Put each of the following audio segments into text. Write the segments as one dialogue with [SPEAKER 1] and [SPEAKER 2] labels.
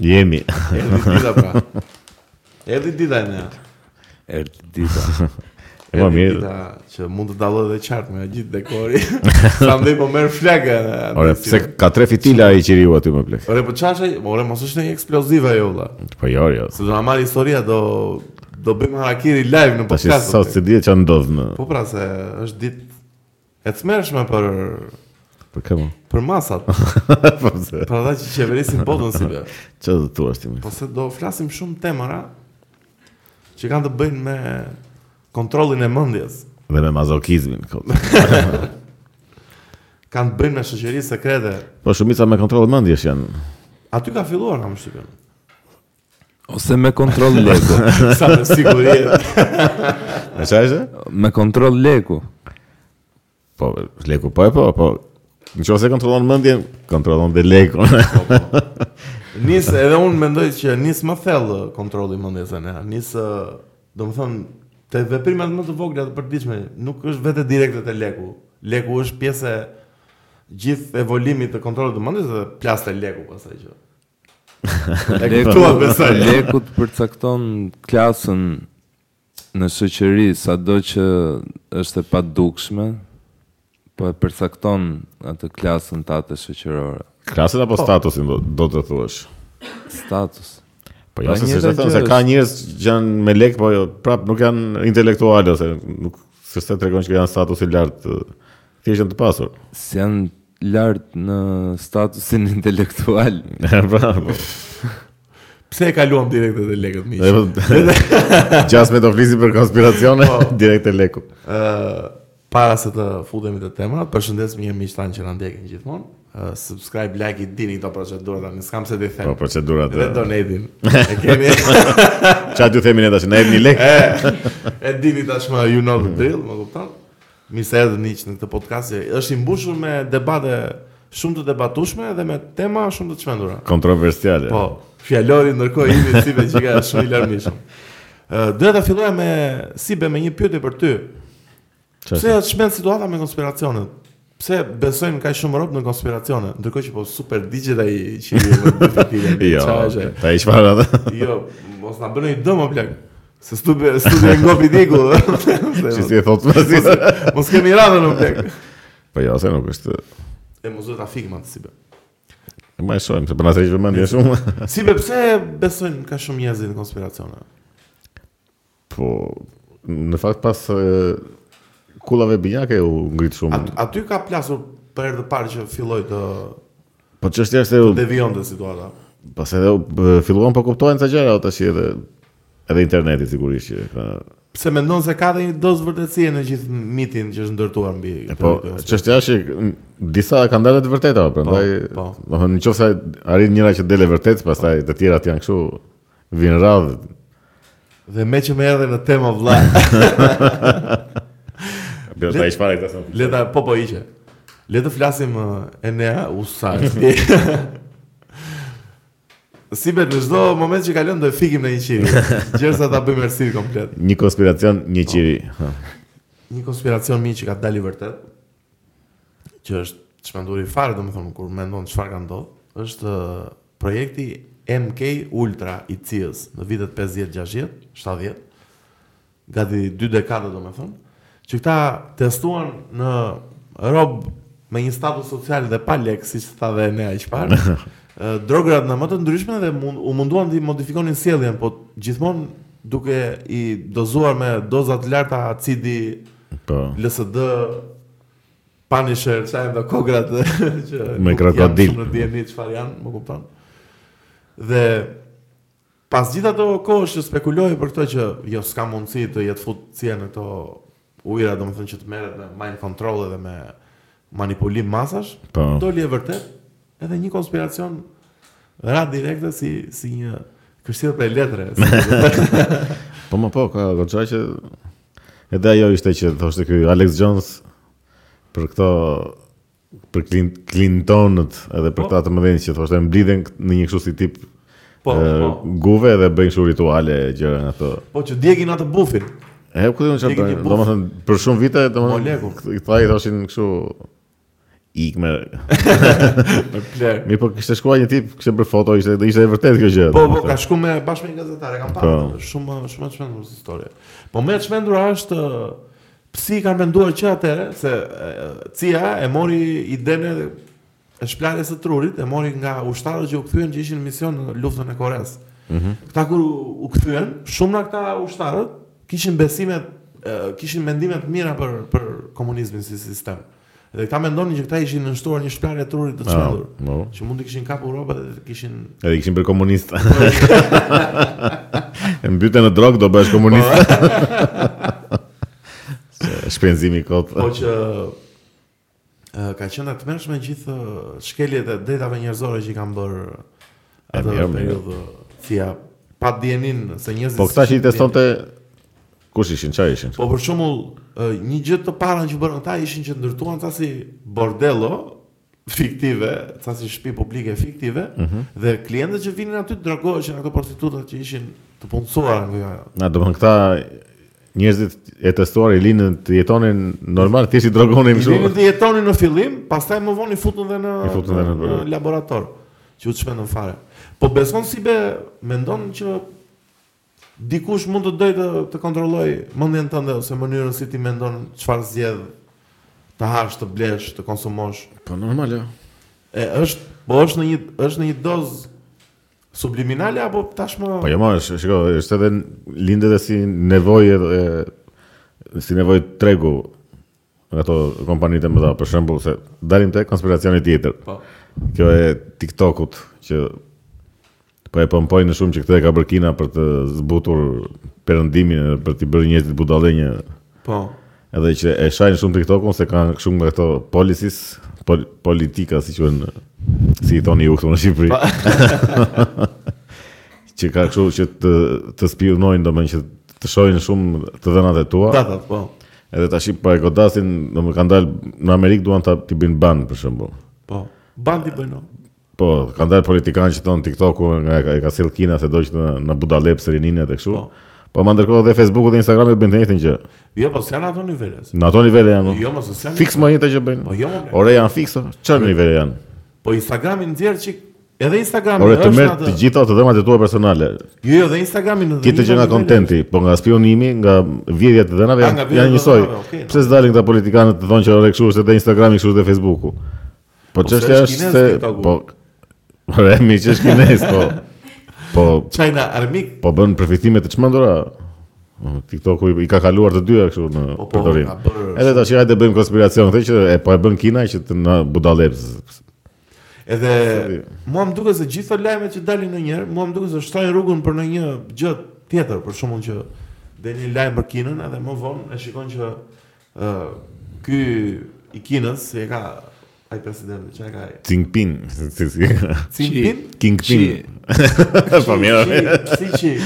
[SPEAKER 1] Jemi.
[SPEAKER 2] Erdi dita pra. Erdi dita ne.
[SPEAKER 3] Erdi dita.
[SPEAKER 1] Ma
[SPEAKER 2] Erdi
[SPEAKER 1] Po, mirë.
[SPEAKER 2] Dita që mund të dalloj edhe qartë me gjithë dekori. Prandaj po merr flakë. e,
[SPEAKER 1] Ore,
[SPEAKER 2] si-
[SPEAKER 1] pse ka tre fitila ai qiriu aty më plek.
[SPEAKER 2] Ore po çashë, ore mos është një eksplozive ajo valla.
[SPEAKER 1] Po jo, jo.
[SPEAKER 2] Se do na marr historia do do bëjmë harakiri live në
[SPEAKER 1] Tash
[SPEAKER 2] podcast.
[SPEAKER 1] sa se dihet ç'a ndodh në.
[SPEAKER 2] Po pra se është ditë e cmershme për
[SPEAKER 1] Po kemo.
[SPEAKER 2] për masat,
[SPEAKER 1] Po se.
[SPEAKER 2] për ata që qeverisin botën si be.
[SPEAKER 1] Ç'a do thua ti më?
[SPEAKER 2] Po se do flasim shumë temëra që kanë të bëjnë me kontrollin e mendjes.
[SPEAKER 1] Dhe me mazokizmin. kot.
[SPEAKER 2] kanë të bëjnë me shoqëri sekrete.
[SPEAKER 1] Po shumica me kontroll mendjesh janë.
[SPEAKER 2] Aty ka filluar nga më shtypim.
[SPEAKER 3] Ose me kontrol leku.
[SPEAKER 2] Sa me siguri.
[SPEAKER 1] E ç'a është?
[SPEAKER 3] Me kontrol leku.
[SPEAKER 1] Po, leku po e po, po. Në qoftë se kontrollon mendjen, kontrollon dhe lekun.
[SPEAKER 2] Nis edhe unë mendoj që nis më thellë kontrolli i mendjes anë. Nis ë, domethënë te veprimet më të vogla të përditshme nuk është vetë direkte te leku. Leku është pjesë e gjithë evolimit të kontrollit të mendjes dhe plasë te leku pastaj që. E kuptua besoj.
[SPEAKER 3] leku të përcakton klasën në shoqëri sado që është e padukshme, po e përcakton atë klasën të atë shoqërore.
[SPEAKER 1] Klasën
[SPEAKER 2] Po.
[SPEAKER 1] apo statusin do, do të thuash?
[SPEAKER 3] Status.
[SPEAKER 1] Po
[SPEAKER 3] Po,
[SPEAKER 1] jo, se
[SPEAKER 3] njëta
[SPEAKER 1] s'është thënë
[SPEAKER 3] gjë
[SPEAKER 1] se ka
[SPEAKER 3] është.
[SPEAKER 1] njerëz që janë me lek, po jo, prap nuk janë intelektualë ose nuk s'është të tregon që janë statusi lart, ë, thjesht janë të pasur.
[SPEAKER 3] Si janë lartë në statusin intelektual.
[SPEAKER 1] pra, po.
[SPEAKER 2] Pse e kaluam direkte te lekët miq?
[SPEAKER 1] Dhe po, Gjas me të flisim për konspiracione direkt e leku.
[SPEAKER 2] Ë, para se të futemi te temrat, përshëndes mirë miqtan që na ndjekin gjithmonë. Ë, subscribe, like, i dini këto procedurat tani, s'kam se ti them.
[SPEAKER 1] Po procedurat.
[SPEAKER 2] Dhe
[SPEAKER 1] e-
[SPEAKER 2] donate-in. E kemi
[SPEAKER 1] Qa t'ju themi ne tash, ne jemi lek.
[SPEAKER 2] e, e dini tashmë you know the drill, më kupton? Mirë se erdhën hiç në këtë podcast. që Është i mbushur me debate shumë të debatueshme dhe me tema shumë të çmendura.
[SPEAKER 1] Kontroversiale.
[SPEAKER 2] Po, fjalori ndërkohë imi si be që ka shumë i larmishëm. Ë, Doja ta filloja me Sibe me një pyetje për ty.
[SPEAKER 1] Çfarë
[SPEAKER 2] Pse është shmend situata me konspiracionet? Pse besojnë kaq shumë rob në konspiracione? Ndërkohë që po super digjet ai që i vë dy fitile,
[SPEAKER 1] Jo,
[SPEAKER 2] çfarë është?
[SPEAKER 1] ta i shparë atë.
[SPEAKER 2] Jo, mos na bën një dëm o plak. Se studi studi ngopi diku.
[SPEAKER 1] Që si e thotë më si.
[SPEAKER 2] Mos kemi radhën o plak.
[SPEAKER 1] Po jo, se nuk është.
[SPEAKER 2] E mos do ta fikmat si be.
[SPEAKER 1] E Ma e shohim, se për nëse i vëmendje shumë.
[SPEAKER 2] Si be pse besojnë kaq shumë njerëz në konspiracione?
[SPEAKER 1] Po, në fakt pas e, kullave binjake u ngrit shumë.
[SPEAKER 2] At, aty ka plasur për herë të parë që filloi të
[SPEAKER 1] Po çështja është se u-
[SPEAKER 2] devionte situata.
[SPEAKER 1] pas edhe u- b- filluan po kuptohen ca gjëra o, tash edhe edhe interneti sigurisht që ka.
[SPEAKER 2] Pse mendon se ka dhe një dozë vërtetësie në gjithë mitin që është ndërtuar mbi këtë
[SPEAKER 1] Po
[SPEAKER 2] konspiracion?
[SPEAKER 1] çështja është që m, disa kanë dalë të vërteta, o, prandaj
[SPEAKER 2] po.
[SPEAKER 1] domethënë nëse arrin njëra që del e vërtet, pastaj të tjerat janë kështu vinë radhë.
[SPEAKER 2] Dhe me që me erdhe në tema vlla,
[SPEAKER 1] Bërë ta i shpare këta sa.
[SPEAKER 2] le ta po po hiqe. Le të flasim ë, e nea usaj. si bet në çdo moment që kalon do e fikim në një qiri. Gjersa ta bëjmë errësirë komplet.
[SPEAKER 1] Një konspiracion, një qiri. Ha.
[SPEAKER 2] Një konspiracion mi që ka dalë i vërtet, që është çmendur i fare domethënë kur mendon çfarë ka ndodhur, është ë, projekti MK Ultra i CIA-s në vitet 50, 60, 70. gati dy dekada do me thënë, që këta testuan në rob me një status social dhe pa lek, si që tha dhe ne aq parë, ë, drograt në më të ndryshme dhe mund, u munduan të i modifikonin sjelljen, po gjithmonë duke i dozuar me doza të larta acidi,
[SPEAKER 1] Po.
[SPEAKER 2] LSD, Punisher, çajm do kograt që
[SPEAKER 1] Me
[SPEAKER 2] nuk
[SPEAKER 1] krokodil.
[SPEAKER 2] janë shumë Në DNA çfarë janë, më kupton? Dhe pas gjithë ato kohësh që spekuloje për këtë që jo s'ka mundësi të jetë futësia në këto ujëra, domethënë që të merret me mind control edhe me manipulim masash,
[SPEAKER 1] Po.
[SPEAKER 2] doli e vërtet edhe një konspiracion ra direkte si si një kështjellë prej letre. si-
[SPEAKER 1] Po më po, ka goxha që edhe ajo ishte që thoshte ky Alex Jones për këto për Clin- Clintonët edhe për
[SPEAKER 2] Po.
[SPEAKER 1] këta të mëdhenj që thoshte mblidhen kët- në një kështu si tip
[SPEAKER 2] po,
[SPEAKER 1] e,
[SPEAKER 2] po,
[SPEAKER 1] guve dhe bëjnë kështu rituale gjëra nga ato.
[SPEAKER 2] po që djegin atë bufin.
[SPEAKER 1] E ku do të
[SPEAKER 2] Djegin një
[SPEAKER 1] thonë,
[SPEAKER 2] buf.
[SPEAKER 1] domethënë për shumë vite
[SPEAKER 2] Moleku.
[SPEAKER 1] domethënë këta i thoshin kështu ik me
[SPEAKER 2] Me pler.
[SPEAKER 1] Mi po kishte shkuar një tip, kishte bërë foto, ishte ishte e vërtet kjo gjë.
[SPEAKER 2] Po, po, ka shku me bashkë me një gazetar, e kam parë.
[SPEAKER 1] Po.
[SPEAKER 2] atë, Shumë shumë e çmendur si historia. Po më e çmendura është ë, pse i kanë menduar që atëre se ë, Cia e mori idenë e shplarjes së trurit, e mori nga ushtarët që u kthyen që ishin në mision në luftën e Koreas.
[SPEAKER 1] Mhm.
[SPEAKER 2] Këta kur u, u kthyen, shumë nga këta ushtarët kishin besime ë, kishin mendime të mira për për komunizmin si sistem. Dhe këta mendonin që këta ishin nënshtuar një shplarje e trurit të çmendur.
[SPEAKER 1] po.
[SPEAKER 2] Që mund të kishin kap Europë dhe të kishin
[SPEAKER 1] Edhe i kishin bërë komunist. e mbyte në drogë do bësh komunist. Po. Se Shpenzimi i kot.
[SPEAKER 2] Po që e, ka qenë të mërshme gjithë shkeljet e drejtave njerëzore që i kanë bërë
[SPEAKER 1] E
[SPEAKER 2] atë
[SPEAKER 1] mirë, mirë.
[SPEAKER 2] periudhë cia pa dijenin se njerëzit
[SPEAKER 1] Po këta që i
[SPEAKER 2] s'ishin
[SPEAKER 1] testonte kush ishin, çfarë ishin?
[SPEAKER 2] Po për shembull, ë, një gjë të parën që bërën ata ishin që ndërtuan ca si bordello fiktive, ca si shtëpi publike fiktive
[SPEAKER 1] Mhm.
[SPEAKER 2] dhe klientët që vinin aty drogoheshin ato prostitutat që ishin të punësuara nga
[SPEAKER 1] Na do të thonë këta njerëzit e testuar i linin të jetonin normal, thjesht i drogonin
[SPEAKER 2] Filmin
[SPEAKER 1] kështu.
[SPEAKER 2] të jetoni në fillim, pastaj më vonë i futën dhe në,
[SPEAKER 1] I futën dhe
[SPEAKER 2] në,
[SPEAKER 1] në-
[SPEAKER 2] laborator, që u të shpendën fare. Po beson si be, mendon që dikush mund të dojë të, të kontrolloj mendjen tënde ose mënyrën si ti mendon çfarë zgjedh të hash, të blesh, të konsumosh.
[SPEAKER 1] Po normal, jo.
[SPEAKER 2] E është, po është në një është në një dozë subliminale apo tashmë
[SPEAKER 1] Po jo, më është, shiko, është edhe lindet edhe si nevojë e si nevojë tregu ato kompanitë e mëdha, për shembull se dalim te konspiracioni tjetër.
[SPEAKER 2] po.
[SPEAKER 1] Kjo e TikTokut që po e pompojnë shumë që këtë e ka bërë Kina për të zbutur perëndimin, e për të bërë njerëzit budallënjë,
[SPEAKER 2] Po.
[SPEAKER 1] edhe që e shajnë shumë TikTokun se kanë shumë nga këto policies, pol, politika si quhen si i thoni ju këtu në Shqipëri. që ka kështu që të të spionojnë domethënë që të shohin shumë të dhënat e tua.
[SPEAKER 2] Datat, po.
[SPEAKER 1] Edhe tash po e godasin, domethënë kanë dalë në Amerikë duan ta ti bëjnë ban për shembull.
[SPEAKER 2] Po. Bandi bëjnë.
[SPEAKER 1] Po, kanë dalë politikanë që thonë TikToku nga e ka- e ka sill Kina se do që në, në budalep serininat e kështu.
[SPEAKER 2] Po.
[SPEAKER 1] Po më ndërkohë dhe Facebooku dhe Instagrami bëjnë të njëjtin gjë.
[SPEAKER 2] Jo, po s'janë ato nivele. se-
[SPEAKER 1] Në ato nivele janë.
[SPEAKER 2] Jo, mos s'janë.
[SPEAKER 1] Fiks më njëta që bëjnë.
[SPEAKER 2] Po jo, mo, bre.
[SPEAKER 1] Ore janë fikso, çfarë nivele janë?
[SPEAKER 2] Po Instagrami nxjerr çik edhe Instagrami
[SPEAKER 1] Ore të
[SPEAKER 2] Po, është
[SPEAKER 1] merr
[SPEAKER 2] atë-
[SPEAKER 1] të gjitha të dhëmat e tua personale.
[SPEAKER 2] Jo, jo, dhe Instagrami në
[SPEAKER 1] Ti të gjë nga kontenti, po nga spionimi, nga vjedhja të dhënave
[SPEAKER 2] A,
[SPEAKER 1] janë
[SPEAKER 2] Ah, nga vjedhja
[SPEAKER 1] janë
[SPEAKER 2] të
[SPEAKER 1] njësoj.
[SPEAKER 2] dhënave, okej.
[SPEAKER 1] Pse s'dalin këta politikanë të thonë që ore kështu është edhe Instagrami, kështu është edhe Facebooku. Po
[SPEAKER 2] se
[SPEAKER 1] çështja
[SPEAKER 2] është
[SPEAKER 1] është
[SPEAKER 2] kinez
[SPEAKER 1] se
[SPEAKER 2] TikToku.
[SPEAKER 1] po Ore mi që është kinez, po. Po
[SPEAKER 2] China Armik.
[SPEAKER 1] po bën përfitime të çmendura. TikToku i- i ka kaluar të dyja kështu në
[SPEAKER 2] Po, po,
[SPEAKER 1] përdorim.
[SPEAKER 2] ka bërë-
[SPEAKER 1] Edhe tash hajde bëjmë konspiracion këtë që e po e bën Kina që të na budallëps.
[SPEAKER 2] Edhe
[SPEAKER 1] di.
[SPEAKER 2] mua më duket se gjithë ato lajmet që dalin ndonjëherë, mua më duket se shtojnë rrugën për ndonjë gjë tjetër, për shembull që del një lajm për Kinën, edhe më vonë e shikon që ë ky i Kinës se e ka ai presidenti, çka e ka ai?
[SPEAKER 1] Jinping. si- si-
[SPEAKER 2] Xi Jinping?
[SPEAKER 1] Kingpin. Po mirë.
[SPEAKER 2] Si çi? Xi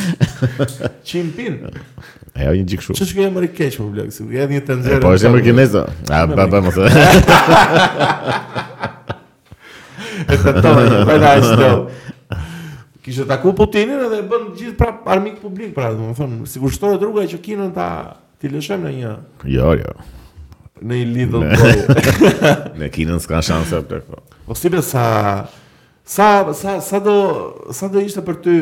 [SPEAKER 2] Jinping.
[SPEAKER 1] Ajo një gjikë kështu.
[SPEAKER 2] Ç'është ky emër i keq më blek, si edhe një tenxhere.
[SPEAKER 1] Po është emër kineza. A ba ba mos. e-
[SPEAKER 2] E tentova një fajna e shdo. Kishte taku Putinin edhe e bën gjithë prap armik publik pra, domethënë, sikur shtohet rruga që Kinën ta ti lëshojmë në një
[SPEAKER 1] Jo, jo.
[SPEAKER 2] në një lidhë të
[SPEAKER 1] Në Kinën s'ka shanse atë. po.
[SPEAKER 2] Po si be sa sa sa sa do sa do ishte për ty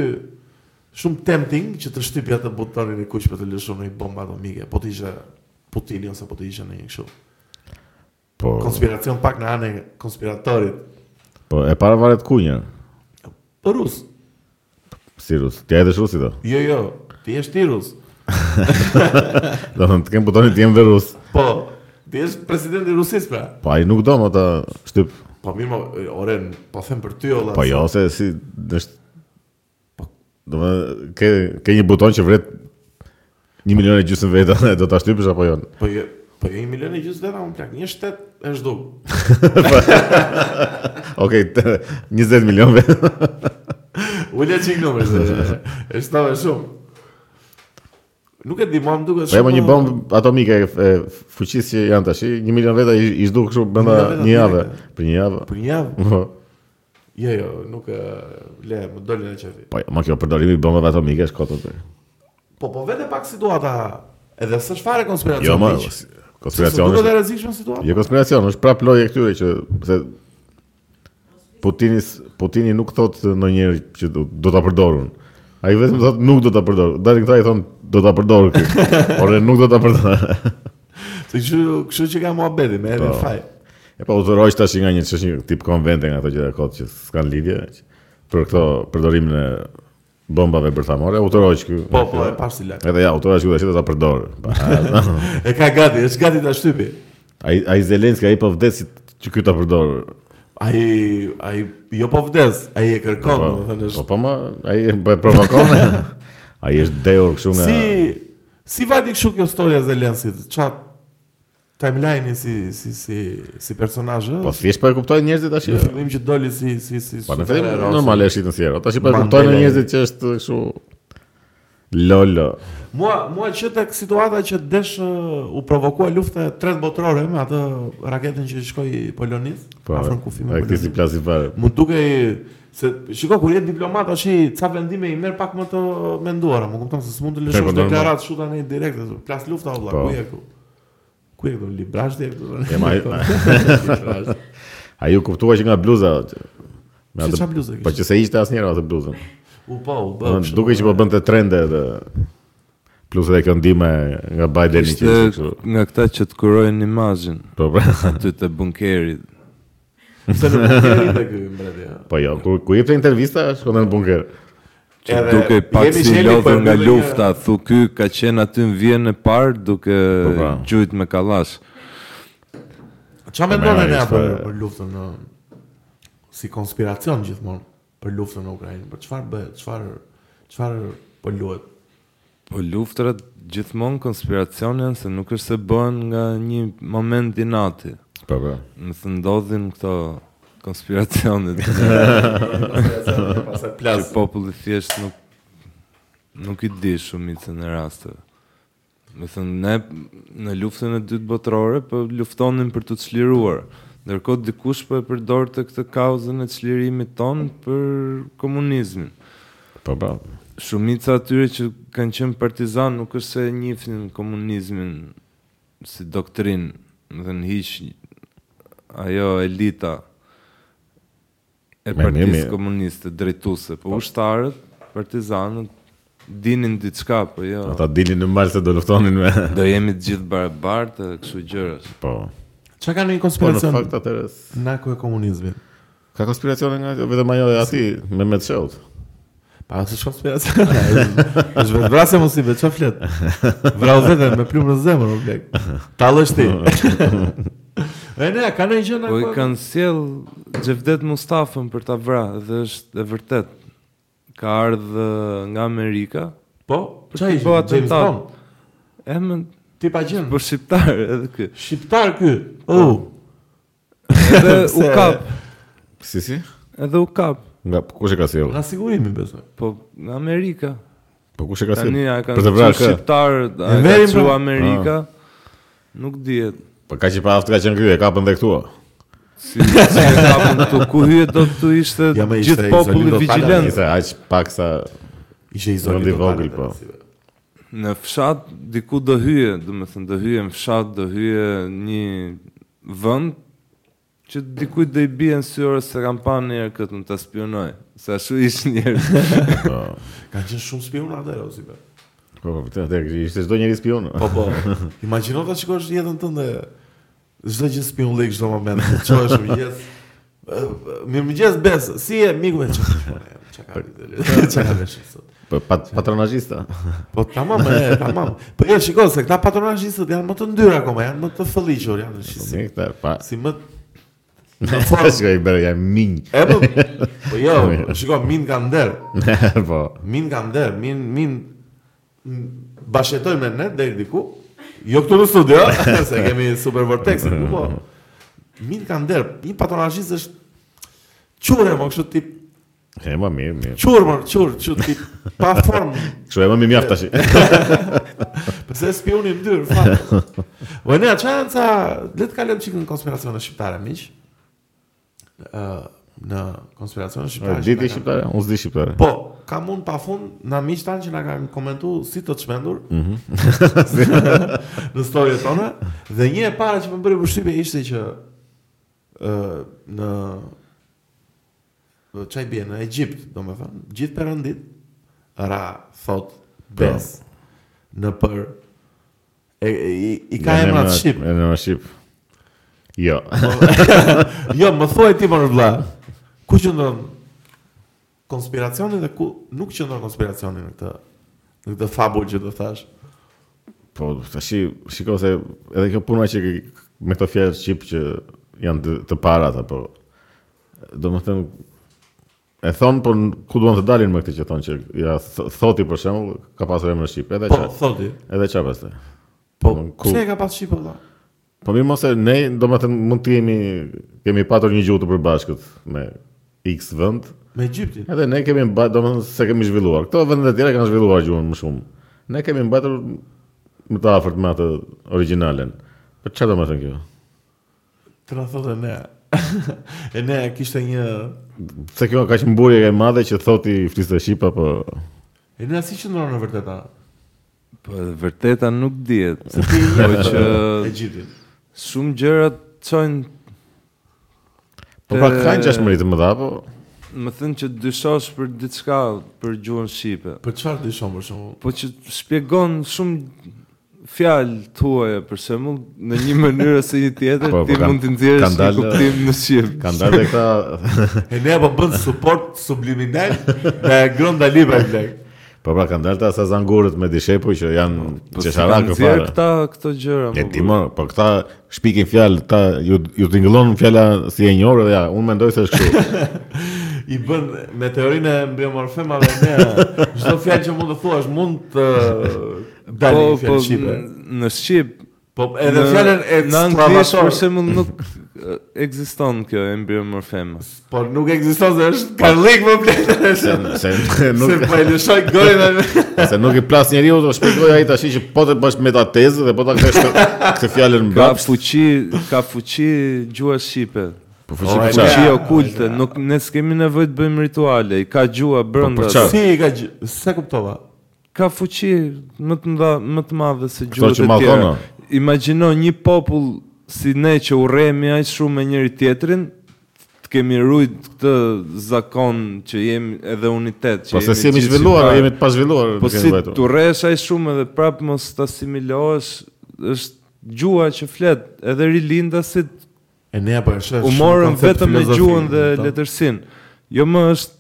[SPEAKER 2] shumë tempting që të shtypi atë butonin e kuq për të lëshuar një bombë atomike, po të ishe Putini ose po të ishe në një kështu.
[SPEAKER 1] Po.
[SPEAKER 2] Konspiracion pak në anë e konspiratorit.
[SPEAKER 1] Po e para varet ku një.
[SPEAKER 2] Po Rus.
[SPEAKER 1] Si rus. Ti edhe rusi do.
[SPEAKER 2] Jo, jo, ti je ti Rus.
[SPEAKER 1] Do të kem butonin ti jam dhe rus.
[SPEAKER 2] Po, ti je presidenti i Rusisë pra.
[SPEAKER 1] Po ai nuk do më ta shtyp.
[SPEAKER 2] Po mirë, mo, e, ore, n- po them për ty olla.
[SPEAKER 1] Po
[SPEAKER 2] se-
[SPEAKER 1] jo se si është Do më ke ke një buton që vret 1 milion e gjysmë veta e do ta shtypësh apo jo?
[SPEAKER 2] Po jo, po jo i milion e gjysmë veta unë plak. Një shtet e zhduk.
[SPEAKER 1] Okej, të- 20 milion veta.
[SPEAKER 2] Ule çik numër. se- E shtave shumë. Nuk e di, mua më duket
[SPEAKER 1] Po e mo një
[SPEAKER 2] uh,
[SPEAKER 1] bombë atomike e- e fuqisë që janë tash, 1 milion veta i, i zhduk kështu brenda
[SPEAKER 2] milion veta
[SPEAKER 1] një javë,
[SPEAKER 2] direkt,
[SPEAKER 1] për një javë.
[SPEAKER 2] Për një javë?
[SPEAKER 1] Po.
[SPEAKER 2] Jo, jo, nuk e... Le, më doli në qefi.
[SPEAKER 1] Po, ma kjo përdorimi i bombave atomike është kotë.
[SPEAKER 2] Po, po vete pak situata... Edhe së shfare konspiracion
[SPEAKER 1] Jo, ma,
[SPEAKER 2] miq.
[SPEAKER 1] Konspiracion
[SPEAKER 2] Duket e
[SPEAKER 1] është...
[SPEAKER 2] rrezikshme situata.
[SPEAKER 1] Jo konspiracion, është prapë loja e këtyre që... Se, Putini, s- Putini nuk thotë në njerë që do, do ta përdorun. Ai vetëm thotë nuk do ta përdor. Dalin këta i thonë do ta përdor këtë. Por nuk do ta përdor.
[SPEAKER 2] Se kështu, kështu që ka muhabeti me edhe
[SPEAKER 1] Po.
[SPEAKER 2] faj.
[SPEAKER 1] E pa udhëroj tash nga një çështje tip konvente nga ato gjëra kot që s'kan lidhje që për këto përdorimin e bombave bërthamore, udhëroj ky.
[SPEAKER 2] Po, po, e pas lak.
[SPEAKER 1] Edhe ja, udhëroj ky tash ta përdor. Pa,
[SPEAKER 2] E ka gati, është gati ta shtypi.
[SPEAKER 1] Ai ai Zelenski ai po vdes si që ky ta përdor.
[SPEAKER 2] Ai ai jo po vdes, ai e kërkon,
[SPEAKER 1] Po,
[SPEAKER 2] domethënë
[SPEAKER 1] po,
[SPEAKER 2] është
[SPEAKER 1] po ma, ai e provokon. ai është dehur kështu nga
[SPEAKER 2] si si vati kështu kjo storia e Zelensit. Ça timeline-i si si si si personazh ë?
[SPEAKER 1] Po thjesht po e kuptojnë njerëzit tash.
[SPEAKER 2] Në fillim që doli si si si
[SPEAKER 1] Po në fillim
[SPEAKER 2] superhero,
[SPEAKER 1] normal është në sjero. Tash po e kuptojnë
[SPEAKER 2] Mandela.
[SPEAKER 1] njerëzit që është kështu lolo.
[SPEAKER 2] Mua, mua që tek situata që desh ë, u provokua lufta e tretë botërore me atë raketën që shkoi Polonis,
[SPEAKER 1] Po.
[SPEAKER 2] afër kufimit.
[SPEAKER 1] Ai këti si
[SPEAKER 2] Polonis.
[SPEAKER 1] plasi fare.
[SPEAKER 2] Mu dukej se shiko kur je diplomat tash i ca vendime i merr pak më të menduara, më kupton se s'mund të
[SPEAKER 1] E, po,
[SPEAKER 2] lëshosh
[SPEAKER 1] normal.
[SPEAKER 2] deklaratë kështu tani direkt, e, plas lufta o vëlla,
[SPEAKER 1] Po.
[SPEAKER 2] ku je këtu? Ku je këtu librazh ti këtu?
[SPEAKER 1] E, ma, ai-
[SPEAKER 2] Librazh.
[SPEAKER 1] Ai u kuptua që nga bluza që- me
[SPEAKER 2] Si
[SPEAKER 1] atë-
[SPEAKER 2] ça bluzë
[SPEAKER 1] Po që se ishte asnjëra atë bluzën.
[SPEAKER 2] U po, u bë.
[SPEAKER 1] Ëh,
[SPEAKER 2] kështu.
[SPEAKER 1] Duke që po bënte trende edhe plus edhe kjo ndihmë nga Bideni që
[SPEAKER 3] Ishte
[SPEAKER 1] ishte kështu.
[SPEAKER 3] nga këta që të kurojnë imazhin
[SPEAKER 1] Po pra.
[SPEAKER 3] aty të bunkerit.
[SPEAKER 2] se nuk kemi te ky mbreti. ha.
[SPEAKER 1] Po jo, kur ku jepte intervista, shkonte në bunker.
[SPEAKER 3] Që
[SPEAKER 2] Edhe
[SPEAKER 3] duke pak
[SPEAKER 2] jemi
[SPEAKER 3] si
[SPEAKER 2] sheli, po e
[SPEAKER 3] lodhur nga
[SPEAKER 2] mbyllim një-
[SPEAKER 3] lufta, thu ky ka qenë aty në vjen e parë duke
[SPEAKER 1] Po, pra.
[SPEAKER 3] gjujt me kallash.
[SPEAKER 2] Qa mendone
[SPEAKER 1] merr,
[SPEAKER 2] ne
[SPEAKER 1] ishte-
[SPEAKER 2] apo për luftën në si konspiracion gjithmonë për luftën në Ukrainë, për çfarë bëhet, çfarë çfarë po luhet.
[SPEAKER 3] Po luftrat gjithmonë konspiracion janë se nuk është se bëhen nga një moment i nati.
[SPEAKER 1] Po pra.
[SPEAKER 3] Më thë ndodhin këto konspiracionet që
[SPEAKER 2] Pastaj
[SPEAKER 1] Po,
[SPEAKER 2] plas.
[SPEAKER 3] populli thjesht nuk nuk i di shumicën e rasteve. Më thënë, ne në luftën e dytë botërore po luftonin për të çliruar. Ndërkohë dikush po e përdorte këtë kauzën e çlirimit ton për komunizmin.
[SPEAKER 1] Po pra.
[SPEAKER 3] Shumica atyre që kanë qenë partizan nuk është se e njifnin komunizmin si doktrinë, më thënë hiq ajo elita e
[SPEAKER 1] Me
[SPEAKER 3] partisë
[SPEAKER 1] mirë.
[SPEAKER 3] komuniste drejtuese, po ushtarët, partizanët dinin diçka, po jo.
[SPEAKER 1] Ata dilin në mal se do luftonin me.
[SPEAKER 3] Do jemi të gjithë barabartë, kështu gjërash.
[SPEAKER 1] Po.
[SPEAKER 2] Çka
[SPEAKER 1] Po
[SPEAKER 2] kanë një
[SPEAKER 1] në
[SPEAKER 2] konspiracion?
[SPEAKER 1] fakt atëherë s-
[SPEAKER 2] Nako e komunizmit.
[SPEAKER 1] ka konspiracione nga vetëm ajo e aty me Medshout.
[SPEAKER 2] Pa, se shkon konspiracion. Është vetë vrasja mos i vetë, çfarë flet? Vrau vetën me plumë në zemër, o blek. Tallësh ti. E ne, ka ndonjë gjë
[SPEAKER 3] Po i
[SPEAKER 2] nako?
[SPEAKER 3] kanë sjell Xhevdet Mustafën për ta vrarë dhe është e vërtet. Ka ardhë nga Amerika.
[SPEAKER 2] Po, çfarë ishte?
[SPEAKER 3] Po,
[SPEAKER 2] James
[SPEAKER 3] atentat.
[SPEAKER 2] Bond.
[SPEAKER 3] Emën
[SPEAKER 2] Ti pa gjën.
[SPEAKER 3] po shqiptar edhe ky.
[SPEAKER 2] Shqiptar ky. Oh.
[SPEAKER 3] Edhe u kap,
[SPEAKER 1] Si si?
[SPEAKER 3] edhe u kap.
[SPEAKER 1] Nga po, kush e ka sjell?
[SPEAKER 2] Nga sigurimi besoj.
[SPEAKER 3] Po nga Amerika.
[SPEAKER 1] Po kush e ka sjell?
[SPEAKER 3] Tani ja kanë
[SPEAKER 1] Për të vrarë
[SPEAKER 3] qenë
[SPEAKER 1] kë?
[SPEAKER 3] shqiptarët, a
[SPEAKER 2] E
[SPEAKER 3] e
[SPEAKER 2] verin
[SPEAKER 3] kanë çu
[SPEAKER 2] pra- Ah.
[SPEAKER 3] Amerika. Nuk dihet.
[SPEAKER 1] Po ka që pa aftë ka qenë ky, e kapën dhe këtu.
[SPEAKER 3] Si si e kapën këtu, ku hyet do të ishte
[SPEAKER 2] Ja, me ishte
[SPEAKER 3] gjithë populli
[SPEAKER 2] izolido fala,
[SPEAKER 3] vigjilent.
[SPEAKER 1] Nëse aq pak sa
[SPEAKER 2] Ishte
[SPEAKER 1] Vendi
[SPEAKER 2] izolitë.
[SPEAKER 1] vogël, po.
[SPEAKER 3] Në fshat diku do hyje, do të thënë do hyje në fshat, do hyje një vend që dikujt do i bie në sy orë se kam pa një herë këtë më ta spionoj. Se ashtu ishin njerëz.
[SPEAKER 1] po.
[SPEAKER 2] Ka qenë shumë spion atë Rosi be.
[SPEAKER 1] Po, po, vërtet, e, ishte çdo njeri spion.
[SPEAKER 2] Po po. Imagjino ta shikosh jetën tënde. Çdo gjë spion lek çdo moment. Çohesh mëngjes. Mirëmëngjes Bes. Si je miku me çka? ka ditë? Çka ka vesh sot?
[SPEAKER 1] Po pat, patronazhista.
[SPEAKER 2] Po tamam, e, tamam. Po ja shikoj se këta patronazhistët janë më të ndyrë akoma, janë më të fëlliqur, janë shi- si,
[SPEAKER 1] Si këta, pa.
[SPEAKER 2] si më
[SPEAKER 1] Ne
[SPEAKER 2] Po.
[SPEAKER 1] shkoj bërë ja minj.
[SPEAKER 2] E po, po jo, shiko, min ka nder,
[SPEAKER 1] po.
[SPEAKER 2] min ka nder, min, min, bashetojmë ne deri diku, jo këtu në studio, se kemi Super Vortex, ku po, min ka nder, një patronazhist është qurë, më kështu tip,
[SPEAKER 1] E më mirë, mirë.
[SPEAKER 2] qurë, më, qurë, qurë, tip, pa formë,
[SPEAKER 1] Kështu e më mi mjaft tash.
[SPEAKER 2] Pse spioni në dyrë, fat. Po ne çanca, le të kalojmë çikën konspiracione shqiptare miq. Ë, në konspiracionin
[SPEAKER 1] A,
[SPEAKER 2] shqiptar.
[SPEAKER 1] Diti shqiptare? Unë s'di shqiptare.
[SPEAKER 2] Po, kam unë pa fund, na miq tanë që na kanë komentu si të të shmendur në storyt tona dhe një e para që më bëri përshtypje ishte që ë në në çaj bie në Egjipt, domethënë, gjithë perëndit ra thot bes në për e, e- i, i ka
[SPEAKER 1] Janë
[SPEAKER 2] emrat
[SPEAKER 1] emrat-
[SPEAKER 2] shqip.
[SPEAKER 1] Janë emrat shqip. Jo.
[SPEAKER 2] Jo, më thuaj ti më vëlla. Ku qëndron konspiracioni dhe ku nuk qëndron konspiracioni në këtë në këtë fabull që do thash.
[SPEAKER 1] Po, tash shiko se edhe kjo puna që ke- me këto fjalë shqip që janë të, po, të parat apo domethënë e thon po n- ku duan të dalin me këtë që thon që ja th- thoti për shembull ka pasur emër shqip edhe
[SPEAKER 2] Po,
[SPEAKER 1] çfarë
[SPEAKER 2] thoti.
[SPEAKER 1] edhe çfarë pastaj.
[SPEAKER 2] Po,
[SPEAKER 1] Domethënë, ku-
[SPEAKER 2] pse e ka pas shqip vëlla?
[SPEAKER 1] Po mirë mos e ne domethënë mund të jemi kemi patur një gjuhë të përbashkët me X vend,
[SPEAKER 2] Me Egjiptin.
[SPEAKER 1] edhe ne kemi mba- domethënë se kemi zhvilluar. Këto vende të tjera kanë zhvilluar gjuhën më shumë. Ne kemi mbajtur më të afërt me atë origjinalen. Po çfarë domethënë kjo?
[SPEAKER 2] Të na thotë ne. e ne kishte një
[SPEAKER 1] Se kjo ka që mburje e madhe që thoti fliste shqip apo
[SPEAKER 2] E ne si qëndron në vërtetë a?
[SPEAKER 3] Po e vërteta nuk dihet,
[SPEAKER 2] Se ti
[SPEAKER 3] po
[SPEAKER 2] je
[SPEAKER 3] që
[SPEAKER 2] Egjiptin.
[SPEAKER 3] shumë gjëra çojnë
[SPEAKER 1] Po pra
[SPEAKER 3] Te-
[SPEAKER 1] kanë gjashmëri të mëdha po
[SPEAKER 3] Më thënë që dyshosh për diçka për gjuhën shqipe.
[SPEAKER 2] Për çfarë dyshon për shembull?
[SPEAKER 3] Po që shpjegon shumë fjalë tuaja për shembull në një mënyrë ose një tjetër
[SPEAKER 1] Po, po,
[SPEAKER 3] ti
[SPEAKER 1] kanë-
[SPEAKER 3] mund të nxjerrësh
[SPEAKER 1] kanë
[SPEAKER 3] një
[SPEAKER 1] dalë-
[SPEAKER 3] kuptim në shqip.
[SPEAKER 1] kanë dalë dhe këta
[SPEAKER 2] E ne po bën support subliminal dhe gronda libre blek.
[SPEAKER 1] po pra kanë dalë ta sazangurët me dishepuj që janë
[SPEAKER 3] Po si kanë
[SPEAKER 1] qesharakë
[SPEAKER 3] nxjerrë
[SPEAKER 1] fare.
[SPEAKER 3] këta këto gjëra.
[SPEAKER 1] E
[SPEAKER 3] më
[SPEAKER 1] ti
[SPEAKER 3] bërë?
[SPEAKER 1] më, po këta shpikin fjalë, ta ju ju tingëllon fjala si e njëjtë dhe ja, unë mendoj se është kështu.
[SPEAKER 2] i bën me teorinë e biomorfemave ne çdo fjalë që mund të thuash mund të dalë një fjalë shqipe.
[SPEAKER 3] Po, n- në shqip
[SPEAKER 2] Po edhe
[SPEAKER 3] në-
[SPEAKER 2] fjalën e
[SPEAKER 3] në anglisht për
[SPEAKER 2] stravator,
[SPEAKER 3] shembull nuk e, ekziston kjo embryomorfem.
[SPEAKER 2] po nuk ekziston se është po karlik më bletë.
[SPEAKER 1] Se, se
[SPEAKER 2] Se
[SPEAKER 1] nuk
[SPEAKER 2] po e lëshoj gojën atë.
[SPEAKER 1] se nuk i plas njeriu, do shpjegoj ai tash që po të bësh metatezë dhe po ta kthesh këtë- këtë fjalën
[SPEAKER 3] Ka
[SPEAKER 1] mbrapsht.
[SPEAKER 3] fuqi, ka fuqi gjuha shqipe.
[SPEAKER 1] Po fuqi për
[SPEAKER 2] Ora, ne-
[SPEAKER 1] çfarë?
[SPEAKER 3] Fuqi okulte, nuk ne s'kemi nevojë të bëjmë rituale, i ka gjuha brenda.
[SPEAKER 1] Po, për çfarë?
[SPEAKER 2] Si e ka gjë? Se kuptova.
[SPEAKER 3] Ka fuqi më të mëdha, më të madhe se
[SPEAKER 1] që
[SPEAKER 3] gjuhët e tjera.
[SPEAKER 1] mallkona.
[SPEAKER 3] Imagjino një popull si ne që urrejmë aq shumë me njëri tjetrin, të kemi rujt këtë zakon që jemi edhe unitet që
[SPEAKER 1] Po se si jemi
[SPEAKER 3] gjithë
[SPEAKER 1] zhvilluar,
[SPEAKER 3] shqiptarë.
[SPEAKER 1] jemi të pazhvilluar.
[SPEAKER 3] Po
[SPEAKER 1] duke
[SPEAKER 3] si
[SPEAKER 1] vajtur.
[SPEAKER 3] të urrejsh aq shumë edhe prap mos të asimilohesh, është gjuha që flet, edhe rilindasit
[SPEAKER 2] E ne apo e shoh.
[SPEAKER 3] u morën vetëm me gjuhën dhe
[SPEAKER 2] Po.
[SPEAKER 3] letërsinë. Jo më është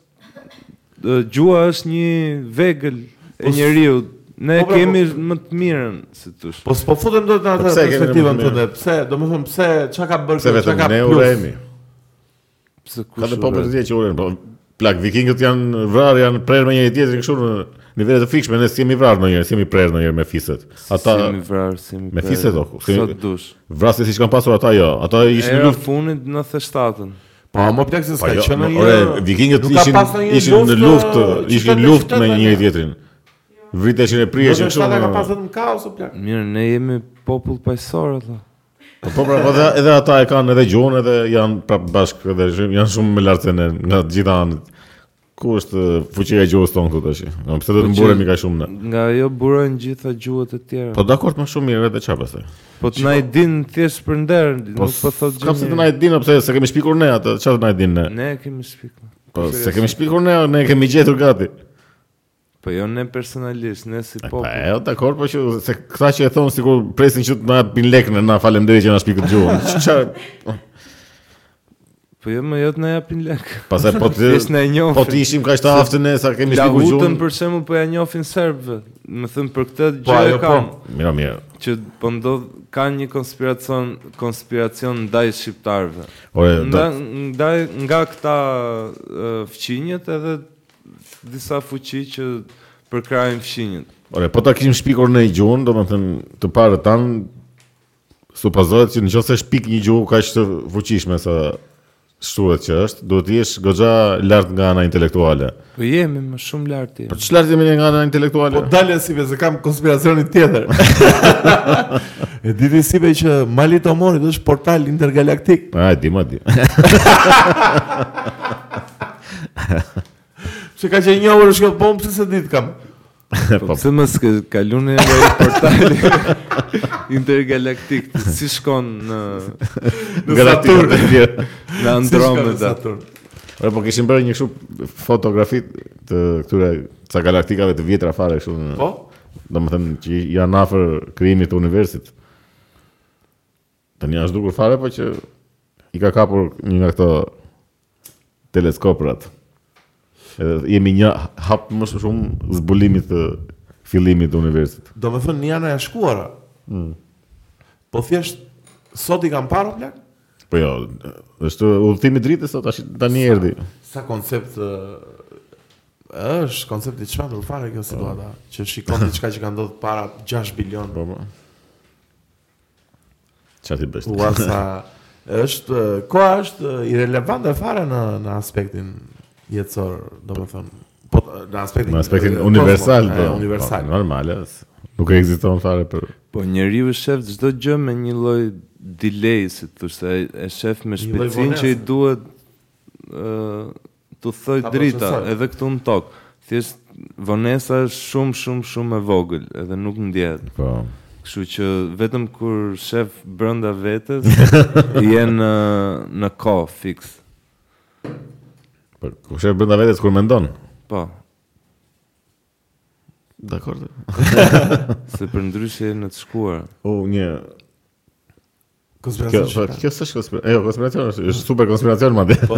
[SPEAKER 3] e, gjuha është një vegël
[SPEAKER 2] Po
[SPEAKER 3] e
[SPEAKER 2] s-
[SPEAKER 3] njeriu. Ne
[SPEAKER 2] po pra,
[SPEAKER 3] kemi
[SPEAKER 2] po-
[SPEAKER 3] më të mirën, si thosh.
[SPEAKER 2] Po s'po futem dot në atë
[SPEAKER 1] pse e kemi në
[SPEAKER 2] perspektivën
[SPEAKER 1] mënyrë?
[SPEAKER 2] tonë. Pse, domethënë pse çka ka bërë,
[SPEAKER 1] Se
[SPEAKER 2] kjo,
[SPEAKER 1] vetëm
[SPEAKER 2] çka ka
[SPEAKER 1] ne
[SPEAKER 2] plus?
[SPEAKER 1] urejemi.
[SPEAKER 3] Pse kush?
[SPEAKER 1] Ka dhe popull të
[SPEAKER 3] urren?
[SPEAKER 1] tjerë që urejnë, po plak vikingët janë vrarë, janë prerë me njëri tjetrin kështu në nivele të frikshme, ne s'jemi vrarë ndonjëherë, s'jemi prerë ndonjëherë me fiset. Ata
[SPEAKER 3] si mi vrarë, si mi
[SPEAKER 1] Me fiset, o,
[SPEAKER 3] Si
[SPEAKER 1] si-
[SPEAKER 3] Sa të dush.
[SPEAKER 1] vrasje siç kanë pasur ata jo, ata ishin në
[SPEAKER 3] Era
[SPEAKER 1] luftë.
[SPEAKER 3] funit 97-ën.
[SPEAKER 2] Po më plak se
[SPEAKER 1] Po
[SPEAKER 2] s'ka
[SPEAKER 1] jo,
[SPEAKER 2] qenë
[SPEAKER 1] më-
[SPEAKER 2] një.
[SPEAKER 1] ore, vikingët
[SPEAKER 2] nuk ka
[SPEAKER 1] ishin
[SPEAKER 2] pas ndonjë
[SPEAKER 1] ishin në luftë,
[SPEAKER 2] ë,
[SPEAKER 1] ishin në
[SPEAKER 2] qytet me
[SPEAKER 1] luftë me
[SPEAKER 2] qytet,
[SPEAKER 1] njëri tjetrin. Vriteshin e priheshin
[SPEAKER 2] Nuk
[SPEAKER 1] kështu.
[SPEAKER 2] është ata Po, ka
[SPEAKER 1] në-
[SPEAKER 2] pas vetëm kaos o plak.
[SPEAKER 3] Mirë, ne jemi popull paqësor ata.
[SPEAKER 1] Po po, pra, po edhe, edhe ata e kanë edhe gjuhën edhe janë prap bashkë edhe shum- janë shumë më lartë se ne nga të gjitha anët. Ku është ë, fuqia e gjuhës tonë këtu tash? Ëm, Pse do të
[SPEAKER 3] Po që-
[SPEAKER 1] mburemi kaq shumë ne?
[SPEAKER 3] Nga ajo burojnë gjitha gjuhët e tjera.
[SPEAKER 1] Po dakord më shumë mirë edhe çfarë pastaj.
[SPEAKER 3] Po të na i din thjesht për nder, nuk po thot gjë.
[SPEAKER 1] Kam se të
[SPEAKER 3] mirë.
[SPEAKER 1] na e dinë pse se kemi shpikur ne atë, çfarë të na e dinë ne?
[SPEAKER 3] Ne e kemi shpikuar.
[SPEAKER 1] Po se kemi shpikur ne, ne e kemi gjetur gati.
[SPEAKER 3] Po jo ne personalisht, ne si
[SPEAKER 1] Po
[SPEAKER 3] popull.
[SPEAKER 1] e, dakord, po që se këta që e thon sikur presin që të na japin lekën, na faleminderit që na shpikën gjuhën. Çfarë?
[SPEAKER 3] Po jo më jot na japin lek.
[SPEAKER 1] Pastaj po të
[SPEAKER 3] Thjesht ne e njohim.
[SPEAKER 1] po të ishim kaq të aftën ne sa kemi shpikur gjuhën.
[SPEAKER 3] Lahutën për shembull po ja njohin serbëve. Më thën për këtë
[SPEAKER 2] Po,
[SPEAKER 3] gjë
[SPEAKER 2] ajo
[SPEAKER 3] e kam
[SPEAKER 1] Mira, mira.
[SPEAKER 3] që po ndodh ka një konspiracion konspiracion ndaj shqiptarëve.
[SPEAKER 1] Ore, do
[SPEAKER 3] Nda, ndaj nga këta uh, fqinjet edhe disa fuqi që përkrajnë fqinjet.
[SPEAKER 1] Ore, po ta kishim shpikur në një gjuhën, do më thënë, të parë tanë, supozohet që në qëse shpik një gjuhë ka që të fuqishme sa shtuhet që është, duhet të jesh gogja lartë nga ana intelektuale.
[SPEAKER 3] Po jemi më shumë lart jemi.
[SPEAKER 1] Për Po, që lartë jemi ne nga ana intelektuale?
[SPEAKER 2] Po dalën si se kam konspiracionin tjetër. E diti si be që Mali të Omorit është portal intergalaktik.
[SPEAKER 1] A, e di, ma di.
[SPEAKER 2] Pse ka që një orë shkjo bomë, pse se ditë kam.
[SPEAKER 3] Po pse mos ke kaloni nga ai portali intergalaktik? Si shkon në
[SPEAKER 2] Në
[SPEAKER 1] Galaktika
[SPEAKER 2] Saturn.
[SPEAKER 1] të tjerë.
[SPEAKER 3] në
[SPEAKER 2] Si shkon në
[SPEAKER 3] Andromeda?
[SPEAKER 2] Saturn.
[SPEAKER 1] Ore, po kishin bërë një kështu fotografi të këtyre ca galaktikave të vjetra fare kështu. në-
[SPEAKER 2] Po?
[SPEAKER 1] Domethënë që janë afër krijimit të universit. Tani është dukur fare, po që i ka kapur një nga këto teleskoprat. Edhe jemi një hap më shumë zbulimit të fillimit të universit.
[SPEAKER 2] Do me thënë një janë e shkuara. Po thjesht, sot i kam parë plak?
[SPEAKER 1] Po jo, është udhëtimi i dritës sot tash tani erdhi.
[SPEAKER 2] Sa koncept ë, është koncepti i çmendur fare kjo situata, që shikon diçka që ka ndodhur para 6 bilion.
[SPEAKER 1] Po po. Çfarë ti bësh? ti?
[SPEAKER 2] Ua sa është ë, koha është ë, irrelevante fare në në aspektin jetësor, domethënë. Po t- në aspektin
[SPEAKER 1] Në aspektin
[SPEAKER 2] ë,
[SPEAKER 1] universal,
[SPEAKER 2] kosmo,
[SPEAKER 1] po.
[SPEAKER 2] e, universal.
[SPEAKER 1] Po, Normale. s- Nuk ekziston fare për
[SPEAKER 3] Po njeriu e shef çdo gjë me një lloj delay, si thosh, e, e shef me
[SPEAKER 2] Një lloj
[SPEAKER 3] shpejtësinë që i
[SPEAKER 2] vonese.
[SPEAKER 3] duhet ë të thoj
[SPEAKER 2] Ta
[SPEAKER 3] drita,
[SPEAKER 2] procesoj.
[SPEAKER 3] edhe këtu në tokë. Thjesht vonesa është shumë shumë shumë e vogël, edhe nuk ndjehet.
[SPEAKER 1] po.
[SPEAKER 3] Kështu që vetëm kur shef brenda vetes jenë në në kohë fiks.
[SPEAKER 1] Për kush e brenda vetes kur mendon.
[SPEAKER 3] Po,
[SPEAKER 1] Dakor.
[SPEAKER 3] se për ndryshe jenë në të shkuar.
[SPEAKER 1] U një kjo
[SPEAKER 2] Konspiracion.
[SPEAKER 1] po, kjo s'është konspiracion. Jo, konspiracion është, është super konspiracion madje. Po.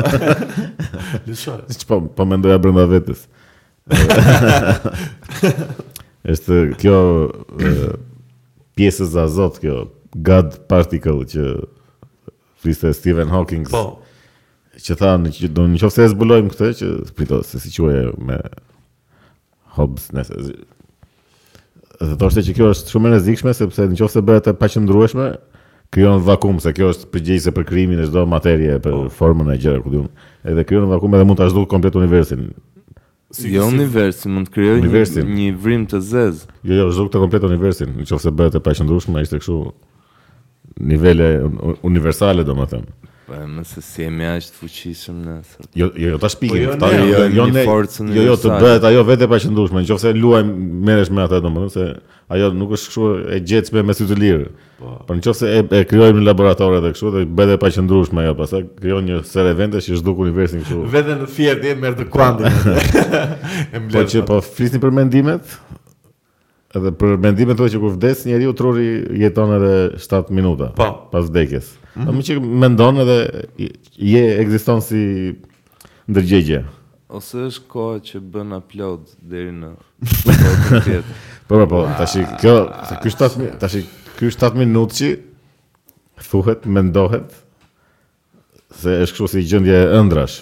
[SPEAKER 2] Lëshoj.
[SPEAKER 1] po, po mendoja brenda vetes. E, është kjo e, pjesës e azot kjo God particle që fliste Stephen Hawking
[SPEAKER 2] Po,
[SPEAKER 1] që thanë që do në qoftë se e zbulojmë këtë që prito se si quaj me Hobbes nëse zi- dhe thoshte që kjo është shumë e rrezikshme sepse në qoftë se bëhet e paqëndrueshme krijon vakum se kjo është përgjegjëse për krijimin e çdo materie për formën e gjëra ku diun edhe krijon vakum edhe mund ta zhduk komplet universin
[SPEAKER 3] jo universi mund të krijojë një,
[SPEAKER 1] Universin.
[SPEAKER 3] një vrim të zezë.
[SPEAKER 1] jo jo zhduk të komplet universin në qoftë se bëhet e paqëndrueshme ishte kështu nivele un- un- universale domethënë
[SPEAKER 3] Po e më se si jemi aq të fuqishëm ne. se-
[SPEAKER 1] Jo, jo, jo, ta shpikim.
[SPEAKER 2] Po jo
[SPEAKER 1] ta-
[SPEAKER 2] ne,
[SPEAKER 1] jo,
[SPEAKER 3] jo,
[SPEAKER 1] jo,
[SPEAKER 3] një
[SPEAKER 1] ne,
[SPEAKER 3] forcën
[SPEAKER 1] jo, jo, të
[SPEAKER 3] universale.
[SPEAKER 1] bëhet ajo vetë e paqëndrueshme. Nëse luajm merresh me atë domethënë se ajo nuk është kështu e gjetshme me sy të lirë.
[SPEAKER 2] Po.
[SPEAKER 1] Por nëse e, e krijojmë në laboratore dhe kështu dhe bëhet e paqëndrueshme ajo, pastaj krijon një ser eventesh që zhduk universin kështu.
[SPEAKER 2] Vete në fjerdi e merr të kuandin. e
[SPEAKER 1] Po
[SPEAKER 2] mbledh.
[SPEAKER 1] që po flisni për mendimet, edhe për mendimet tuaja që kur vdes njeriu truri jeton edhe 7 minuta
[SPEAKER 2] Po. Mhm.
[SPEAKER 1] pas vdekjes. Mm më që mendon edhe i- je ekziston si ndërgjegje.
[SPEAKER 3] Ose është koha që bën upload deri në botën tjetër.
[SPEAKER 1] Po po, po, tash kjo se ky 7 mi- tash ky 7 minutë që thuhet, mendohet se është kështu si gjendje e ëndrash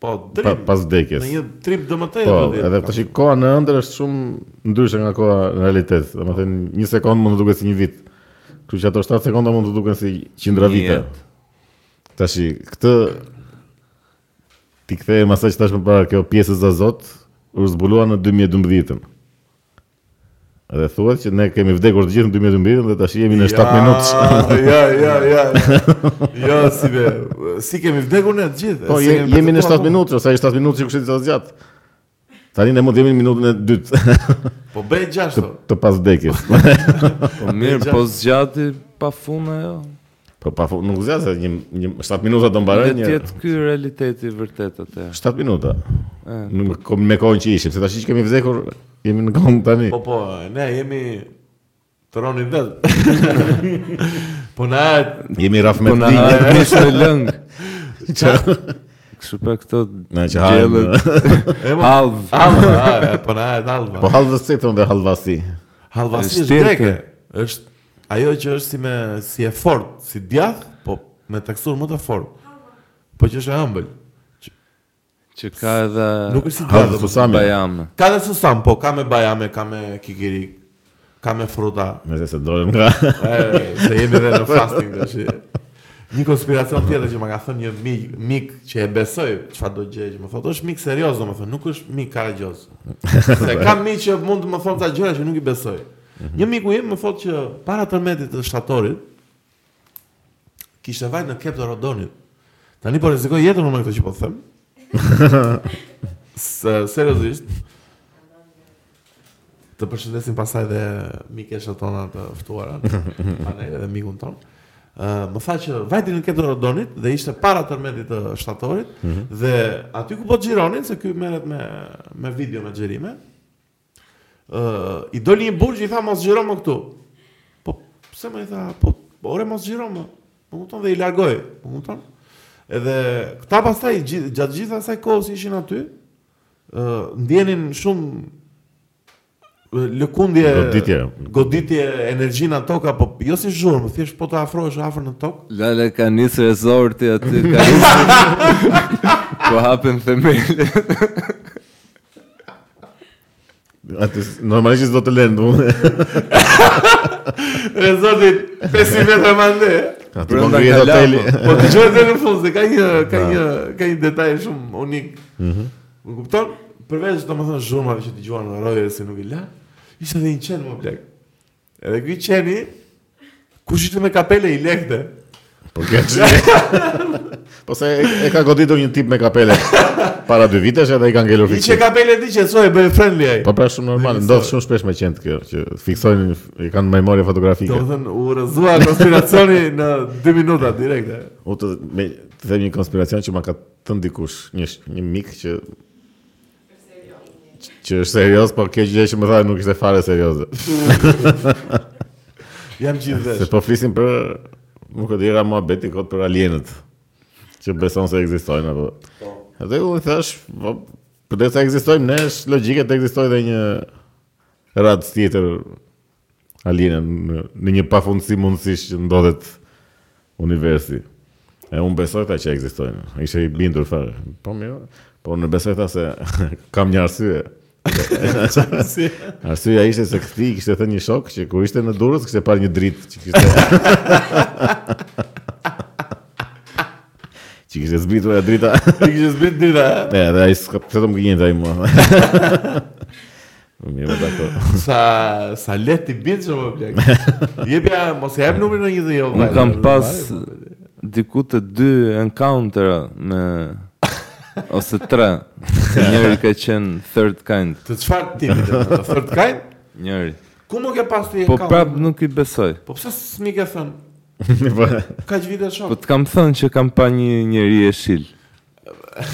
[SPEAKER 2] Po,
[SPEAKER 1] pa,
[SPEAKER 2] drip.
[SPEAKER 1] pas vdekjes.
[SPEAKER 2] Në një trip DMT
[SPEAKER 1] Po, edhe tash koha në ëndër është shumë ndryshe nga koha në realitet. Domethënë, një sekond mund të duket si një vit. Kështu që ato 7 sekonda mund të duken si qindra
[SPEAKER 3] Një
[SPEAKER 1] vite.
[SPEAKER 3] jetë.
[SPEAKER 1] Tash këtë ti kthehem asaj që tash më para kjo pjesë e Zot u zbulua në 2012-ën. Edhe thuhet që ne kemi vdekur të gjithë në 2012-ën dhe tash jemi në 7 minutë.
[SPEAKER 2] Ja, ja, ja. Jo, si be. Si kemi vdekur ne të gjithë.
[SPEAKER 1] Po
[SPEAKER 2] si
[SPEAKER 1] je,
[SPEAKER 2] kemi
[SPEAKER 1] jemi në 7
[SPEAKER 2] përjetuar akoma.
[SPEAKER 1] minutë, ose ai 7 minutë që kushtet sa zgjat. Tani ne mund të jemi në minutën e dytë
[SPEAKER 2] Po bëj 6.
[SPEAKER 1] të pas vdekjes.
[SPEAKER 3] Po mirë, po zgjati pa fund ajo.
[SPEAKER 1] Po pa fu- nuk zgjat se një, një 7 minuta do mbaroj
[SPEAKER 3] Dhe
[SPEAKER 1] një
[SPEAKER 3] tjetë ky realiteti i vërtet atë.
[SPEAKER 1] 7 minuta.
[SPEAKER 3] E.
[SPEAKER 1] Nuk kom me kohën që ishim, se tash që kemi vdekur, jemi në kohën tani.
[SPEAKER 2] Po po, ne jemi të roni vetë. po na
[SPEAKER 1] Jemi raf me
[SPEAKER 3] Po na
[SPEAKER 1] dinjë.
[SPEAKER 3] hajë mish në lëng. Kështu pa këto
[SPEAKER 1] Na që hajmë.
[SPEAKER 3] gjellët halv.
[SPEAKER 2] Alva, a, po na e Alva.
[SPEAKER 1] Po halvës se thonë dhe halvasi.
[SPEAKER 2] Halvasi
[SPEAKER 3] Është
[SPEAKER 2] është greke.
[SPEAKER 3] tjerke.
[SPEAKER 2] Është ajo që është si me si e fortë, si djath, po me teksturë më të fortë. Po që është e ëmbël.
[SPEAKER 3] Që ka edhe
[SPEAKER 2] Nuk është si
[SPEAKER 1] Halvës
[SPEAKER 2] djath. po.
[SPEAKER 1] Susami.
[SPEAKER 3] bajame.
[SPEAKER 2] Ka dhe susam, po ka me bajame, ka me kikirik, ka me fruta.
[SPEAKER 1] Me se se dolem nga...
[SPEAKER 2] E, se jemi dhe në fasting dhe që... Një konspiracion tjetër që më ka thënë një mik, mik që e besoj çfarë do gjë që më thotë, është mik serioz domethënë, nuk është mik karagjoz. Se kam mik që mund të më thonë ta gjëra që nuk i besoj. Një miku im më thotë që para 13 të shtatorit kishte vajt në Kep të Rodonit. Tani po rrezikoj jetën unë me këtë që po të them. Se, seriozisht. Të përshëndesim pasaj dhe mikesha tona të ftuara, panele dhe mikun ton. Uh, më tha që vajti në këtë Rodonit dhe ishte para tërmetit të shtatorit dhe aty ku po të gjironin, se ky merret me, me video me xherime, Ë, i doli një burgj i tha mos xhiro më këtu. Po pse më i tha, po po, ore mos xhiro më. Po kupton dhe i largoi, po kupton? Edhe këta pastaj gji- gjatë gjithë asaj kohës ishin aty, ë ndjenin shumë ë, lëkundje
[SPEAKER 1] Goditje.
[SPEAKER 2] goditje energji në tokë apo jo si zhurmë, thjesht po të afrohesh afër në tokë.
[SPEAKER 3] Lale ka nisë resorti aty, ka nisë... po hapen themele.
[SPEAKER 1] Atë s- normalisht do të lënë, domethënë.
[SPEAKER 2] Rezorti 500 metra më ande.
[SPEAKER 1] Atë
[SPEAKER 3] Brenda
[SPEAKER 1] po ngrihet
[SPEAKER 3] ka
[SPEAKER 1] hoteli.
[SPEAKER 3] lapë.
[SPEAKER 2] Po dëgjoj deri në fund se ka një ka një ka një detaj shumë unik. Mhm. Mm kupton? Përveç domethënë zhurmave që dëgjuan në roje se nuk i la, ishte edhe një qen më blek. Edhe ky qeni kush ishte me kapele i lekte.
[SPEAKER 1] Po keç. Po se e, e ka goditur një tip me kapele para dy vitesh edhe i ka ngelur
[SPEAKER 2] I që
[SPEAKER 1] fiksë.
[SPEAKER 2] kapele ti që soi bëj friendly ai.
[SPEAKER 1] Po pra shumë normal,
[SPEAKER 2] Dhe
[SPEAKER 1] ndodh
[SPEAKER 2] sa-
[SPEAKER 1] shumë shpesh me qend kjo, që fiksojnë i kanë memorie fotografike.
[SPEAKER 2] Domethënë u rrëzua konspiracioni në 2 minuta direkte.
[SPEAKER 1] U të, me, të them një konspiracion që ma ka thënë dikush, një, sh- një mik që që- që është serios, po kjo gjë që më tha nuk ishte fare serioze.
[SPEAKER 2] Jam gjithë
[SPEAKER 1] Se
[SPEAKER 2] vesh.
[SPEAKER 1] po flisim për nuk e di ra muhabeti kot për alienët që beson se ekzistojnë apo. Edhe u i thash, po përderisa ekzistojmë ne, është logjike të ekzistojë edhe një radë tjetër alienë në, në një pafundësi mundësisht që ndodhet universi. E unë besoj ta që ekzistojnë. Ishe i bindur fare. Po mirë, po unë besoj ta se kam një arsye.
[SPEAKER 2] Si-
[SPEAKER 1] Arsyeja ishte se këti kishte thënë një shok që kur ishte në Durrës kishte parë një dritë që kishte që kishte zbritur e drita.
[SPEAKER 2] Ti kishe zbrit drita. eh?
[SPEAKER 1] E, dhe ai s'ka të të më gënjente ai mua. Po mirë, po dakor.
[SPEAKER 2] Sa sa let i bin që më blek. Jepja mos jap numrin në një dhe jo.
[SPEAKER 3] Unë
[SPEAKER 2] vajtë.
[SPEAKER 3] kam pas diku të dy encounter me... Ose tre. Njëri ka qenë third kind.
[SPEAKER 2] Të çfarë tipi të të third kind?
[SPEAKER 3] Njëri.
[SPEAKER 2] Ku më ke pas ti e
[SPEAKER 3] Po
[SPEAKER 2] kam?
[SPEAKER 1] pra-
[SPEAKER 3] prap nuk i besoj.
[SPEAKER 2] Po pse s'mi ke thënë?
[SPEAKER 1] Po,
[SPEAKER 2] Kaq vite shoh.
[SPEAKER 3] Po të kam thënë që kam pa një njëri e shil. Po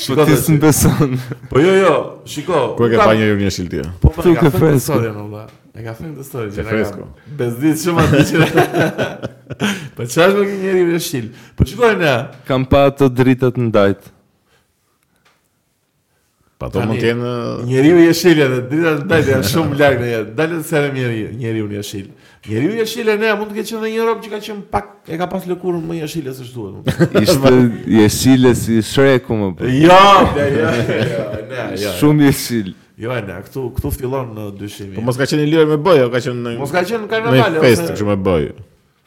[SPEAKER 2] Shiko
[SPEAKER 3] ti
[SPEAKER 2] tash.
[SPEAKER 3] s'më beson.
[SPEAKER 2] Po jo jo, shiko.
[SPEAKER 1] Ku e
[SPEAKER 2] unë
[SPEAKER 1] ke
[SPEAKER 2] kam-
[SPEAKER 1] pa njëri një shilti?
[SPEAKER 2] Po po
[SPEAKER 3] Tu
[SPEAKER 2] e ka
[SPEAKER 3] ke
[SPEAKER 2] thënë të
[SPEAKER 3] fresko.
[SPEAKER 2] storyn valla. E ka thënë të storyn.
[SPEAKER 1] Ke fresko.
[SPEAKER 2] Bezdit shumë atë që. Po çfarë më ke njëri me shil? Po shikoj na.
[SPEAKER 3] Kam pa ato dritat ndajt.
[SPEAKER 1] Pa to
[SPEAKER 2] Tani,
[SPEAKER 1] mund të jenë
[SPEAKER 2] Njeriu i jeshile dhe drita të ndajtë janë shumë larg në jetë. Dalën se në njeriu, njeriu në jeshil. Njeriu i jeshile ne mund të ketë qenë dhe një rob që ka qenë pak e ka pas lëkurën më jeshile se duhet.
[SPEAKER 3] Ishte jeshile si shreku më për.
[SPEAKER 2] Jo, bla, jo, jo, ne, jo.
[SPEAKER 3] Shumë jeshil.
[SPEAKER 2] Jo, ne, këtu këtu fillon në dyshimi.
[SPEAKER 1] Po mos ka qenë i lirë me bojë, o ka qenë në
[SPEAKER 2] mos ka qenë
[SPEAKER 1] në
[SPEAKER 2] karnavale
[SPEAKER 1] një fest kështu me bojë.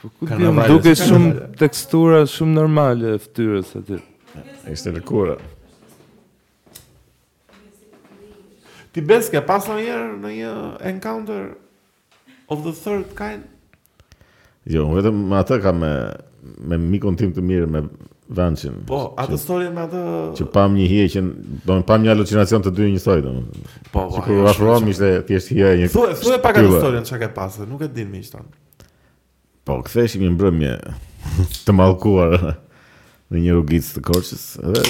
[SPEAKER 3] Po ku di,
[SPEAKER 2] Karnavale,
[SPEAKER 3] më duke
[SPEAKER 2] si
[SPEAKER 3] shumë
[SPEAKER 2] karnavale.
[SPEAKER 3] tekstura shumë normale e fytyrës aty.
[SPEAKER 1] Ishte lëkura.
[SPEAKER 2] Ti beske pas ndonjëherë në një encounter of the third kind?
[SPEAKER 1] Jo, unë vetëm me atë kam me me mikun tim të mirë me Vancin.
[SPEAKER 2] Po, atë story me atë
[SPEAKER 1] që pam një hije që do të pam një halucinacion të dy njësoj domethënë.
[SPEAKER 2] po, po.
[SPEAKER 1] Sikur afrohem ishte thjesht hija e një.
[SPEAKER 2] Thuaj, thuaj pak atë
[SPEAKER 1] shtylla.
[SPEAKER 2] historinë çka ke pasur, nuk e din më ishtan.
[SPEAKER 1] Po ktheheshim në mbrëmje të mallkuar në një rrugicë të Korçës, edhe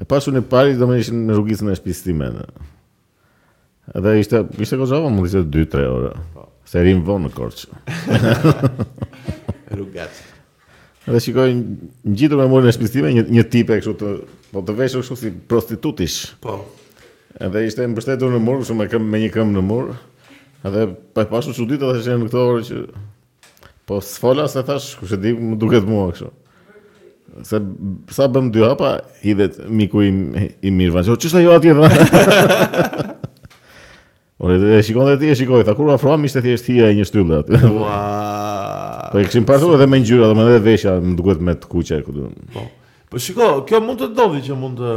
[SPEAKER 1] e pashun e pari domethënë ishin në rrugicën e shtëpisë time. edhe. Edhe ishte ishte kozova mund ishte 2-3 orë.
[SPEAKER 2] Po.
[SPEAKER 1] Se rim vonë në Korçë.
[SPEAKER 2] Rrugat.
[SPEAKER 1] Edhe shikoj ngjitur me murin e shtëpisë time një një tipe kështu të po të veshur kështu si prostitutish.
[SPEAKER 2] Po.
[SPEAKER 1] Edhe ishte mbështetur në mur, kështu me këmbë me një këmbë në mur. Edhe pa e pashu çuditë edhe ishin në këtë orë që po s'fola se thash, kush e di, më duket mua kështu. Se b- sa bëm dy hapa, hidhet miku im i mirë vanë. Ç'është ajo atje? tha. Ore, e shikon dhe ti, e shikoj, tha, kur afroam ishte thjesht hija e një shtyllë aty.
[SPEAKER 2] Ua.
[SPEAKER 1] Po e këshim pasur edhe me ngjyra, domethënë edhe veshja më duket me të kuqe, ku do.
[SPEAKER 2] Po. Po shiko, kjo mund të ndodhi që mund të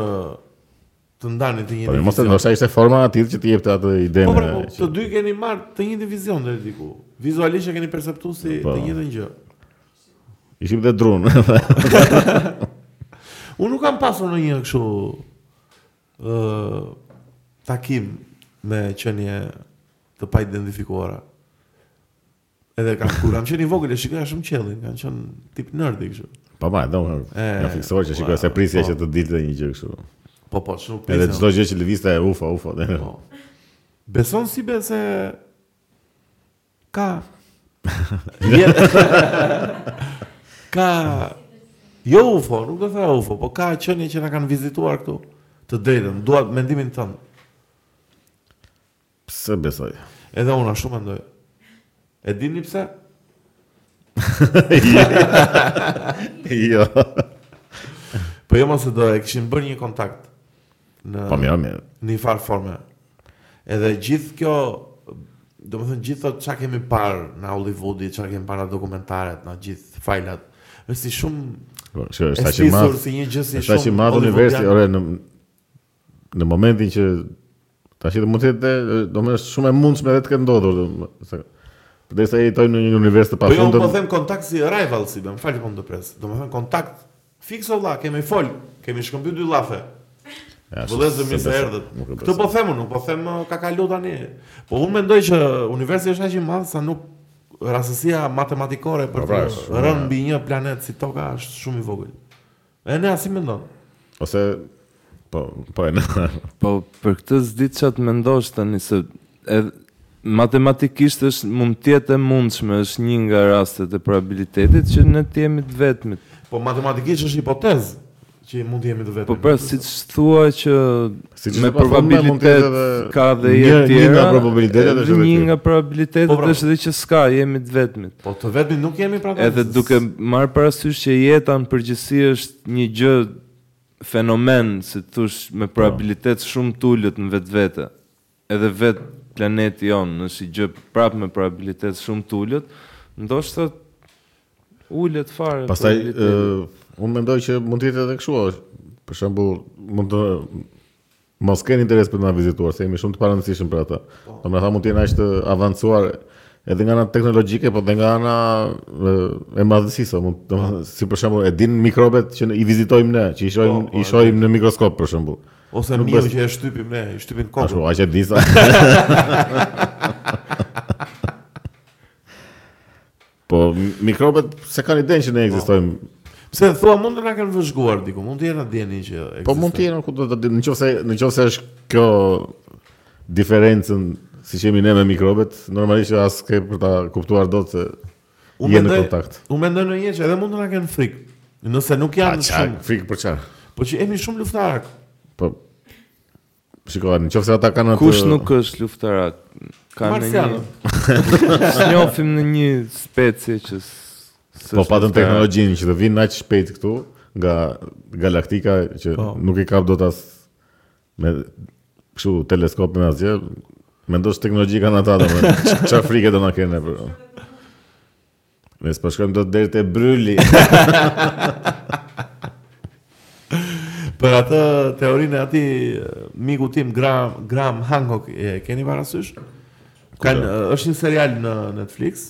[SPEAKER 2] të ndanin të
[SPEAKER 1] Po
[SPEAKER 2] njëjtin.
[SPEAKER 1] mirë, mos e
[SPEAKER 2] vizion.
[SPEAKER 1] ndoshta ishte forma aty që ti jepte atë idenë.
[SPEAKER 2] Po pra, po,
[SPEAKER 1] që-
[SPEAKER 2] të dy keni marrë të njëjtin vizion deri diku. Vizualisht e keni perceptuar si
[SPEAKER 1] Po.
[SPEAKER 2] të njëjtën gjë.
[SPEAKER 1] Ishim dhe drun.
[SPEAKER 2] Unë nuk kam pasur në një kështu ë takim me qenie të pa identifikuara. Edhe kam kur kam qenë i vogël e shikoja shumë qellin, kam qenë tip nerdi kështu.
[SPEAKER 1] pa ma, do.
[SPEAKER 2] E,
[SPEAKER 1] Ja fiksoj që shikoj se
[SPEAKER 2] wow,
[SPEAKER 1] prisja
[SPEAKER 2] po.
[SPEAKER 1] që të dilte një gjë kështu.
[SPEAKER 2] Po po, shumë
[SPEAKER 1] Edhe
[SPEAKER 2] prisja.
[SPEAKER 1] çdo gjë që lëvizte e ufa, ufa. dhe-
[SPEAKER 2] Po. Beson si be se ka Jet- ka jo UFO, nuk do të thoya UFO, po ka qenie që na kanë vizituar këtu. Të drejtën, dua mendimin tënd.
[SPEAKER 1] Pse besoj?
[SPEAKER 2] Edhe unë ashtu mendoj. E dini pse?
[SPEAKER 1] jo.
[SPEAKER 2] Po jo mos e do e kishim bërë një kontakt në
[SPEAKER 1] Po mirë, mirë.
[SPEAKER 2] në një farë forme. Edhe gjithë kjo, do më thënë gjithë të qa kemi parë në Hollywoodi, qa kemi parë në dokumentaret, në gjithë fajlat, është si shumë
[SPEAKER 1] Po, Shikoj,
[SPEAKER 2] e
[SPEAKER 1] sa që
[SPEAKER 2] stisur,
[SPEAKER 1] madh.
[SPEAKER 2] si një gjë si Po
[SPEAKER 1] Sa që madh universi,
[SPEAKER 2] jo,
[SPEAKER 1] ore në në momentin që tash edhe mund të jetë domethënë është shumë e mundshme edhe të ketë ndodhur. domethënë, se- Përderisa jetojmë në një univers të
[SPEAKER 2] Po jo, unë po
[SPEAKER 1] pafundër.
[SPEAKER 2] them kontakt si rival si, më falë po më dëpres. Do më thënë kontakt, fikso vlla, kemi fol, kemi shkëmby dy llafe.
[SPEAKER 1] Ja,
[SPEAKER 2] Vëllezër mi
[SPEAKER 1] se
[SPEAKER 2] se
[SPEAKER 1] besoj,
[SPEAKER 2] erdhët.
[SPEAKER 1] nuk e
[SPEAKER 2] Këtë
[SPEAKER 1] besoj.
[SPEAKER 2] po them unë, nuk po them uh, ka kalu tani. Po unë mendoj që universi është aq i madh sa nuk rastësia matematikore për
[SPEAKER 1] Po, pra,
[SPEAKER 2] të
[SPEAKER 1] është shumë
[SPEAKER 2] rënë
[SPEAKER 1] e-
[SPEAKER 2] mbi një planet si Toka është shumë i vogël. E ne asi mendon.
[SPEAKER 1] Ose po, po e në.
[SPEAKER 3] Po për këtë s'di çat mendosh tani se edhe matematikisht është mund të jetë e mundshme, është një nga rastet e probabilitetit që ne të jemi të vetmit.
[SPEAKER 2] Po matematikisht është hipotezë që mund të jemi të vetëm.
[SPEAKER 3] Po pra siç thua që
[SPEAKER 1] Siç
[SPEAKER 3] me
[SPEAKER 1] është pa formë, mund të
[SPEAKER 3] probabilitet
[SPEAKER 1] jetë edhe-
[SPEAKER 3] ka dhe
[SPEAKER 1] një-
[SPEAKER 3] e
[SPEAKER 1] një nga
[SPEAKER 3] tjera.
[SPEAKER 1] probabilitetet është edhe
[SPEAKER 3] një
[SPEAKER 1] kjo.
[SPEAKER 3] nga
[SPEAKER 2] Po,
[SPEAKER 3] probabilitetet
[SPEAKER 2] pra.
[SPEAKER 3] është edhe që s'ka, jemi të vetmit.
[SPEAKER 2] po të vetmi nuk jemi pra.
[SPEAKER 3] Edhe duke marrë parasysh që jeta në përgjithësi është një gjë fenomen, si të thosh, me probabilitet shumë të ulët në vetvete. Edhe vetë planeti jonë është i gjë prapë me probabilitet shumë të ulët, ndoshta ulët fare.
[SPEAKER 1] Pastaj
[SPEAKER 3] probabiliteti.
[SPEAKER 1] ë, unë mendoj që mund të jetë edhe kështu, është, për shembull, mund të mos kenë interes për të na vizituar, se jemi shumë të parancishëm për ata.
[SPEAKER 2] Po.
[SPEAKER 1] Domethënë ata mund të jenë aq të avancuar edhe nga ana teknologjike, po edhe nga ana ë, e madhësisë, mund domethënë si për shembull e din mikrobet që ne- i vizitojmë ne, që i shohim
[SPEAKER 2] Po, po,
[SPEAKER 1] i shohim në mikroskop për shembull.
[SPEAKER 2] ose
[SPEAKER 1] nuk
[SPEAKER 2] miu
[SPEAKER 1] bes-
[SPEAKER 2] që e shtypim ne, i shtypim
[SPEAKER 1] Ashtu,
[SPEAKER 2] kokën.
[SPEAKER 1] aq e di sa. Po mi- mikrobet se kanë idenë që
[SPEAKER 2] Po.
[SPEAKER 1] ne ekzistojmë
[SPEAKER 2] Pse thua mund të na kanë vëzhguar diku, mund të jetë na dieni që
[SPEAKER 1] Po mund të jenë ku do të di- nëse nëse është kjo diferencën si që jemi ne me mikrobet, normalisht që as ke për ta kuptuar dot se
[SPEAKER 2] Unë
[SPEAKER 1] jenë në
[SPEAKER 2] mendoj-
[SPEAKER 1] kontakt.
[SPEAKER 2] Unë mendoj në një që edhe mund të na kenë frikë. Nëse nuk
[SPEAKER 1] Pa
[SPEAKER 2] janë
[SPEAKER 1] çaj,
[SPEAKER 2] shumë,
[SPEAKER 1] frikë për çaj.
[SPEAKER 2] po që jemi shumë luftarak.
[SPEAKER 1] Po shikoj, nëse ata kanë atë
[SPEAKER 3] kush nuk është luftarak? Ka në një
[SPEAKER 2] Marsianë.
[SPEAKER 3] Snjofim në një specie që s- s'është
[SPEAKER 1] po patën
[SPEAKER 3] luftarak.
[SPEAKER 1] teknologjinë që të vinë aq shpejt këtu nga galaktika që
[SPEAKER 2] Po.
[SPEAKER 1] nuk i kap dot as me kështu teleskop me asgjë. Mendosh teknologji kanë ata domethënë. Çfarë frikë do na kenë për. Ne s'po shkojmë dot deri te Bryli.
[SPEAKER 2] Për atë teorinë e atij e, miku tim Graham, Graham Hancock e keni parasysh? Kan e, është një serial në Netflix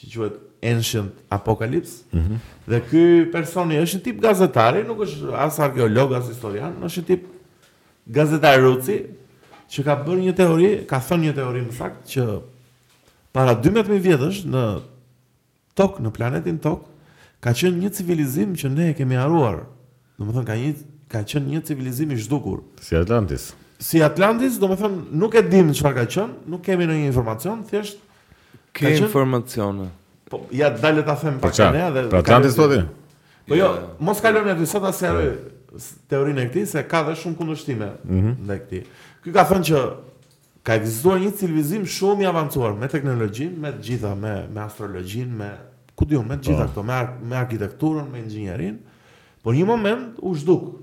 [SPEAKER 2] që quhet Ancient Apocalypse. Dhe ky personi është një tip gazetari, nuk është as arkeolog as historian, është një tip gazetar ruci që ka bërë një teori, ka thënë një teori më saktë që para 12000 vjetësh në Tokë, në planetin Tokë, ka qenë një civilizim që ne e kemi harruar. Domethënë ka një ka qenë një civilizim i zhdukur.
[SPEAKER 1] Si Atlantis.
[SPEAKER 2] Si Atlantis, domethënë nuk e dim çfarë ka qenë, nuk kemi ndonjë informacion, thjesht
[SPEAKER 3] Ke
[SPEAKER 2] Ka qenë-
[SPEAKER 3] informacione.
[SPEAKER 2] po ja dalë ta them
[SPEAKER 1] Po
[SPEAKER 2] pak
[SPEAKER 1] çfarë?
[SPEAKER 2] ne dhe
[SPEAKER 1] Për Atlantis thotë?
[SPEAKER 2] Po jo,
[SPEAKER 3] Ja, ja.
[SPEAKER 2] mos kalon aty sot as herë s- teorinë e këtij se ka dhe shumë kundërshtime ndaj këtij. Ky ka thënë që ka ekzistuar një civilizim shumë i avancuar me teknologjinë, me të gjitha, me me astrologjinë, me ku diun, me të gjitha këto, me ar- me arkitekturën, me inxhinierinë, por një moment u zhduk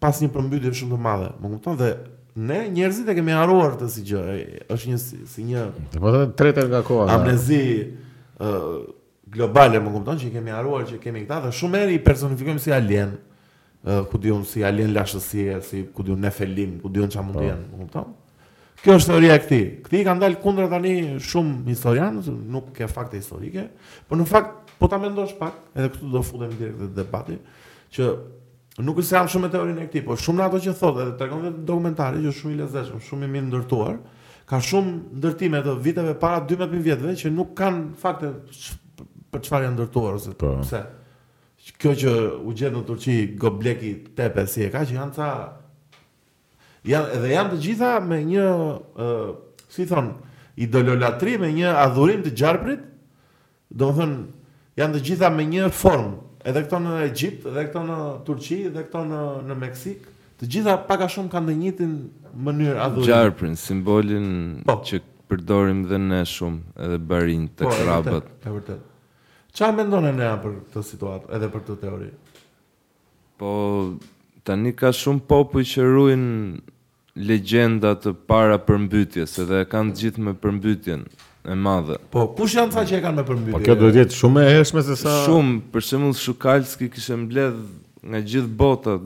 [SPEAKER 2] pas një përmbytje shumë të madhe. Më kupton dhe ne njerëzit e kemi harruar këtë si gjë, e- është një si, si një
[SPEAKER 1] Po thotë tretër nga koha.
[SPEAKER 2] amnezi ë globale, më kupton që i kemi harruar që kemi këta dhe shumë herë i personifikojmë si alien. ë, ku diun si alien lashtësie, si ku diun nefelim, ku diun çfarë mund të jenë, e kupton? Kjo është teoria e këtij. Këti kanë dalë kundra tani shumë historianë, se nuk ke fakte historike, por në fakt po ta mendosh pak, edhe këtu do futemi direkt te debati, që nuk është se jam shumë me teorinë e këtij, por shumë në ato që thotë edhe tregon vetë dokumentari që është shumë i lezetshëm, shumë i mirë ndërtuar, ka shumë ndërtime të viteve para 12000 vjetëve që nuk kanë fakte sh- për çfarë janë ndërtuar ose
[SPEAKER 1] Po.
[SPEAKER 2] pse. Kjo që u gjet në Turqi Gobleki Tepe si e ka që janë ca janë edhe janë të gjitha me një uh, si thon idololatri me një adhurim të gjarprit do më thënë janë të gjitha me një formë edhe këto në Egjipt edhe këto në Turqi edhe këto në në Meksik të gjitha pak a shumë kanë të njëjtin mënyrë adhurimi
[SPEAKER 3] Gjarprin, simbolin
[SPEAKER 2] Po.
[SPEAKER 3] që përdorim dhe ne shumë edhe barin të
[SPEAKER 2] e
[SPEAKER 3] krabët.
[SPEAKER 2] vërtet, e vërtet çfarë mendon Enea për këtë situatë edhe për këtë teori
[SPEAKER 3] Po tani ka shumë popuj që ruajnë legjenda të para përmbytjes edhe e kanë të gjithë me përmbytjen e madhe.
[SPEAKER 2] po kush janë ca që e kanë me përmbytje
[SPEAKER 1] Po kjo duhet të jetë shumë e hershme se sa
[SPEAKER 3] Shumë, për shembull Shukalski kishte mbledh nga gjithë bota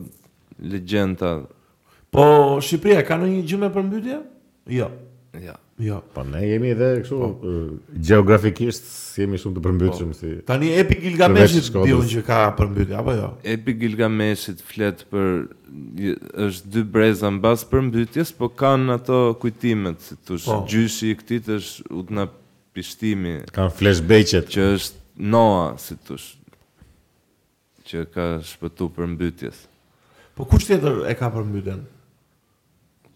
[SPEAKER 3] legjenda.
[SPEAKER 2] po Shqipëria ka ndonjë gjë me përmbytje jo
[SPEAKER 3] Ja.
[SPEAKER 2] jo
[SPEAKER 1] Po ne jemi edhe kështu
[SPEAKER 2] Po.
[SPEAKER 1] eh, gjeografikisht jemi shumë të përmbytshëm si
[SPEAKER 2] Tani Epi Gilgameshit
[SPEAKER 1] Përveç Shkodrës.
[SPEAKER 2] diun që ka përmbytje apo jo?
[SPEAKER 3] Epi Gilgameshit flet për j- është dy breza mbas përmbytjes, po kanë ato kujtimet, si thosh,
[SPEAKER 2] Po.
[SPEAKER 3] gjyshi i këtit është Utna Pishtimi,
[SPEAKER 1] kanë flashbacket.
[SPEAKER 3] që është Noa, si thosh, që ka shpëtu përmbytjes.
[SPEAKER 2] Po kush tjetër e ka përmbytjen?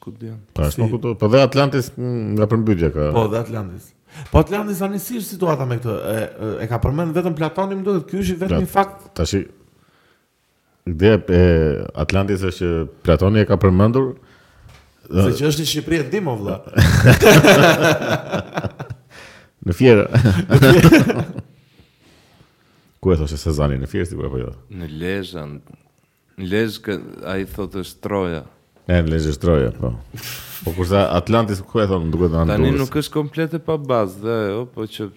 [SPEAKER 3] Ku di janë?
[SPEAKER 1] Po ashtu ku do- po dhe Atlantis mm, nga përmbytja ka.
[SPEAKER 2] Po, dhe Atlantis. Po Atlantis tani si është situata me këtë? E, e- e ka përmend vetëm Platoni, më duket ky është i vetmi
[SPEAKER 1] Plat-
[SPEAKER 2] fakt.
[SPEAKER 1] Tashi ideja e Atlantis është që Platoni e ka përmendur
[SPEAKER 2] Se që është në Shqipëri e dim o vëlla.
[SPEAKER 1] në Fjerë. ku e thoshe Sezani në Fjerë sikur apo jo?
[SPEAKER 3] Në Lezhë, janë. në Lezhë kë- ai thotë është Troja.
[SPEAKER 1] Ne në Lezhë Troja, po. Po kurse Atlantis ku e thon duket anë.
[SPEAKER 3] Tani
[SPEAKER 1] Durrës.
[SPEAKER 3] nuk është komplete pa bazë dhe ajo, po që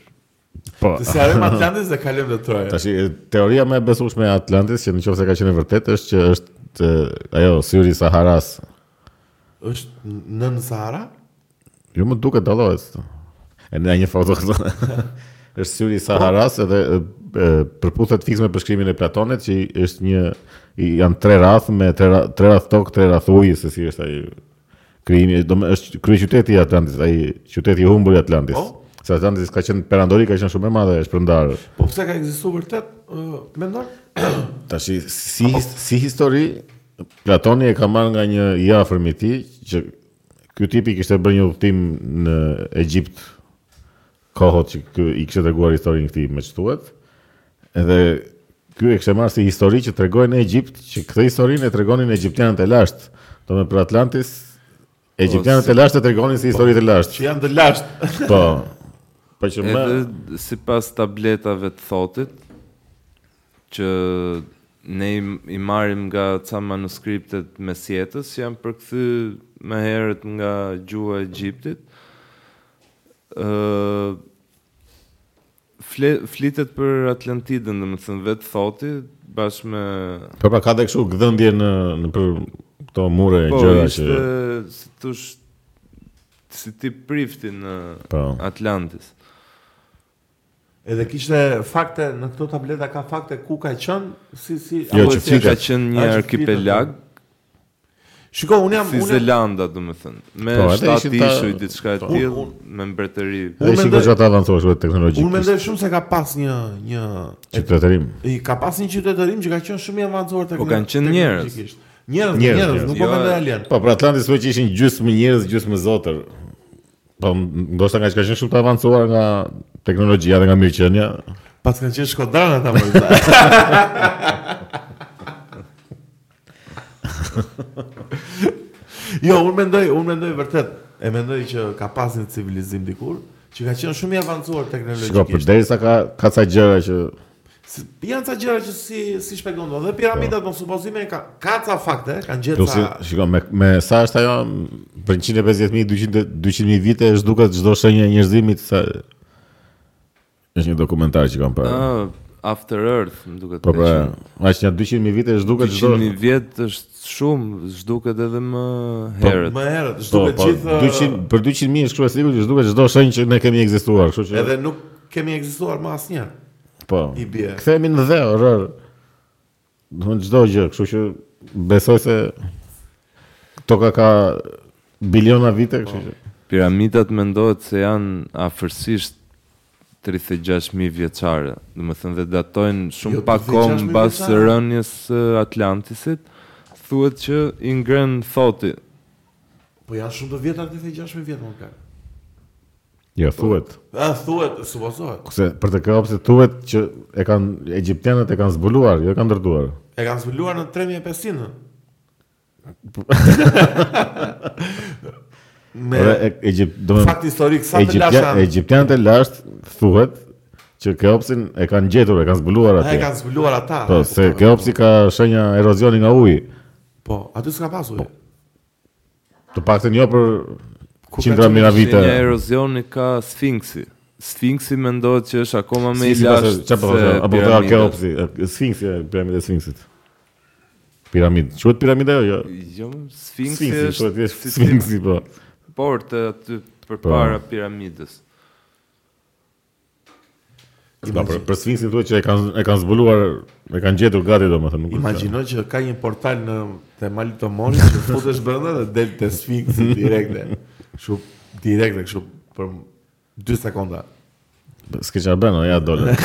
[SPEAKER 1] Po.
[SPEAKER 2] Të si arrim Atlantis dhe kalojmë në Troja.
[SPEAKER 1] Tashi e, teoria më e besueshme e Atlantis që nëse ka qenë e vërtetë është që është e, ajo syri i Saharas.
[SPEAKER 2] Është nën Sahara?
[SPEAKER 1] Jo më duket dallohet. s'to. E në një foto këtu. është syri i Saharas edhe e, e, përputhet fiks me përshkrimin e Platonit që i- është një i, janë tre rath me tre, ra- tre rath tokë, tre rath ujë se si është ai krijimi, do më është kryeqyteti i Atlantis, ai qyteti i humbur i Atlantis.
[SPEAKER 2] Po.
[SPEAKER 1] Se Atlantis ka qenë perandori, ka qenë shumë e madhe, është shpërndarë.
[SPEAKER 2] Po pse ka ekzistuar vërtet? ë, Mendon?
[SPEAKER 1] Tashi si si histori Platoni e ka marrë nga një i afërm i tij që ky tipi kishte bërë një udhtim në Egjipt kohët që ky i kishte treguar historinë këtij me çtuhet. Edhe ky e kishte marrë si histori që tregoi në Egjipt që këtë historinë e tregonin egjiptianët e lashtë. Do me për Atlantis egjiptianët
[SPEAKER 3] Po, se- Po,
[SPEAKER 1] e lashtë e tregonin si histori të lashtë.
[SPEAKER 2] Që janë të lashtë.
[SPEAKER 1] Po. Po që më
[SPEAKER 3] edhe si pas tabletave të thotit, që ne i, i marim nga ca manuskriptet mesjetës, janë përkthy me herët nga gjua e Gjiptit, ë fle, flitet për Atlantidën, dhe më thënë vetë thoti, bashkë me...
[SPEAKER 1] po pra ka dhe kështu gdhëndje në në për këto mure e
[SPEAKER 3] Po,
[SPEAKER 1] gjëra
[SPEAKER 3] ishte,
[SPEAKER 1] që
[SPEAKER 3] si tush, si ti prifti në
[SPEAKER 1] po.
[SPEAKER 3] Atlantis.
[SPEAKER 2] Edhe kishte fakte në këto tableta ka fakte ku ka qenë, si si
[SPEAKER 1] Jo,
[SPEAKER 2] apo
[SPEAKER 1] që
[SPEAKER 2] si-
[SPEAKER 1] flitet.
[SPEAKER 3] Ka qenë
[SPEAKER 2] A,
[SPEAKER 3] një
[SPEAKER 2] që flitet,
[SPEAKER 3] arkipelag,
[SPEAKER 2] Shiko, unë jam
[SPEAKER 3] si
[SPEAKER 2] unë jam-
[SPEAKER 3] Zelanda, do me thënë. Me
[SPEAKER 1] Po, edhe
[SPEAKER 3] shtatë
[SPEAKER 1] ishin ta-
[SPEAKER 3] ishuj, diçka e
[SPEAKER 1] Po.
[SPEAKER 3] tillë,
[SPEAKER 2] Un-
[SPEAKER 3] me mbretëri.
[SPEAKER 1] Ai
[SPEAKER 2] Unë
[SPEAKER 1] ishin
[SPEAKER 2] mendoj-
[SPEAKER 1] gjatë të avancuar shumë teknologjikisht.
[SPEAKER 2] unë mendoj shumë se ka pas një një
[SPEAKER 1] qytetërim.
[SPEAKER 2] I ka pas një qytetërim që ka qenë shumë i avancuar tek.
[SPEAKER 3] Po, kanë qenë njerëz.
[SPEAKER 2] Njerëz,
[SPEAKER 1] Njerëz,
[SPEAKER 2] njerëz, nuk po
[SPEAKER 3] jo,
[SPEAKER 2] mendoj alien.
[SPEAKER 1] Po, për Atlantis veç ishin gjysmë njerëz, gjysmë zotër. Po, m- ndoshta nga që ka qenë shumë të avancuar nga teknologjia dhe nga mirëqenia.
[SPEAKER 2] Pas kanë qenë shkodrana ta më. jo, unë mendoj, unë mendoj vërtet, e mendoj që ka pas një civilizim dikur që ka qenë shumë i avancuar
[SPEAKER 1] Shiko,
[SPEAKER 2] teknologjikisht.
[SPEAKER 1] përderisa ka ka ca gjëra që
[SPEAKER 2] Si, janë ca gjëra që si si shpjegon do. Dhe piramidat në supozime ka ka ca fakte, kanë gjetur
[SPEAKER 1] plusi,
[SPEAKER 2] ca
[SPEAKER 1] shiko, me, me sa është ajo për 150.000, 200 200.000 vite është duket çdo shenjë e njerëzimit sa është një dokumentar që kam parë.
[SPEAKER 3] Ah, After Earth, më duket.
[SPEAKER 1] Po
[SPEAKER 3] ka
[SPEAKER 1] pra,
[SPEAKER 3] qenë.
[SPEAKER 1] aq një 200.000 vite zhduket çdo.
[SPEAKER 3] 200.000 vjet është shumë, zhduket edhe më herët.
[SPEAKER 2] Më herët,
[SPEAKER 1] Po,
[SPEAKER 2] zhduket
[SPEAKER 1] po,
[SPEAKER 2] gjithë uh,
[SPEAKER 1] 200 për 200.000 është shkruar sigurt që zhduket çdo shenjë që ne kemi ekzistuar, kështu që
[SPEAKER 2] edhe nuk kemi ekzistuar më asnjëherë.
[SPEAKER 1] po.
[SPEAKER 2] i bie.
[SPEAKER 1] Kthehemi në dhë, rr. Do të thonë çdo gjë, kështu që besoj se toka ka biliona vite, kështu që
[SPEAKER 3] Piramidat mendohet se janë afërsisht 36.000 vjeçare, do të thënë dhe datojnë shumë
[SPEAKER 2] Jo,
[SPEAKER 3] pak kohë
[SPEAKER 2] 36.000
[SPEAKER 3] mbas
[SPEAKER 2] vjeçare.
[SPEAKER 3] rënies së Atlantisit. Thuhet që i ngren thoti.
[SPEAKER 2] Po janë shumë të vjetra 36 vjet më plak.
[SPEAKER 1] jo thuhet.
[SPEAKER 2] A thuhet, supozohet.
[SPEAKER 1] Se për të kapse thuhet që e kanë egjiptianët e kanë zbuluar, jo e kanë ndërtuar.
[SPEAKER 2] E kanë zbuluar në 3500. Me
[SPEAKER 1] Edhe e- Egjipt, do
[SPEAKER 2] fakt historik sa të
[SPEAKER 1] Egjiptia-
[SPEAKER 2] lashan.
[SPEAKER 1] Egjiptianët e lashtë thuhet që Keopsin e kanë gjetur, e kanë zbuluar
[SPEAKER 2] E
[SPEAKER 1] atje.
[SPEAKER 2] kanë zbuluar ata.
[SPEAKER 1] Po,
[SPEAKER 2] e
[SPEAKER 1] se
[SPEAKER 2] kuptova.
[SPEAKER 1] Keopsi ka shenja erozioni nga uji.
[SPEAKER 2] Po, aty s'ka pasur.
[SPEAKER 1] Të paktën jo për
[SPEAKER 2] Ku ka
[SPEAKER 1] qindra
[SPEAKER 2] qenë
[SPEAKER 1] mijëra
[SPEAKER 3] Vite. Një
[SPEAKER 1] vite.
[SPEAKER 3] erozioni ka Sfinksi. Sfinksi mendohet që është akoma më i
[SPEAKER 1] Sfinksi
[SPEAKER 3] lashtë.
[SPEAKER 1] pastaj- çfarë po
[SPEAKER 3] se
[SPEAKER 1] thotë? Apo ka
[SPEAKER 3] piramidat.
[SPEAKER 1] Keopsi, e, Sfinksi, e, piramida e Sfinksit. Piramid. Quhet piramida ajo? Jo.
[SPEAKER 3] Jo, Sfinksi
[SPEAKER 1] Sfinksi,
[SPEAKER 3] është
[SPEAKER 1] quhet thjesht
[SPEAKER 3] si-
[SPEAKER 1] Sfinksi po.
[SPEAKER 3] portë aty përpara piramidës.
[SPEAKER 1] Po, për, për Sfinksin thuhet që e kanë e kanë zbuluar, e kanë gjetur gati domethënë, nuk është-
[SPEAKER 2] Imagjino që ka një portal në te mali të Morit që futesh brenda dhe del te Sfinksi direkte. Kështu direkte kështu për 2 sekonda.
[SPEAKER 1] S'ke qa bënë, o, ja dole.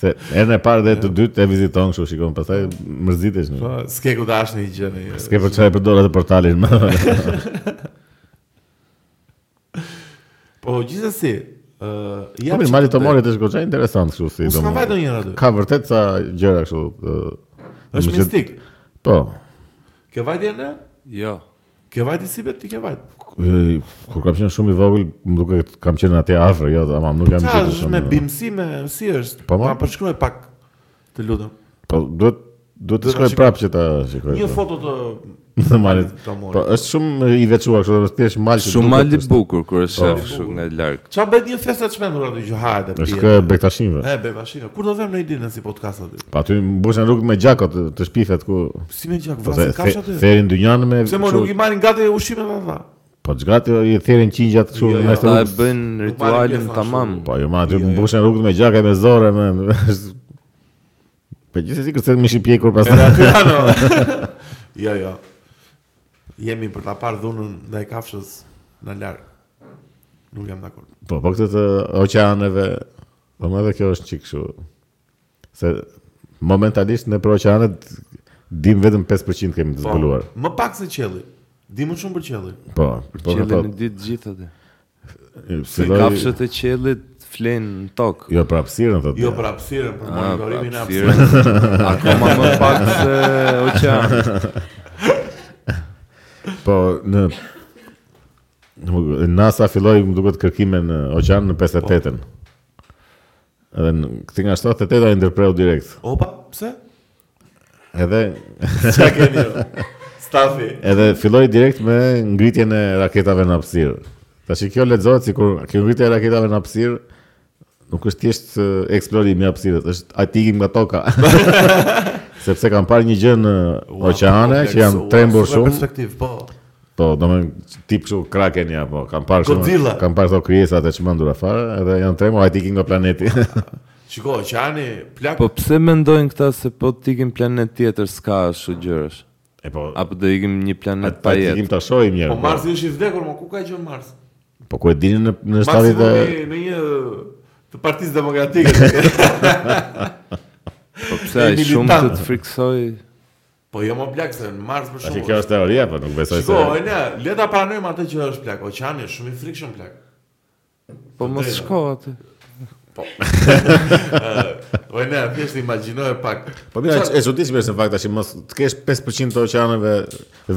[SPEAKER 1] Se erën e parë dhe të dytë e viziton kështu shikon, pastaj mërzitesh. nuk.
[SPEAKER 2] Po, s'ke ku dash një gjë në.
[SPEAKER 1] S'ke për çfarë përdor atë portalin më.
[SPEAKER 2] Po gjithsesi, ë
[SPEAKER 1] Po mirë, Mali Tomorit është goxha interesant kështu si
[SPEAKER 2] Unë s'kam
[SPEAKER 1] domethënë.
[SPEAKER 2] vajtë ndonjëherë aty.
[SPEAKER 1] Ka vërtet sa gjëra kështu. ë,
[SPEAKER 2] Është
[SPEAKER 1] domethënë-
[SPEAKER 2] mistik.
[SPEAKER 1] Po.
[SPEAKER 2] Ke vajtje në?
[SPEAKER 3] Jo.
[SPEAKER 2] Ke vajtje si vetë ti ke vajtë.
[SPEAKER 1] Ë, Kur kam qenë shumë i vogël, më duket kam qenë atje afër, jo, tamam, nuk jam i
[SPEAKER 2] Qa
[SPEAKER 1] qenë
[SPEAKER 2] është
[SPEAKER 1] shumë,
[SPEAKER 2] me
[SPEAKER 1] ë.
[SPEAKER 2] bimësi me si është?
[SPEAKER 1] Po, po.
[SPEAKER 2] Ma përshkruaj pak të lutem.
[SPEAKER 1] Po duhet duhet të
[SPEAKER 2] Duhet ta
[SPEAKER 1] shkoj
[SPEAKER 2] shikoj. Jo,
[SPEAKER 1] prapë që ta shikoj.
[SPEAKER 2] Një
[SPEAKER 1] po.
[SPEAKER 2] foto të
[SPEAKER 1] Në Malit.
[SPEAKER 2] Tomorit.
[SPEAKER 1] Po është shumë i veçuar kështu, është thjesht mal që
[SPEAKER 3] Shumë
[SPEAKER 1] duket,
[SPEAKER 3] mal i
[SPEAKER 1] është- Po.
[SPEAKER 3] bukur kur e shef kështu nga larg.
[SPEAKER 2] Qa bëhet një festë të shmendur aty që hajde
[SPEAKER 1] Është kë bektashinve.
[SPEAKER 2] E, be, bashkë, kur do vëmë në i dinë si podcast aty?
[SPEAKER 1] Pa aty mbushën rrugë me gjakot të- të shpifet ku
[SPEAKER 2] Si me gjak,
[SPEAKER 1] po, the-
[SPEAKER 2] vrasin kafsh
[SPEAKER 1] the-
[SPEAKER 2] aty?
[SPEAKER 1] therin dynjan me
[SPEAKER 2] Pse më
[SPEAKER 1] kështu-
[SPEAKER 2] nuk i marrin gati ushqime me ata?
[SPEAKER 1] po çgat i therin qingjat kështu
[SPEAKER 2] Jo, jo.
[SPEAKER 1] mes
[SPEAKER 3] Ta e
[SPEAKER 1] rrugës.
[SPEAKER 3] bëjnë ritualin
[SPEAKER 2] pjesë,
[SPEAKER 3] tamam.
[SPEAKER 1] Po jo, ma aty mbushën rrugët me gjaka me zorë me Po gjithsesi kërcen më shqipje kur pas.
[SPEAKER 2] Edhe aty ano. Jo, jo. Jemi për ta parë dhunën ndaj kafshës në larg. Nuk jam dakord.
[SPEAKER 1] Po po këtë të oqeaneve. Po më edhe kjo është çik kështu. Se momentalisht në për oqeanet dim vetëm 5% kemi të
[SPEAKER 2] Po,
[SPEAKER 1] zbuluar.
[SPEAKER 2] Më pak se qelli. Di më shumë për qellin.
[SPEAKER 1] Po. Po po.
[SPEAKER 3] Qellin e ditë gjithë atë. Se
[SPEAKER 1] Filloi
[SPEAKER 3] kafshët e qellit flenë në tokë.
[SPEAKER 1] Jo prapsirën thotë.
[SPEAKER 2] Jo për hapësirën, për
[SPEAKER 3] Ah,
[SPEAKER 2] monitorimin e
[SPEAKER 3] hapësirën.
[SPEAKER 2] hapësirës.
[SPEAKER 3] Akoma më pak se oqean.
[SPEAKER 1] Po në në- NASA filloi më duket kërkime në oqean në 58-ën. Edhe në këtë nga 78-a i ndërpreu direkt.
[SPEAKER 2] Opa, pse?
[SPEAKER 1] Edhe
[SPEAKER 2] Çka keni ju? Stafi.
[SPEAKER 1] edhe filloi direkt me ngritjen e raketave në hapësirë. Tash kjo lexohet sikur kjo ngritje e raketave në hapësirë nuk është thjesht ë, eksplorimi i hapësirës, është atikim nga toka. Sepse kanë parë një gjë në
[SPEAKER 2] Ua,
[SPEAKER 1] oqeane
[SPEAKER 2] kompleks,
[SPEAKER 1] Po, që janë
[SPEAKER 2] ua,
[SPEAKER 1] trembur
[SPEAKER 2] super
[SPEAKER 1] shumë.
[SPEAKER 2] Perspektiv, po.
[SPEAKER 1] Po, do me tip kështu kraken ja, po, kam parë
[SPEAKER 2] Godzilla.
[SPEAKER 1] kam parë këto krijesat e çmendura fare, edhe janë tremur ai tikin nga planeti.
[SPEAKER 2] Shiko, oqeani plak.
[SPEAKER 3] Po pse mendojnë këta se po tikim planet tjetër s'ka ashtu gjërash?
[SPEAKER 1] e po,
[SPEAKER 3] Apo do ikim një
[SPEAKER 1] ai
[SPEAKER 3] planet pa jetë?
[SPEAKER 1] tikin ta shohim një.
[SPEAKER 2] Po Marsi është i vdekur, më ku ka gjë Mars?
[SPEAKER 1] Po ku e dini në në
[SPEAKER 2] Marsi
[SPEAKER 1] shtatit
[SPEAKER 2] po
[SPEAKER 1] e
[SPEAKER 2] në në një të Partisë Demokratike.
[SPEAKER 3] Po pse ai
[SPEAKER 2] e
[SPEAKER 3] shumë
[SPEAKER 2] militant.
[SPEAKER 3] të të friksoj?
[SPEAKER 2] po jo më plak se në Mars për
[SPEAKER 1] Tash
[SPEAKER 2] shembull.
[SPEAKER 1] kjo është teoria, po nuk besoj se.
[SPEAKER 2] Shiko, e ne, le ta pranojmë atë që është plak. Oqeani është shumë i frikshëm plak.
[SPEAKER 3] Po mos
[SPEAKER 2] drejtë.
[SPEAKER 3] shko aty.
[SPEAKER 2] O e ne, thjesht imagjinoje pak.
[SPEAKER 1] Po mira, e- e çuditshme është në fakt tash mos të kesh 5% të oqeaneve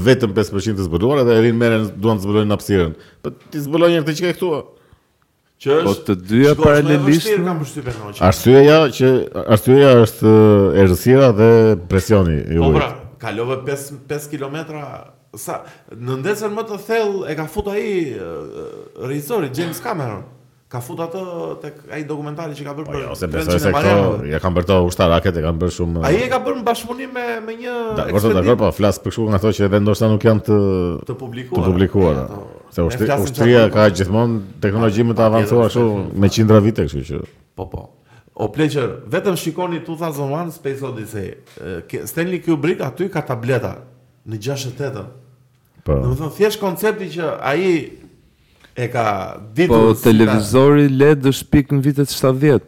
[SPEAKER 1] vetëm 5% të zbuluar edhe rinë merren duan të zbulojnë hapësirën. Po ti zbulojnë këtë që ke këtu. o.
[SPEAKER 2] që
[SPEAKER 3] Po
[SPEAKER 2] është
[SPEAKER 3] të dyja
[SPEAKER 2] Shiko, është më e
[SPEAKER 3] paralelisht
[SPEAKER 2] vështirë kam përshtypjen në oqean.
[SPEAKER 1] Arsyeja që arsyeja është e, errësira dhe presioni i
[SPEAKER 2] Po
[SPEAKER 1] ujit.
[SPEAKER 2] pra, kalove 5 5 kilometra sa në ndesën më të thellë e ka futur ai e, e, regjisori James Cameron. ka fut atë tek ai dokumentari që ka bërë
[SPEAKER 1] Po
[SPEAKER 2] për
[SPEAKER 1] jo, se
[SPEAKER 2] Trencin
[SPEAKER 1] besoj
[SPEAKER 2] e
[SPEAKER 1] se këto
[SPEAKER 2] Marianave.
[SPEAKER 1] ja kanë bërë to ushtarake, e kanë bërë shumë.
[SPEAKER 2] Ai e ka bërë në bashkëpunim me me një
[SPEAKER 1] Dakor,
[SPEAKER 2] ekspertim
[SPEAKER 1] so, dakor, po flas për kështu nga ato që edhe ndoshta nuk janë të
[SPEAKER 2] të publikuar.
[SPEAKER 1] të publikuara.
[SPEAKER 2] Ato-
[SPEAKER 1] Se
[SPEAKER 2] Ne
[SPEAKER 1] ushtri,
[SPEAKER 2] flasim
[SPEAKER 1] ushtria
[SPEAKER 2] qatë
[SPEAKER 1] ka
[SPEAKER 2] për-
[SPEAKER 1] gjithmonë teknologji më të
[SPEAKER 2] Pa,
[SPEAKER 1] avancuar
[SPEAKER 2] tjetër,
[SPEAKER 1] kështu me qindra vite, kështu që
[SPEAKER 2] Po po. O pleqer, vetëm shikoni 2001 Space Odyssey. E, ke- Stanley Kubrick aty ka tableta në 68-ën.
[SPEAKER 1] po.
[SPEAKER 2] Do të thonë thjesht koncepti që ai e ka ditur
[SPEAKER 3] Po
[SPEAKER 2] si ta-
[SPEAKER 3] televizori LED është pikë në vitet 70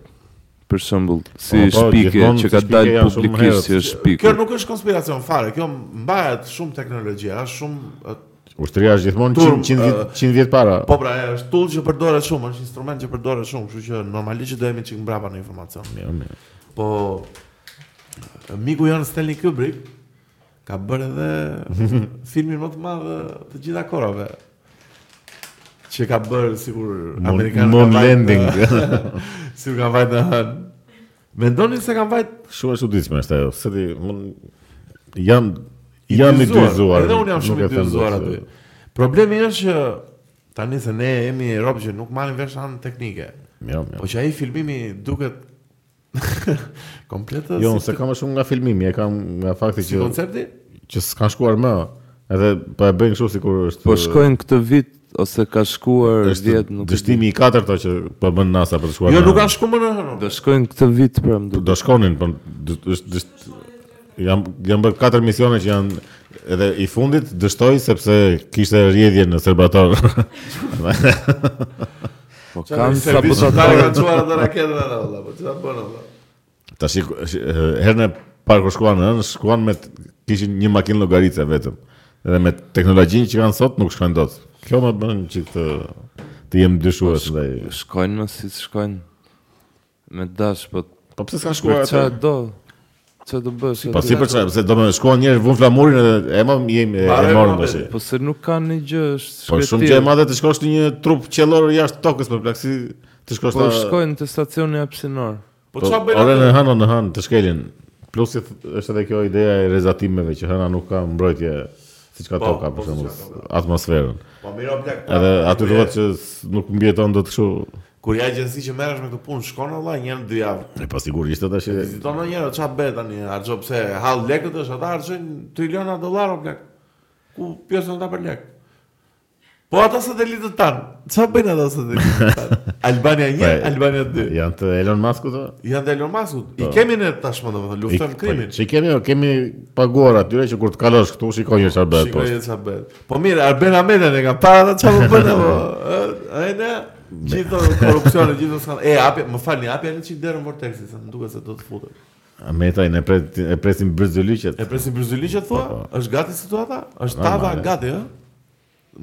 [SPEAKER 3] për shembull, si
[SPEAKER 1] Po, po,
[SPEAKER 3] shpikë
[SPEAKER 1] gjithmonë
[SPEAKER 3] që ka
[SPEAKER 1] shpikë
[SPEAKER 3] dalë
[SPEAKER 1] janë shumë herët.
[SPEAKER 3] publikisht që është
[SPEAKER 2] Kjo
[SPEAKER 3] shpikë.
[SPEAKER 2] nuk është konspiracion fare, kjo mbahet shumë teknologji, është shumë e,
[SPEAKER 1] Ushtria është gjithmonë
[SPEAKER 2] Turm,
[SPEAKER 1] 100 vjet 100 vjet para.
[SPEAKER 2] po pra, e, është tool që përdoret shumë, është instrument që përdoret shumë, kështu që normalisht që do jemi çik mbrapa në informacion.
[SPEAKER 1] Mirë, mirë.
[SPEAKER 2] Po e, miku jon Stanley Kubrick ka bërë edhe filmin më të madh të gjitha korave. Që ka bërë sikur
[SPEAKER 1] Moon-
[SPEAKER 2] amerikanë
[SPEAKER 1] Moon
[SPEAKER 2] kanë vajt,
[SPEAKER 1] landing.
[SPEAKER 2] e, sikur kanë vajtë në hën. Mendoni se kanë vajtë
[SPEAKER 1] Shumë e çuditshme është ajo. Se ti mund jam jam i
[SPEAKER 2] dyzuar,
[SPEAKER 1] dyzuar.
[SPEAKER 2] Edhe unë jam
[SPEAKER 1] nuk
[SPEAKER 2] shumë
[SPEAKER 1] e
[SPEAKER 2] i
[SPEAKER 1] them dot
[SPEAKER 2] dyzuar
[SPEAKER 1] se-
[SPEAKER 2] aty. Problemi është që tani se ne jemi Europë që nuk marrin vesh anë teknike.
[SPEAKER 1] Mirë, mirë.
[SPEAKER 2] Po që ai filmimi duket komplet
[SPEAKER 1] Jo, unë
[SPEAKER 2] si,
[SPEAKER 1] se jo. kam më shumë nga filmimi, e kam nga fakti
[SPEAKER 2] si
[SPEAKER 1] që
[SPEAKER 2] koncepti.
[SPEAKER 1] që s'kan shkuar më. Edhe po e bëjnë kështu sikur është
[SPEAKER 3] Po shkojnë këtë vit ose ka shkuar 10 nuk e di.
[SPEAKER 1] dështimi i katërta që po bën NASA për të shkuar.
[SPEAKER 2] Jo,
[SPEAKER 1] në-
[SPEAKER 2] nuk kanë shkuar më në
[SPEAKER 3] do shkojnë këtë vit pra më duket.
[SPEAKER 1] do shkonin, po dë- është dësht jam jam bërë katër misione që janë edhe i fundit dështoj sepse kishte rjedhje në Serbator.
[SPEAKER 3] Po
[SPEAKER 2] Kan
[SPEAKER 3] kanë
[SPEAKER 2] sa po sa
[SPEAKER 3] sabotatorë.
[SPEAKER 2] kanë çuar atë raketën atë valla, po çfarë bën atë?
[SPEAKER 1] Tash i- herën e parë kur shkuan në, ënë, shkuan me t- kishin një makinë llogarice vetëm. Edhe me teknologjinë që kanë sot nuk shkojnë dot. Kjo më bën që të të jem dyshues ndaj.
[SPEAKER 3] Shkojnë më si shkojnë. Me dash po
[SPEAKER 1] Po pse s'kan shkuar
[SPEAKER 3] për
[SPEAKER 1] atë?
[SPEAKER 3] çfarë do? Çfarë do bësh?
[SPEAKER 1] Po si për çfarë? Se do më shkuan njerëz vun flamurin edhe e më jemi e
[SPEAKER 2] Pare,
[SPEAKER 1] morën
[SPEAKER 2] ma,
[SPEAKER 1] tash.
[SPEAKER 3] Po se nuk kanë një gjë, është
[SPEAKER 1] Po
[SPEAKER 3] shkretir.
[SPEAKER 1] shumë gjë e madhe të shkosh në një trup qellor jashtë tokës për plaksi të shkosh
[SPEAKER 3] Po
[SPEAKER 1] ta.
[SPEAKER 3] shkojnë te stacioni hapsinor.
[SPEAKER 2] Po çfarë bën
[SPEAKER 1] Ore në
[SPEAKER 2] atë?
[SPEAKER 1] hënë në hënë të shkelin. Plus i th- është edhe kjo ideja e rezatimeve që hëna nuk ka mbrojtje siç ka
[SPEAKER 2] Po,
[SPEAKER 1] toka
[SPEAKER 2] po,
[SPEAKER 1] për
[SPEAKER 2] siç
[SPEAKER 1] shembull
[SPEAKER 2] ka
[SPEAKER 1] atmosferën.
[SPEAKER 2] Po miro plak.
[SPEAKER 1] Edhe aty duhet që s- nuk mbjeton dot kështu.
[SPEAKER 2] kur ja agjenci që merresh me këtë punë, shkon valla një herë dy javë.
[SPEAKER 1] E po sigurisht ata që
[SPEAKER 2] Viziton ndonjëherë çfarë bëhet tani, harxho pse hall lekët është, ata harxojnë triliona dollarë o plak. Ku pjesën ata për lek. Po ata satelitët tan, çfarë bëjnë ata satelitët tan? Albania 1,
[SPEAKER 1] Po,
[SPEAKER 2] Albania 2.
[SPEAKER 1] janë të Elon Musk këto.
[SPEAKER 2] Janë të Elon Muskut.
[SPEAKER 1] Po.
[SPEAKER 2] I kemi ne tashmë domethënë luftojmë Po, krimin.
[SPEAKER 1] Çi Po, kemi, kemi paguar atyre që kur të kalosh këtu shikoj një çfarë bëhet
[SPEAKER 2] Shikoj
[SPEAKER 1] Po, poshtë.
[SPEAKER 2] e çfarë bëhet. Po mirë, Arben Ahmedin e ka para ata çfarë po bën apo? Ai ne gjithë korrupsioni, gjithë skan. E hapi, më falni, hapi atë çik derën vortexit, se më duket se do të futet.
[SPEAKER 1] A Meta i ne pret, e presim bërzylyqet.
[SPEAKER 2] E presin Brazili që thua?
[SPEAKER 1] Po,
[SPEAKER 2] Është gati situata? Është
[SPEAKER 1] Normal,
[SPEAKER 2] tava
[SPEAKER 1] e.
[SPEAKER 2] gati, ë?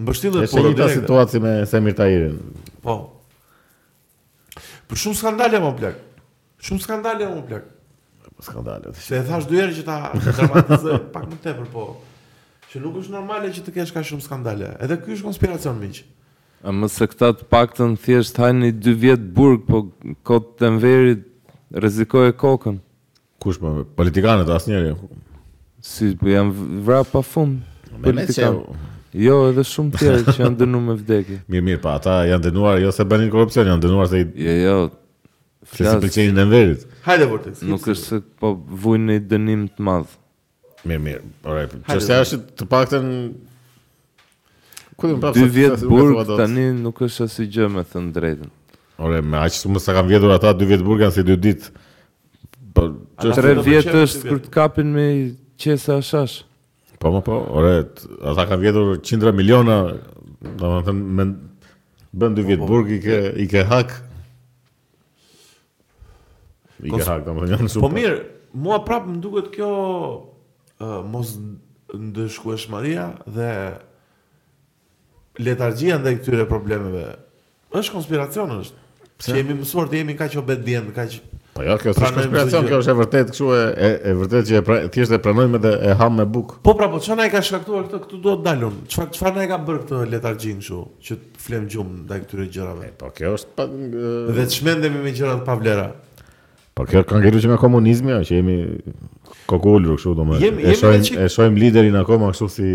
[SPEAKER 2] Mbështillet
[SPEAKER 1] Është një ta
[SPEAKER 2] direkte.
[SPEAKER 1] situaci me Semir Tahirin.
[SPEAKER 2] Po. Për shumë skandale më plak. Shumë skandale më plak.
[SPEAKER 1] Skandalet.
[SPEAKER 2] Se e thash dy herë që ta dramatizoj pak më tepër, po. Që nuk është normale që të kesh ka shumë skandale. Edhe ky është konspiracion miq.
[SPEAKER 3] A më se këta të paktën thjesht hajnë i dy vjetë burg, po kotë të mverit rezikoj e kokën.
[SPEAKER 1] Kush më politikanët asnjëri.
[SPEAKER 3] Si, po janë vra pa fund.
[SPEAKER 1] Po, Politikan.
[SPEAKER 3] Politikan. Jo, edhe shumë tjerë që janë dënu me vdekje.
[SPEAKER 1] Mirë, mirë, pa ata janë dënuar jo se bënin korrupsion, janë dënuar se i
[SPEAKER 3] Jo, jo,
[SPEAKER 1] se si
[SPEAKER 3] Flas.
[SPEAKER 1] pëlqenin enverit.
[SPEAKER 2] Hajde Vortex.
[SPEAKER 3] nuk është se po vujnë në i dënim të madhë.
[SPEAKER 1] Mirë, mirë. Ore,
[SPEAKER 2] Hajde,
[SPEAKER 1] çështja është të paktën Ku do të
[SPEAKER 3] Dy vjetë burg tani nuk është asë gjë me thënë drejtën.
[SPEAKER 1] Ore, me aq shumë sa kanë vjedhur ata dy vjet burg janë si dy ditë. Po,
[SPEAKER 2] Ata-
[SPEAKER 1] ç'është-
[SPEAKER 3] Tre
[SPEAKER 2] do të
[SPEAKER 3] vjetë
[SPEAKER 2] qenë dy
[SPEAKER 3] është kur
[SPEAKER 2] vjet.
[SPEAKER 3] të kapin me i qesa ashash.
[SPEAKER 1] po, po, po, ore, t- ata kanë vjedhur qindra miliona, domethënë me bën dy vjet burg i ke i ke hak. I ke
[SPEAKER 2] Kons-
[SPEAKER 1] hak, domethënë janë shumë.
[SPEAKER 2] Po mirë, mua prapë më duket kjo uh, mos ndëshkueshmëria dhe letargjia ndaj këtyre problemeve. Është konspiracion është. Që jemi mësuar të jemi kaq obedient, kaq
[SPEAKER 1] Po jo, kjo është
[SPEAKER 2] Pranojmë
[SPEAKER 1] konspiracion,
[SPEAKER 2] çdo gjë.
[SPEAKER 1] kjo është e vërtet, kështu e e, e vërtet që e pra, thjesht e pranojmë edhe e ham me buk.
[SPEAKER 2] Po pra, po çfarë na e ka shkaktuar këtë, këtu duhet dalun. Çfarë çfarë na e ka bërë këtë letargjin kështu që të flem gjumë ndaj këtyre gjërave.
[SPEAKER 1] Po kjo është pa e,
[SPEAKER 2] Dhe të shmendemi me gjëra të pavlera.
[SPEAKER 1] Po kjo kanë ngelur që nga komunizmi, ajo që jemi kokolur kështu domethënë.
[SPEAKER 2] Jemi-
[SPEAKER 1] E
[SPEAKER 2] jemi
[SPEAKER 1] shohim
[SPEAKER 2] me qik-
[SPEAKER 1] e shohim liderin akoma kështu si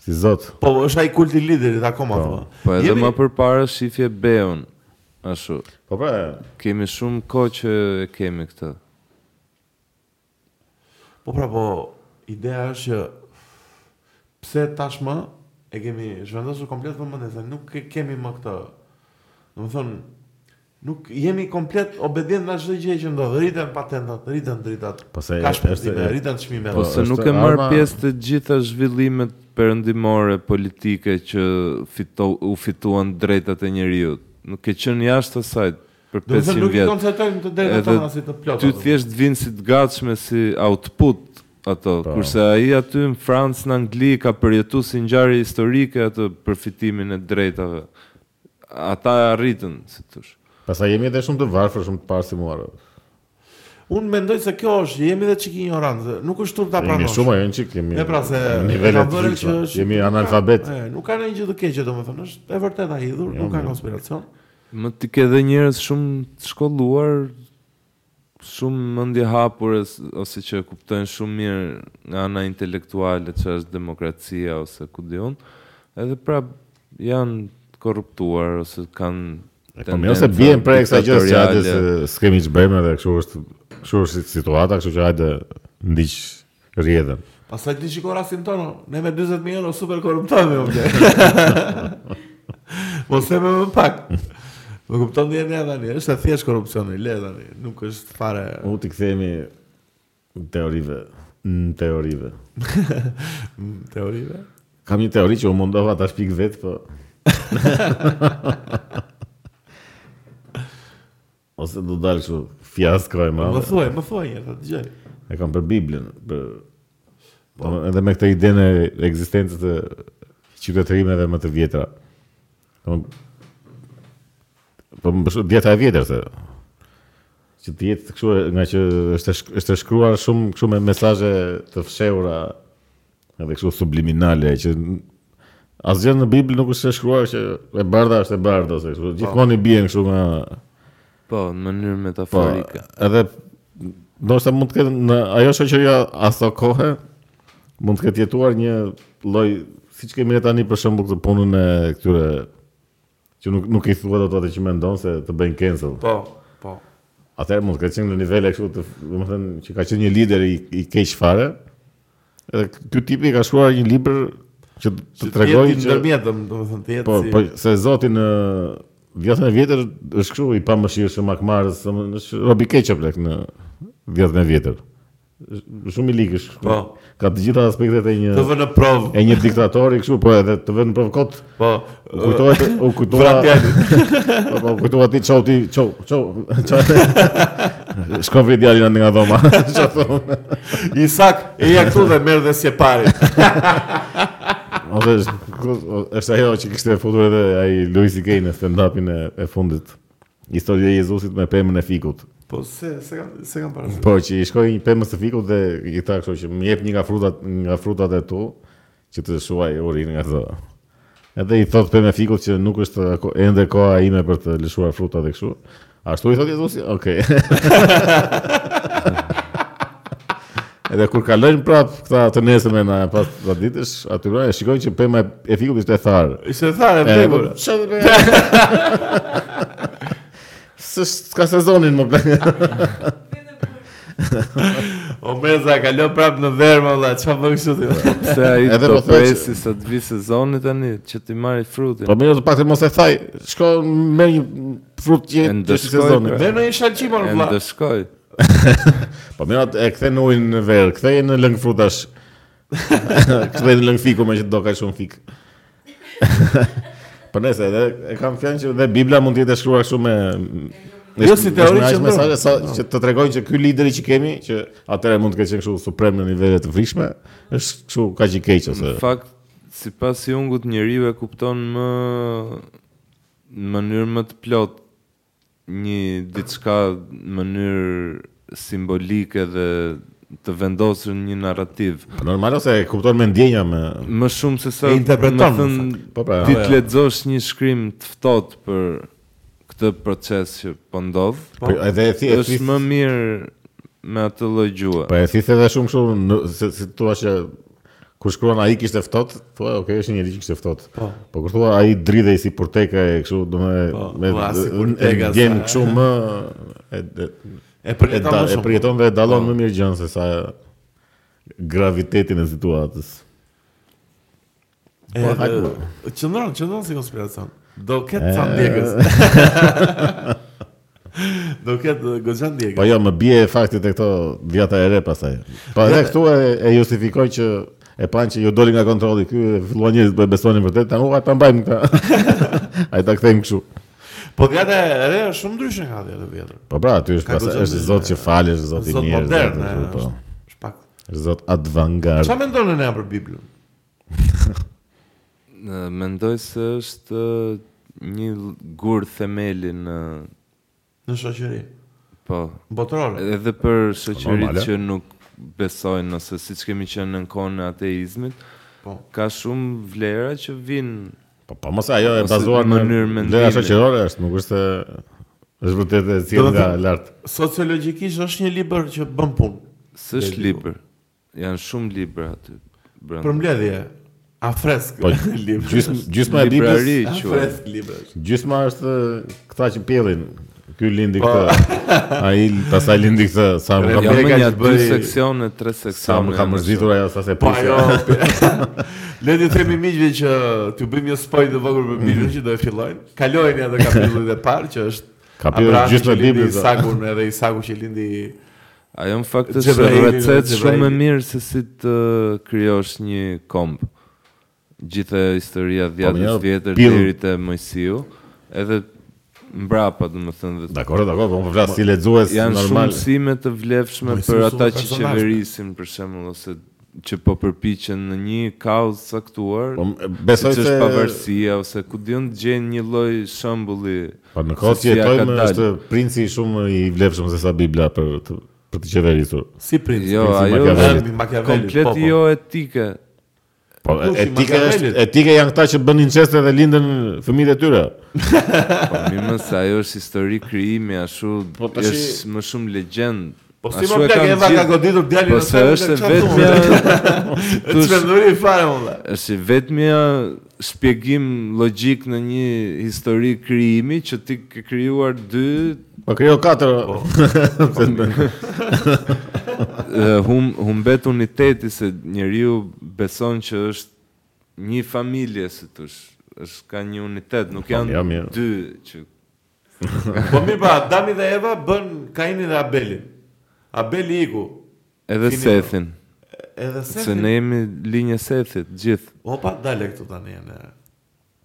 [SPEAKER 1] si zot.
[SPEAKER 2] Po është ai kulti i liderit akoma. Po,
[SPEAKER 3] Po edhe më përpara shifje beon. Ashtu.
[SPEAKER 1] Po pra,
[SPEAKER 3] Kemi shumë kohë që e kemi këtë.
[SPEAKER 2] Po pra, po, ideja është që pse tashmë e kemi zhvendosur komplet vëmendjen se nuk e kemi më këtë. Domethënë nuk jemi komplet obedient nga çdo gjë që ndodh. Rriten patentat, rriten dritat.
[SPEAKER 1] Po se
[SPEAKER 2] ka
[SPEAKER 1] është-
[SPEAKER 2] shpëtime,
[SPEAKER 1] është-
[SPEAKER 2] rriten çmimet.
[SPEAKER 1] Po,
[SPEAKER 3] Po se
[SPEAKER 1] është
[SPEAKER 3] nuk e marr
[SPEAKER 1] arma-
[SPEAKER 3] pjesë të gjitha zhvillimet perëndimore politike që fito, u fituan drejtat e njeriu. Nuk e qenë jashtë asaj për
[SPEAKER 2] Do të thënë
[SPEAKER 3] 500
[SPEAKER 2] nuk i
[SPEAKER 3] vjet.
[SPEAKER 2] koncertojmë të drejtat
[SPEAKER 3] Edhe
[SPEAKER 2] tona si të plotë.
[SPEAKER 3] Ty thjesht vinë si të gatshme si output ato,
[SPEAKER 1] Po.
[SPEAKER 3] kurse ai aty në Francë, në Angli ka përjetuar si ngjarje historike atë përfitimin e drejtave. Ata e arritën, si thosh.
[SPEAKER 1] pastaj jemi edhe shumë të varfër, shumë të parsimuar.
[SPEAKER 2] Unë mendoj se kjo është, jemi edhe çik ignorancë, nuk është turp ta
[SPEAKER 1] Jemi
[SPEAKER 2] pranosh.
[SPEAKER 1] shumë ajo që kemi.
[SPEAKER 2] E pra se
[SPEAKER 1] nivele
[SPEAKER 2] kam
[SPEAKER 1] të
[SPEAKER 2] vënë
[SPEAKER 1] gjitha.
[SPEAKER 2] është-
[SPEAKER 1] Jemi
[SPEAKER 2] nuk ka-
[SPEAKER 1] analfabet.
[SPEAKER 2] e, Nuk ka ndonjë gjë të keqe domethënë, është e vërteta e hidhur,
[SPEAKER 1] Jo,
[SPEAKER 2] nuk ka
[SPEAKER 1] mirë.
[SPEAKER 2] konspiracion.
[SPEAKER 3] Më ti ke dhe njerëz shumë të shkolluar, shumë mendje hapur ose që kuptojnë shumë mirë nga ana intelektuale që është demokracia ose ku diun, edhe prap janë korruptuar ose kanë
[SPEAKER 1] Po mirë se bien prej kësaj gjë që hajde se s'kemi ç'bëjmë edhe kështu është, kështu është situata, kështu që hajde ndiq rrjedhën.
[SPEAKER 2] Pastaj ti shikoj rastin tonë, ne me 40000 euro jo, super korruptohemi o bler. Mos e Po me më pak. Më kupton dhe ne tani, është e thjesht korrupsioni, le tani, nuk është fare.
[SPEAKER 1] U ti kthehemi në teorive, në teorive.
[SPEAKER 2] mm, teorive.
[SPEAKER 1] Kam një teori që u mundova ta shpik vet, po Ose do dalë kështu fiasko e
[SPEAKER 2] Më
[SPEAKER 1] madhe.
[SPEAKER 2] thuaj, më thuaj një herë, ta dëgjoj.
[SPEAKER 1] E kam për Biblën, për po, edhe me këtë idenë e ekzistencës të qytetërimeve më të vjetra. Do po më bëshu djeta e vjetër se që të jetë kështu e- nga që është e shk- është e shkruar shumë kështu me mesazhe të fshehura edhe kështu subliminale që n- asgjë në Bibël nuk është e shkruar që e bardha është e bardhë ose kështu. Gjithmonë i bien kështu nga
[SPEAKER 3] po në mënyrë
[SPEAKER 1] Po,
[SPEAKER 3] metaforike.
[SPEAKER 1] edhe ndoshta mund të ketë në ajo shoqëria aso kohë mund të ketë jetuar një lloj siç kemi ne tani për shembull këtë punën e këtyre që nuk nuk i thuhet ato atë që mendon se të bëjnë cancel.
[SPEAKER 2] Po, po.
[SPEAKER 1] Atëherë mund të ketë qenë në nivele kështu të, domethënë që ka qenë një lider i, i keq fare. Edhe ky tipi ka shkruar një libër që të tregoj
[SPEAKER 2] që
[SPEAKER 1] që
[SPEAKER 2] ndërmjetëm, domethënë të jetë
[SPEAKER 1] Po,
[SPEAKER 2] si.
[SPEAKER 1] po se Zoti në vjetën e vjetër është kështu i pamëshirshëm akmarës, domethënë, është robi keq apo në vjetën e vjetër. Është Shumë i ligësh.
[SPEAKER 2] Po.
[SPEAKER 1] Ka të gjitha aspektet e
[SPEAKER 2] Të
[SPEAKER 1] një
[SPEAKER 2] vënë në provë.
[SPEAKER 1] e një diktatori kështu, po edhe të vënë në provokot.
[SPEAKER 2] Po.
[SPEAKER 1] U kujtohet, u kujtohet. Po, po, u kujtohet ti çau ti çau çau. Shkon vë djalin nga dhoma. Çfarë thon?
[SPEAKER 2] Isak, e ja këtu dhe merr dhe si e pari.
[SPEAKER 1] Ose është është ajo që kishte futur edhe ai Louis C.K. në stand-upin e, e fundit. Historia e Jezusit me pemën e fikut.
[SPEAKER 2] Po se se kam se kam parë.
[SPEAKER 1] Po që i shkoi një pemës të fikut dhe i tha kështu që më jep një nga frutat nga frutat e tu që të shuaj urin nga ato. Edhe i thot pemë fikut që nuk është ako- ende koha ime për të lëshuar frutat e kështu. Ashtu i thot Jezusi, okay. Edhe kur kalojnë prap këta të nesërme na pas ta ditësh, aty e shikojnë që pema e- e fikut ishte e tharë.
[SPEAKER 2] Ishte thare
[SPEAKER 1] E, po,
[SPEAKER 2] vdekur.
[SPEAKER 1] çfarë do bëj? Së s'ka sezonin më plak.
[SPEAKER 2] O meza ka lë prap në dermë valla, çfarë bën kështu ti?
[SPEAKER 3] Pse ai
[SPEAKER 1] Edhe
[SPEAKER 3] do
[SPEAKER 1] po thoj që-
[SPEAKER 3] presi sa të vi sezoni tani që ti marri frutin.
[SPEAKER 1] Po mirë, të paktën mos e thaj. Shko merr një frutë që
[SPEAKER 3] E
[SPEAKER 1] të
[SPEAKER 3] ndëshkoj,
[SPEAKER 1] sezonit.
[SPEAKER 3] pra.
[SPEAKER 2] Dhe në një shalqim
[SPEAKER 3] E
[SPEAKER 2] on vlla.
[SPEAKER 3] ndëshkoj.
[SPEAKER 1] Po mirë, atë e kthen ujin në verë, kthej në lëng frutash. kthej në lëng fiku me që do ka shumë fik. po nëse edhe e kam fjalën që dhe Bibla mund të jetë e shkruar kështu me
[SPEAKER 2] Jo, si teori që
[SPEAKER 1] që
[SPEAKER 2] ndron.
[SPEAKER 1] mesazhe sa që të tregojnë që ky lideri që kemi, që atëherë mund të ketë qenë kështu suprem në nivele të frikshme, është kështu kaq i keq ose.
[SPEAKER 3] Në fakt, si pas jungut njeriu e kupton më në mënyrë më të plot një diçka në mënyrë simbolike dhe të vendosur në një narrativ.
[SPEAKER 1] Normal ose e kupton me ndjenja me
[SPEAKER 3] Më shumë se sa
[SPEAKER 2] E interpreton,
[SPEAKER 3] më thënë,
[SPEAKER 2] në
[SPEAKER 1] Po pra.
[SPEAKER 3] ti të lexosh një shkrim të ftohtë për këtë proces që po ndodh.
[SPEAKER 1] Po, edhe e thi- e
[SPEAKER 3] Është
[SPEAKER 1] thi-
[SPEAKER 3] më mirë me atë lloj gjue.
[SPEAKER 1] Po e thithë edhe shumë kështu në- se si thua që Kur shkruan ai kishte ftohtë, thua, okay, është një njerëz që kishte ftohtë.
[SPEAKER 2] Po.
[SPEAKER 1] Po kur thua ai dridhej si porteka e kështu,
[SPEAKER 2] Po,
[SPEAKER 1] domethënë me
[SPEAKER 2] po, as si
[SPEAKER 1] e
[SPEAKER 2] Porteka,
[SPEAKER 1] ndjen
[SPEAKER 2] sa-
[SPEAKER 1] kështu më e e-
[SPEAKER 2] E
[SPEAKER 1] e,
[SPEAKER 2] përjeton
[SPEAKER 1] da,
[SPEAKER 2] më
[SPEAKER 1] e
[SPEAKER 2] shumë.
[SPEAKER 1] përjeton dhe e dallon
[SPEAKER 2] Po.
[SPEAKER 1] më mirë gjën se sa gravitetin e situatës.
[SPEAKER 2] E,
[SPEAKER 1] Po, hajde,
[SPEAKER 2] e,
[SPEAKER 1] mo.
[SPEAKER 2] Qëndron, qëndron si konspiracion. Do ketë
[SPEAKER 1] E.
[SPEAKER 2] sa ndjekës. Do ketë e, goxha
[SPEAKER 1] Po
[SPEAKER 2] ndjekës.
[SPEAKER 1] jo, më bie fakti te këto vjata e re pastaj. Po edhe këtu e, e justifikoj që e pan që ju doli nga kontrolli ky, e filluan njerëzit të besonin vërtet, tani uaj ta mbajmë këta. Ai ta kthejmë kështu.
[SPEAKER 2] Po gata e re është shumë ndryshe nga ajo e vjetër.
[SPEAKER 1] Po pra, aty është
[SPEAKER 2] Ka
[SPEAKER 1] pas
[SPEAKER 2] guxon
[SPEAKER 1] është
[SPEAKER 2] dhe-
[SPEAKER 1] zot që falesh, zot i
[SPEAKER 2] Zot
[SPEAKER 1] mirë,
[SPEAKER 2] modern,
[SPEAKER 1] zot-
[SPEAKER 2] e,
[SPEAKER 1] po.
[SPEAKER 2] është. Është pak.
[SPEAKER 1] Është zot avantgard.
[SPEAKER 2] Çfarë mendon ne për Biblën?
[SPEAKER 3] Në- Mendoj se është ë, një l- gur themeli në
[SPEAKER 2] Në shoqëri
[SPEAKER 3] po,
[SPEAKER 2] botërore.
[SPEAKER 3] edhe për shoqëritë
[SPEAKER 1] Normale.
[SPEAKER 3] që nuk besojnë ose siç kemi qenë në kohën e ateizmit,
[SPEAKER 2] Po.
[SPEAKER 3] ka shumë vlera që vinë
[SPEAKER 1] Po po mos ajo e
[SPEAKER 3] Ose
[SPEAKER 1] bazuar
[SPEAKER 3] në
[SPEAKER 1] në
[SPEAKER 3] mënyrë
[SPEAKER 1] vlera
[SPEAKER 3] mendimi.
[SPEAKER 1] shoqërore është, nuk është se- është vërtet e
[SPEAKER 2] Do
[SPEAKER 1] cilë
[SPEAKER 2] të
[SPEAKER 1] nga
[SPEAKER 2] thënë-
[SPEAKER 1] lart.
[SPEAKER 2] Sociologjikisht është një libër që bën punë
[SPEAKER 3] s'është
[SPEAKER 2] Dhe-
[SPEAKER 3] libër. Janë shumë libra aty. brenda.
[SPEAKER 2] për mbledhje. Afresk
[SPEAKER 1] Po
[SPEAKER 2] libër.
[SPEAKER 1] gjysmë gjysma e Biblës,
[SPEAKER 3] Librari quhet.
[SPEAKER 2] Afresk libër.
[SPEAKER 1] gjysma është këta që pjellin. Ky
[SPEAKER 2] Po.
[SPEAKER 1] lindi këtë. Ai pastaj lindi këtë sa më ka
[SPEAKER 3] Jam
[SPEAKER 2] Amerika
[SPEAKER 3] më një
[SPEAKER 2] që
[SPEAKER 3] dy
[SPEAKER 2] bëri-
[SPEAKER 3] seksione, tre
[SPEAKER 1] sa
[SPEAKER 3] seksione.
[SPEAKER 1] më ka
[SPEAKER 3] janë
[SPEAKER 1] mërzitur ajo sa se
[SPEAKER 2] Po
[SPEAKER 1] prishja.
[SPEAKER 3] jo.
[SPEAKER 2] ajo Le të themi miqve që t'ju bëjmë një spoil të vogël për Biblën që do e fillojnë. Kalojeni atë kapitullin e parë që është
[SPEAKER 1] Kapitulli
[SPEAKER 3] pra,
[SPEAKER 2] Abrahami
[SPEAKER 1] gjysmë
[SPEAKER 2] që
[SPEAKER 1] e
[SPEAKER 2] lindi
[SPEAKER 1] Biblës.
[SPEAKER 2] Isakun edhe Isaku që lindi
[SPEAKER 3] Ajo në fakt është
[SPEAKER 2] Xhebraili,
[SPEAKER 3] recet shumë e
[SPEAKER 2] Xhebraili.
[SPEAKER 3] mirë se si të kryosh një komb. Gjithë e historia e
[SPEAKER 1] mirë,
[SPEAKER 3] dhjatës vjetër
[SPEAKER 1] Po, pill.
[SPEAKER 3] deri te Mojsiu, edhe mbrapa domethënë dhe
[SPEAKER 1] Dakor, dakor, po më flas si lexues
[SPEAKER 3] janë shumë
[SPEAKER 1] normal.
[SPEAKER 3] mësime të vlefshme
[SPEAKER 2] Mojsiu
[SPEAKER 3] për
[SPEAKER 2] është
[SPEAKER 3] ata
[SPEAKER 2] shumë
[SPEAKER 3] që
[SPEAKER 2] personazh.
[SPEAKER 3] qeverisin për shembull ose që po përpiqen në një kauzë caktuar.
[SPEAKER 1] Po besoj
[SPEAKER 3] siç
[SPEAKER 1] se
[SPEAKER 3] është pavarësia ose ku diun të gjejnë një lloj shembulli.
[SPEAKER 1] Po në
[SPEAKER 3] se
[SPEAKER 1] kohë që
[SPEAKER 3] si ja ka
[SPEAKER 1] jetojmë
[SPEAKER 3] dalë.
[SPEAKER 1] është princi shumë i vlefshëm se sa Bibla për të, për të qeverisur.
[SPEAKER 2] si princ.
[SPEAKER 3] Jo,
[SPEAKER 1] Princi
[SPEAKER 3] ajo
[SPEAKER 1] Machiavellit.
[SPEAKER 3] është
[SPEAKER 2] Machiavellit,
[SPEAKER 3] komplet
[SPEAKER 2] po, po.
[SPEAKER 3] jo etike.
[SPEAKER 1] Po
[SPEAKER 2] Kush i
[SPEAKER 1] etike është
[SPEAKER 2] Machiavellit?
[SPEAKER 1] etike janë këta që bën inceste dhe lindën fëmijët e tyre.
[SPEAKER 3] Po mirë më se ajo është histori krijimi, ashtu
[SPEAKER 1] Po, tash i-
[SPEAKER 3] është më shumë legjend.
[SPEAKER 2] Po si më plak Eva ka goditur djalin
[SPEAKER 3] Po
[SPEAKER 2] e
[SPEAKER 3] se
[SPEAKER 2] saj,
[SPEAKER 3] është e
[SPEAKER 2] çfarë
[SPEAKER 3] vetmja
[SPEAKER 2] thua?
[SPEAKER 3] tush,
[SPEAKER 2] Çmenduri fare më dhe.
[SPEAKER 3] është e vetmja shpjegim logjik në një histori krijimi që ti ke krijuar dy
[SPEAKER 1] Po krijo katër. Po, se bën.
[SPEAKER 3] eh, hum humbet uniteti se njeriu beson që është një familje si tush, është ka një unitet, nuk
[SPEAKER 1] ja,
[SPEAKER 3] janë
[SPEAKER 1] mirë.
[SPEAKER 3] dy që
[SPEAKER 2] Po mirë pra, Adami dhe Eva bën Kainin dhe Abelin. Abeli iku.
[SPEAKER 3] edhe
[SPEAKER 2] Fini.
[SPEAKER 3] Sethin.
[SPEAKER 2] Edhe
[SPEAKER 3] Se
[SPEAKER 2] Sethi.
[SPEAKER 3] ne jemi linje Sethit gjithë.
[SPEAKER 2] Opa, dale këtu tani janë.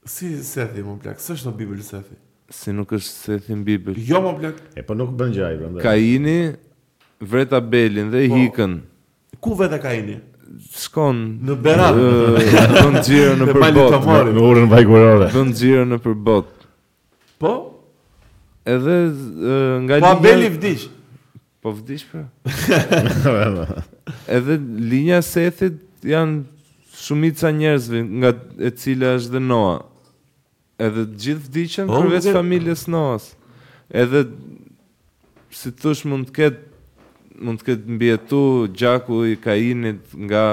[SPEAKER 2] Si Sethi më plak, s'është në Bibël Sethi.
[SPEAKER 3] Si nuk është Sethi në Bibël.
[SPEAKER 2] Jo më plak.
[SPEAKER 1] E po nuk bën gjaj prandaj.
[SPEAKER 3] Kaini vret Abelin dhe i
[SPEAKER 2] Po.
[SPEAKER 3] hikën.
[SPEAKER 2] Ku vetë Kaini?
[SPEAKER 3] Shkon
[SPEAKER 2] Në Berat.
[SPEAKER 3] ë, Bën xhirën në
[SPEAKER 2] Te Bali
[SPEAKER 3] përbot.
[SPEAKER 2] Tomori.
[SPEAKER 1] Në urën vajgurore.
[SPEAKER 3] Bën xhirën në përbot.
[SPEAKER 2] Po?
[SPEAKER 3] Edhe ë, nga
[SPEAKER 2] Po Abeli vdiq.
[SPEAKER 3] Po vdiq pra. Edhe linja e Sethit janë shumica njerëzve nga e cila është dhe Noa. Edhe të gjithë vdiqën
[SPEAKER 2] Po,
[SPEAKER 3] përveç
[SPEAKER 2] vërtet.
[SPEAKER 3] familjes Noas. Edhe si thosh mund të ketë mund të ketë mbjetu gjaku i Kainit nga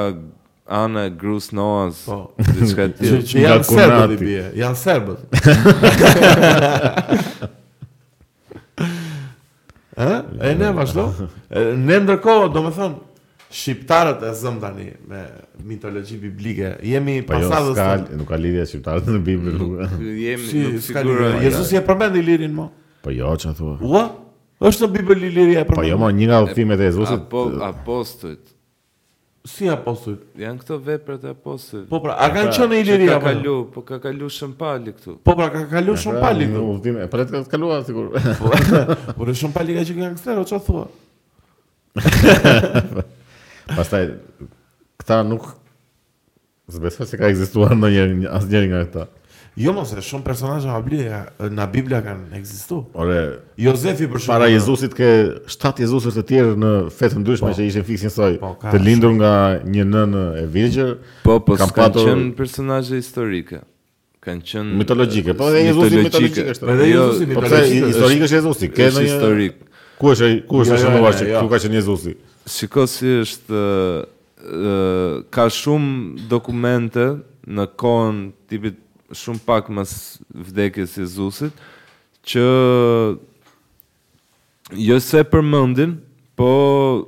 [SPEAKER 3] ana e gruas Noas.
[SPEAKER 2] Po.
[SPEAKER 3] Diçka e
[SPEAKER 2] Që,
[SPEAKER 3] tillë.
[SPEAKER 2] që
[SPEAKER 1] Nga
[SPEAKER 2] janë serbët i
[SPEAKER 1] Konati.
[SPEAKER 2] bje, janë serbët. e? Eh? E ne vazhdo? E, Ne ndërkohë, do me thonë, shqiptarët e zëm tani me mitologji biblike, jemi
[SPEAKER 1] Po jo,
[SPEAKER 2] pasadës
[SPEAKER 1] s'ka,
[SPEAKER 2] tonë.
[SPEAKER 1] nuk ka lidhje shqiptarët në Bibël.
[SPEAKER 3] Jemi
[SPEAKER 2] Si,
[SPEAKER 3] nuk
[SPEAKER 2] s'ka
[SPEAKER 3] siguroj.
[SPEAKER 2] lidhje. Jezusi e përmend Ilirin mo.
[SPEAKER 1] Po jo, çfarë thua?
[SPEAKER 2] Ua? Është në Bibël Iliria e
[SPEAKER 1] Po jo,
[SPEAKER 2] përmend.
[SPEAKER 1] më një nga udhimet e Jezusit.
[SPEAKER 3] Apo, apostujt.
[SPEAKER 2] Si apostull?
[SPEAKER 3] Janë këto veprat e apostujt.
[SPEAKER 2] Po pra, a kanë
[SPEAKER 1] pra,
[SPEAKER 2] qenë në
[SPEAKER 3] Që
[SPEAKER 2] Iliri
[SPEAKER 3] ka
[SPEAKER 2] apo? jo?
[SPEAKER 3] kalu, po ka kalu shëmpali këtu.
[SPEAKER 2] Po pra, ka kalu shumë pali
[SPEAKER 1] Në
[SPEAKER 2] këtu.
[SPEAKER 1] udhime, po le të kaluam sigur.
[SPEAKER 2] Por është shumë pali ka që gangster, o çfarë thua?
[SPEAKER 1] Pastaj këta nuk zbesoj se ka ekzistuar ndonjëherë një- asnjëri nga këta.
[SPEAKER 2] Jo mos, e shumë personazhe nga Bibla, në Bibla kanë ekzistuar.
[SPEAKER 1] Ore,
[SPEAKER 2] Jozefi për shembull.
[SPEAKER 1] Para Jezusit ke 7 Jezusës të tjerë në fetë ndryshme
[SPEAKER 2] Po.
[SPEAKER 1] që ishin fiksin soj.
[SPEAKER 2] Po, ka
[SPEAKER 1] të lindur nga një nënë e virgjër,
[SPEAKER 3] Po, po,
[SPEAKER 1] Kam
[SPEAKER 3] s'kanë
[SPEAKER 1] patur-
[SPEAKER 3] qenë personazhe historike. Kanë qenë... jo,
[SPEAKER 1] Mitologjike, po edhe Jezusi mitologjik është.
[SPEAKER 2] Po edhe Jezusi
[SPEAKER 1] po
[SPEAKER 2] mitologjik
[SPEAKER 1] pse
[SPEAKER 2] është-
[SPEAKER 1] historik është Jezusi? Ke
[SPEAKER 3] është
[SPEAKER 1] ndonjë
[SPEAKER 3] historik.
[SPEAKER 1] Ku është ai- ku është
[SPEAKER 2] Jo, jo,
[SPEAKER 1] shënuar
[SPEAKER 2] jo,
[SPEAKER 1] që
[SPEAKER 2] jo.
[SPEAKER 1] ku ka qenë Jezusi?
[SPEAKER 3] Shiko si është ë, ë, ka shumë dokumente në kohën tipit shumë pak mas vdekjes së Jezusit që jo se përmendin, po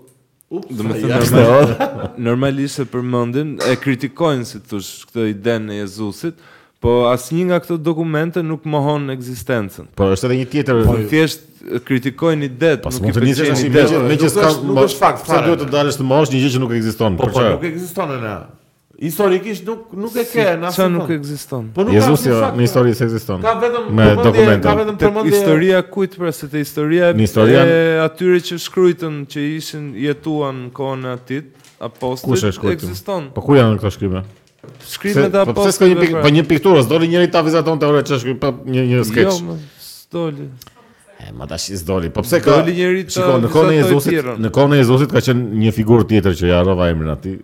[SPEAKER 3] do të
[SPEAKER 2] ja,
[SPEAKER 3] thënë normal, normalisht se përmendin, e kritikojnë si thosh këtë idenë e Jezusit, po asnjë nga këto dokumente nuk mohon ekzistencën.
[SPEAKER 1] Po është edhe një tjetër.
[SPEAKER 3] Po thjesht kritikojnë idet,
[SPEAKER 1] Pas
[SPEAKER 3] nuk
[SPEAKER 1] mund
[SPEAKER 3] i
[SPEAKER 1] të nisësh tash
[SPEAKER 3] pëlqejnë idet.
[SPEAKER 1] me që
[SPEAKER 2] ideja.
[SPEAKER 1] me që
[SPEAKER 2] Nuk
[SPEAKER 1] s'ka
[SPEAKER 2] është- nuk
[SPEAKER 1] ma-
[SPEAKER 2] është fakt
[SPEAKER 1] Pse
[SPEAKER 2] fare.
[SPEAKER 1] duhet të dalësh të mohosh një gjë që nuk ekziston?
[SPEAKER 2] Po,
[SPEAKER 1] Për
[SPEAKER 2] po
[SPEAKER 1] çfarë?
[SPEAKER 2] nuk ekziston në. Historikisht nuk nuk e ke në
[SPEAKER 3] Sa
[SPEAKER 2] asnjë
[SPEAKER 3] nuk
[SPEAKER 2] fund.
[SPEAKER 3] ekziston.
[SPEAKER 2] Po nuk ka
[SPEAKER 1] Jezusi
[SPEAKER 2] asnjë
[SPEAKER 1] jo,
[SPEAKER 2] fakt,
[SPEAKER 1] në histori se ekziston.
[SPEAKER 2] Ka vetëm
[SPEAKER 1] me
[SPEAKER 2] përmendje-
[SPEAKER 1] dokumenta.
[SPEAKER 2] Ka vetëm
[SPEAKER 3] Te
[SPEAKER 2] përmendje.
[SPEAKER 3] historia kujt pra se te historia
[SPEAKER 1] Në historian-
[SPEAKER 3] e atyre që shkrujtën që ishin jetuan në kohën e atit
[SPEAKER 1] Kush e
[SPEAKER 3] apostujt
[SPEAKER 1] shkruajti?
[SPEAKER 3] ekziston.
[SPEAKER 1] Po ku janë këto shkrimë? Se-
[SPEAKER 3] Shkrimet e pra.
[SPEAKER 1] Po pse s'ka një
[SPEAKER 3] apostujve.
[SPEAKER 1] pik- po një pikturë, s'doli njëri ta vizatonte ore ç'është ky, po një një
[SPEAKER 3] Jo,
[SPEAKER 1] sketch.
[SPEAKER 3] më s'doli.
[SPEAKER 1] E, ma tash i s'doli. Po pse ka?
[SPEAKER 3] Doli njëri ta
[SPEAKER 1] Shiko, në kohën e
[SPEAKER 3] vizatoi
[SPEAKER 1] Jezusit,
[SPEAKER 3] tjerën.
[SPEAKER 1] në kohën e Jezusit ka qenë një figurë tjetër që ja harrova emrin atij.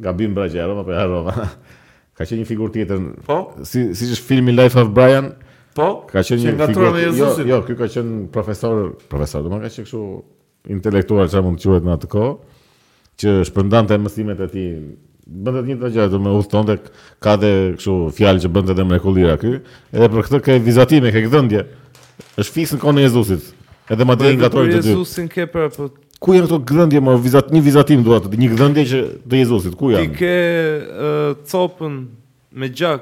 [SPEAKER 1] Gabim bra që ja harrova, po ja harrova. Ka qenë një figurë tjetër.
[SPEAKER 2] Po,
[SPEAKER 1] Si siç është filmi Life of Brian,
[SPEAKER 2] po.
[SPEAKER 1] ka qenë
[SPEAKER 2] Që
[SPEAKER 1] një
[SPEAKER 2] nga
[SPEAKER 1] figurë.
[SPEAKER 2] truran e
[SPEAKER 1] Jo,
[SPEAKER 2] Jezusit.
[SPEAKER 1] jo, ky ka qenë profesor, profesor, domethënë ka qenë kështu intelektual çfarë mund të quhet në atë kohë, që shpërndante mësimet e tij. Bënte të njëjtë gjë, do me udhtonte ka dhe kështu fjalë që bënte edhe mrekullira ky, edhe për këtë ke vizatime, ke gdhëndje. Është fiks në kohën e Jezusit. Edhe madje Po, i ngatrojnë të dy.
[SPEAKER 3] Jezusin ke pra po
[SPEAKER 1] Ku janë këto gdhëndje më vizat, një vizatim duhet, një gdhëndje që të Jezusit, ku
[SPEAKER 3] ti
[SPEAKER 1] janë?
[SPEAKER 3] ke e, copën me gjak.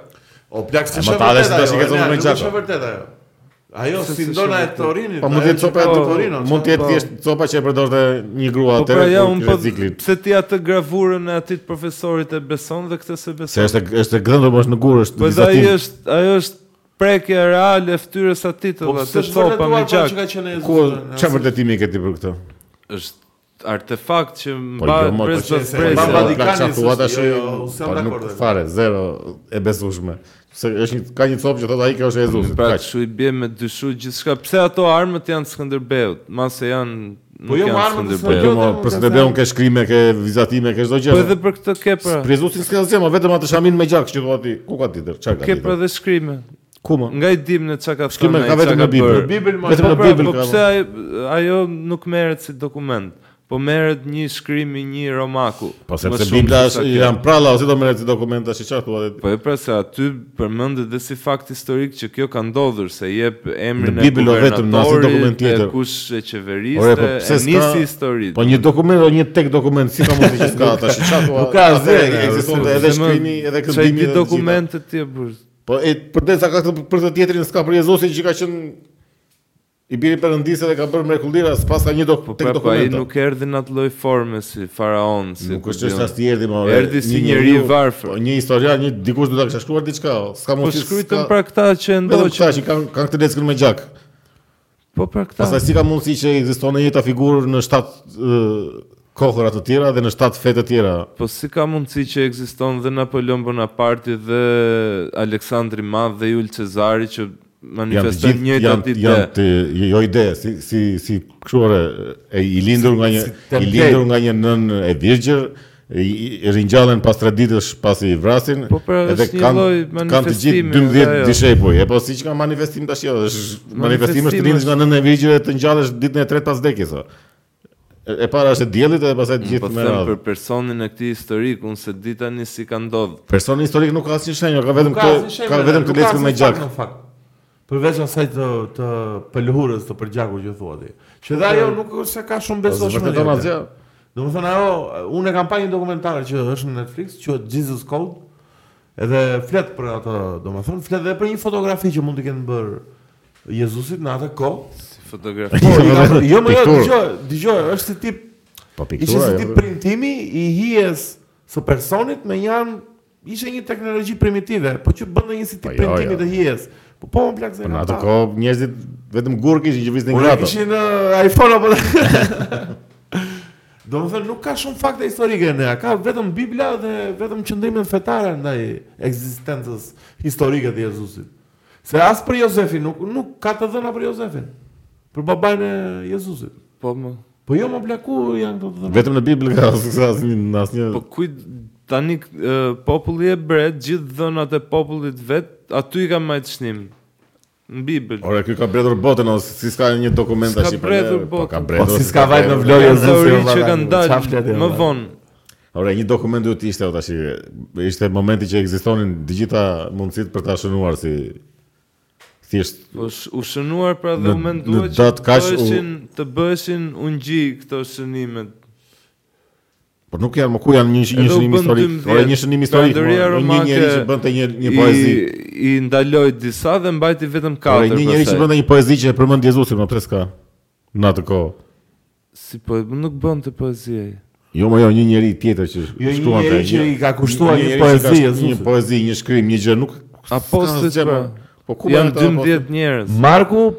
[SPEAKER 2] O plak
[SPEAKER 1] E,
[SPEAKER 2] si
[SPEAKER 1] ma
[SPEAKER 2] është
[SPEAKER 1] ta
[SPEAKER 2] vërtet
[SPEAKER 1] dhe se tash i ke
[SPEAKER 2] ajo,
[SPEAKER 1] thonë
[SPEAKER 2] Enea,
[SPEAKER 1] me
[SPEAKER 2] nuk
[SPEAKER 1] Gjako.
[SPEAKER 2] Është vërtet ajo. Ajo
[SPEAKER 3] Se
[SPEAKER 2] si
[SPEAKER 3] s'është
[SPEAKER 2] ndona e
[SPEAKER 3] vërtet.
[SPEAKER 2] Torinit.
[SPEAKER 1] Po mund të jetë copa
[SPEAKER 3] po,
[SPEAKER 1] e
[SPEAKER 2] Torino.
[SPEAKER 1] mund të jetë
[SPEAKER 3] po.
[SPEAKER 1] thjesht copa që e përdorte një grua
[SPEAKER 3] Po
[SPEAKER 1] atë
[SPEAKER 3] pra ja un po
[SPEAKER 1] rreciklit.
[SPEAKER 3] pse ti atë gravurën e atit profesorit e beson dhe këtë se
[SPEAKER 1] Se
[SPEAKER 3] beson.
[SPEAKER 1] është është e gdhëndër, po është në gurë, është
[SPEAKER 3] Po dhe
[SPEAKER 1] vizatim.
[SPEAKER 3] ajo është ajo është prekja reale e fytyrës atit
[SPEAKER 2] Po
[SPEAKER 3] edhe
[SPEAKER 2] pse
[SPEAKER 3] të
[SPEAKER 2] është
[SPEAKER 3] copa me
[SPEAKER 2] vërtetuar
[SPEAKER 3] gjak.
[SPEAKER 2] që ka qenë Jezusi?
[SPEAKER 1] Ku çfarë vërtetimi ke ti për këtë?
[SPEAKER 3] është artefakt që
[SPEAKER 1] Po
[SPEAKER 3] mba
[SPEAKER 1] jo, mo,
[SPEAKER 3] pres
[SPEAKER 2] po
[SPEAKER 3] do
[SPEAKER 2] që
[SPEAKER 3] të
[SPEAKER 2] se
[SPEAKER 3] pres.
[SPEAKER 2] mba
[SPEAKER 1] Se,
[SPEAKER 2] Vatikani
[SPEAKER 1] plak, çfarë
[SPEAKER 2] s'është,
[SPEAKER 1] thua tash?
[SPEAKER 2] jo, jo, s'jam
[SPEAKER 1] po,
[SPEAKER 2] dakord,
[SPEAKER 1] nuk
[SPEAKER 2] edhe.
[SPEAKER 1] Fare, zero e besueshme. Se është një ka një copë që thotë ai kjo është e Jezusit.
[SPEAKER 3] Pra
[SPEAKER 1] kaq.
[SPEAKER 3] shu i bje me dyshu gjithçka. Pse ato armët janë Skënderbeut? Ma se janë
[SPEAKER 2] Po
[SPEAKER 3] nuk
[SPEAKER 2] jo,
[SPEAKER 3] janë
[SPEAKER 2] armët e
[SPEAKER 1] Po
[SPEAKER 3] Skënderbeut.
[SPEAKER 1] jo, mo,
[SPEAKER 2] nuk
[SPEAKER 1] për
[SPEAKER 2] ka
[SPEAKER 1] se të
[SPEAKER 2] se-
[SPEAKER 1] bëun ke shkrime, ke vizatime, ke çdo gjë.
[SPEAKER 3] Po
[SPEAKER 1] mo.
[SPEAKER 3] edhe për këtë ke pra.
[SPEAKER 1] Për Jezusin s'ka asgjë, mo, vetëm atë shamin me gjak që thua ti. Ku ka tjetër? Çfarë ka
[SPEAKER 3] Ke
[SPEAKER 1] tjetër?
[SPEAKER 3] pra dhe shkrime.
[SPEAKER 1] Ku mo?
[SPEAKER 3] Nga i dim në çka ka thënë.
[SPEAKER 1] Shkrime
[SPEAKER 3] ai,
[SPEAKER 1] ka
[SPEAKER 3] çka
[SPEAKER 1] vetëm në Bibël.
[SPEAKER 3] bërë.
[SPEAKER 2] Bibël, mo,
[SPEAKER 1] vetëm
[SPEAKER 3] Po
[SPEAKER 1] në
[SPEAKER 3] pra,
[SPEAKER 1] Bibël
[SPEAKER 3] po
[SPEAKER 1] ka.
[SPEAKER 3] pse
[SPEAKER 1] mo.
[SPEAKER 3] ajo- ajo nuk merret si dokument? Po merret një shkrim i një romaku.
[SPEAKER 1] Po
[SPEAKER 3] Më
[SPEAKER 1] sepse
[SPEAKER 3] shumë
[SPEAKER 1] Bibla
[SPEAKER 3] se sa
[SPEAKER 1] është
[SPEAKER 3] kjo.
[SPEAKER 1] janë pralla ose do merret si dokumenta, si çfarë thua ti?
[SPEAKER 3] Po e pra se aty përmendet dhe si fakt historik që kjo ka ndodhur se jep emrin
[SPEAKER 1] Në
[SPEAKER 3] e
[SPEAKER 1] Bibël o vetëm, në asnjë dokument
[SPEAKER 3] guvernatorit,
[SPEAKER 1] tjetër.
[SPEAKER 3] e kush e
[SPEAKER 1] Ore,
[SPEAKER 3] qeveriste,
[SPEAKER 1] po pse
[SPEAKER 3] e
[SPEAKER 1] s'ka-
[SPEAKER 3] nisi historit.
[SPEAKER 1] Po një dokument o një tek dokument, si ka mundësi që s'ka tash çfarë thua?
[SPEAKER 2] Nuk ka asgjë,
[SPEAKER 1] Atëherë, ekziston
[SPEAKER 3] Se
[SPEAKER 1] edhe
[SPEAKER 3] më-
[SPEAKER 1] shkrimi, edhe këndimi.
[SPEAKER 3] çaj
[SPEAKER 1] edhe
[SPEAKER 3] di
[SPEAKER 1] të gjitha.
[SPEAKER 3] dokumentet ti e bërë.
[SPEAKER 1] Po e përderisa ka këtë për të tjetrin s'ka për Jezusin që ka qenë i biri perëndisë dhe ka bërë mrekullira, s'pas ka një dok
[SPEAKER 3] Po
[SPEAKER 1] tek
[SPEAKER 3] pra pa i
[SPEAKER 1] dokumenta.
[SPEAKER 3] nuk erdi në atë lloj forme si faraon, si
[SPEAKER 1] Nuk është
[SPEAKER 3] kush
[SPEAKER 1] çështja
[SPEAKER 3] diun.
[SPEAKER 1] si erdhi më orë.
[SPEAKER 3] Erdhi si njeri i varfër.
[SPEAKER 1] Po një historian, një dikush do ta kishte shkruar diçka, o, s'ka
[SPEAKER 3] Po
[SPEAKER 1] mundësi.
[SPEAKER 3] shkruajtën
[SPEAKER 1] s'ka-
[SPEAKER 3] pra këta që
[SPEAKER 1] Vetëm këta
[SPEAKER 3] ndoqën.
[SPEAKER 1] që kanë kanë këtë leckën me gjak.
[SPEAKER 3] Po pra këta.
[SPEAKER 1] Pastaj si ka mundësi që ekziston e njëjta figurë në 7 kohëra të tjera dhe në 7 fe të tjera.
[SPEAKER 3] Po si ka mundësi që ekziston dhe Napoleon Bonaparte dhe Aleksandri i Madh dhe Jul Cezari që
[SPEAKER 1] Janë të
[SPEAKER 3] manifestojnë
[SPEAKER 1] gjithë
[SPEAKER 3] një
[SPEAKER 1] janë
[SPEAKER 3] ditë.
[SPEAKER 1] janë të jo ide si si si këshuare e i lindur nga një
[SPEAKER 2] Si- si
[SPEAKER 1] i lindur
[SPEAKER 2] template.
[SPEAKER 1] nga një nën e virgjër i i- ringjallen pas 3 ditësh pasi i vrasin
[SPEAKER 3] Po, pra, është një lloj
[SPEAKER 1] kanë të gjithë
[SPEAKER 3] manifestimi,
[SPEAKER 1] 12
[SPEAKER 3] ajo.
[SPEAKER 1] dishepuj e po siç ka manifestim tash jo është manifestim është të lindesh nga nëna e virgjër e të ngjallesh ditën e tretë pas vdekjes o. E- e para është e diellit edhe pastaj të
[SPEAKER 3] Po
[SPEAKER 1] gjithë me
[SPEAKER 3] them
[SPEAKER 1] radhë
[SPEAKER 3] për personin e këtij historik, unë se di tani si ka ndodhur.
[SPEAKER 1] personi historik nuk ka asnjë shenjë ka vetëm
[SPEAKER 2] Nuk
[SPEAKER 1] këtë
[SPEAKER 2] asnjë
[SPEAKER 1] ka
[SPEAKER 2] shemë,
[SPEAKER 1] vetëm
[SPEAKER 2] nuk
[SPEAKER 1] këtë leckën
[SPEAKER 2] asnjë
[SPEAKER 1] me
[SPEAKER 2] fakt,
[SPEAKER 1] gjak
[SPEAKER 2] në fakt. Përveç asaj të të pëlhurës të përgjakut që thua ti. Që dhe ajo nuk është se ka shumë
[SPEAKER 1] Po,
[SPEAKER 2] besoshmëri.
[SPEAKER 1] vërteton
[SPEAKER 2] atë.
[SPEAKER 1] asgjë
[SPEAKER 2] Do më thënë ajo, unë e kam pa një dokumentar që është në Netflix, që Jesus Code, edhe flet për atë, do më thënë, flet dhe për një fotografi që mund të kenë bërë Jezusit në atë kohë.
[SPEAKER 3] Si fotografi.
[SPEAKER 2] Po, i ka- jo më jo,
[SPEAKER 1] Pikturë.
[SPEAKER 2] dëgjoj, dëgjoj, është si tip,
[SPEAKER 1] po
[SPEAKER 2] ishte
[SPEAKER 1] piktura
[SPEAKER 2] si
[SPEAKER 1] jo.
[SPEAKER 2] tip printimi i hijes së personit me janë, ishte një teknologji primitive, po që bëndë një si
[SPEAKER 1] Po,
[SPEAKER 2] tip
[SPEAKER 1] jo, jo.
[SPEAKER 2] printimi të hijes. Po po më plak se
[SPEAKER 1] Po në
[SPEAKER 2] nga
[SPEAKER 1] atë
[SPEAKER 2] ta.
[SPEAKER 1] kohë njerëzit vetëm gurë kishin që viznin
[SPEAKER 2] Ora
[SPEAKER 1] gratë.
[SPEAKER 2] kishin uh, iPhone apo Do më thënë nuk ka shumë fakte historike ne, ka vetëm Bibla dhe vetëm qëndrimin fetare ndaj ekzistencës historike të Jezusit. Se as për Jozefin nuk nuk ka të dhëna për Jozefin. Për babain e Jezusit.
[SPEAKER 3] Po më.
[SPEAKER 2] Po jo më plaku janë këto të dhëna.
[SPEAKER 1] Vetëm në Bibël ka asnjë asnjë.
[SPEAKER 3] Po kujt tani e, populli e bret, gjithë dhënat e popullit vet, aty i ka majtë shnim. Në Bibël.
[SPEAKER 1] Ora ky ka bredhur botën ose si s'ka një dokument
[SPEAKER 3] S'ka
[SPEAKER 1] tash i për ne,
[SPEAKER 3] bredhur
[SPEAKER 1] po, Ka
[SPEAKER 3] botën.
[SPEAKER 1] bredhur. jo
[SPEAKER 2] Po, si s'ka vajt në vlorë.
[SPEAKER 3] Ka
[SPEAKER 2] Jezusi,
[SPEAKER 3] teori
[SPEAKER 2] valla,
[SPEAKER 3] që kanë
[SPEAKER 2] qa
[SPEAKER 3] dalë
[SPEAKER 2] flet e
[SPEAKER 3] më
[SPEAKER 2] valla.
[SPEAKER 3] vonë.
[SPEAKER 1] Ora, një dokument duhet ishte o tash, ishte momenti që ekzistonin të gjitha mundësitë për ta shënuar si thjesht
[SPEAKER 3] Po sh- u shënuar pra dhe
[SPEAKER 1] Në-
[SPEAKER 3] u
[SPEAKER 1] në
[SPEAKER 3] mendua që
[SPEAKER 1] datë
[SPEAKER 3] të
[SPEAKER 1] kaq u-
[SPEAKER 3] bëheshin, të bëheshin ungji këto shënimet.
[SPEAKER 1] Por po nuk janë, më ku janë një, një
[SPEAKER 3] Edhe u
[SPEAKER 1] shënim
[SPEAKER 3] bën
[SPEAKER 1] historik.
[SPEAKER 3] 12.
[SPEAKER 1] Ora, një shënim historik.
[SPEAKER 3] Kalendaria
[SPEAKER 1] mo, Një
[SPEAKER 3] romake
[SPEAKER 1] njeri që bënte një një poezi.
[SPEAKER 3] I, i ndaloj disa dhe mbajti vetëm
[SPEAKER 1] Ora,
[SPEAKER 3] katër.
[SPEAKER 1] një njeri që
[SPEAKER 3] pastaj.
[SPEAKER 1] bënte një poezi që e përmend Jezusin, më pse s'ka në atë kohë.
[SPEAKER 3] si po nuk bënte poezi. ai.
[SPEAKER 1] Jo, më jo, një njeri tjetër që
[SPEAKER 2] Jo, një
[SPEAKER 1] shkruante,
[SPEAKER 2] njeri që
[SPEAKER 1] një-
[SPEAKER 2] i ka kushtuar një
[SPEAKER 1] njeri që ka
[SPEAKER 2] poezi,
[SPEAKER 1] shkruar
[SPEAKER 2] Jezusit.
[SPEAKER 1] një poezi, një shkrim, një gjë, nuk s'ka
[SPEAKER 3] Apostët
[SPEAKER 1] asgjë,
[SPEAKER 3] pra.
[SPEAKER 1] po. Po ku
[SPEAKER 3] Janë
[SPEAKER 1] janë këta
[SPEAKER 3] 12 njerëz.
[SPEAKER 2] Marku,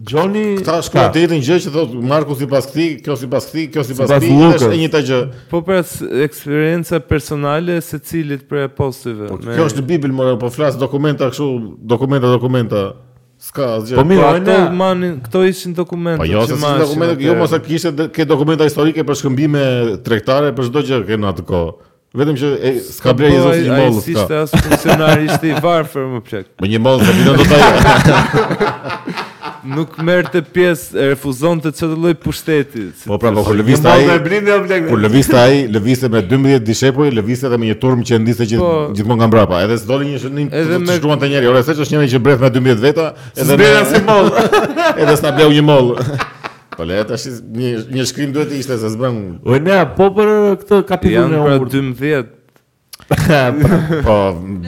[SPEAKER 2] Gjoni,
[SPEAKER 1] Ta shkruan të njëjtën gjë që thot Marku sipas këtij, kjo sipas këtij, kjo sipas
[SPEAKER 2] Sipas
[SPEAKER 1] këtij, dhe është
[SPEAKER 2] Lukës.
[SPEAKER 1] e njëjta gjë.
[SPEAKER 3] Po pra s- eksperienca personale se cilit për apostëve.
[SPEAKER 1] Po kjo është në Bibël, more, po flas dokumenta kështu, dokumenta, dokumenta. S'ka asgjë.
[SPEAKER 2] Po
[SPEAKER 3] Po
[SPEAKER 2] mirë,
[SPEAKER 3] ato
[SPEAKER 2] ojna.
[SPEAKER 3] manin, këto ishin dokumente.
[SPEAKER 1] Po jo, se si dokumenta, jo mos e kishte de- ke dokumenta historike për shkëmbime tregtare për çdo gjë që në atë kohë. Vetëm që e, s'ka blerë Jezusi një mollë,
[SPEAKER 3] Si ishte
[SPEAKER 1] s'ka.
[SPEAKER 3] Po, as funksionar ishte i varfër më plak.
[SPEAKER 1] Po një mollë se bidon do ta jap.
[SPEAKER 3] Nuk merrte pjesë, e refuzonte çdo lloj pushteti. Si-
[SPEAKER 1] Po pra, po kur
[SPEAKER 2] Një
[SPEAKER 1] lëvizte ai,
[SPEAKER 2] mund e blinde o blek.
[SPEAKER 1] kur lëvizte ai, lëvizte me 12 dishepuj, lëvizte edhe me një turm që ndiste që
[SPEAKER 3] Po.
[SPEAKER 1] gjithmonë nga mbrapa. Edhe s'doli një shënim
[SPEAKER 3] Edhe
[SPEAKER 1] të
[SPEAKER 3] me-
[SPEAKER 1] shkruante njëri. Ora, s'është është njëri që breth me 12 veta, edhe
[SPEAKER 2] Zbera si moll.
[SPEAKER 1] Edhe s'na bleu një moll. Po le tash një një shkrim duhet ishte se s'bën.
[SPEAKER 2] Ojna, po për këtë kapitullin
[SPEAKER 3] janë
[SPEAKER 2] e Pra,
[SPEAKER 3] pra
[SPEAKER 2] umbur.
[SPEAKER 3] 12.
[SPEAKER 1] Po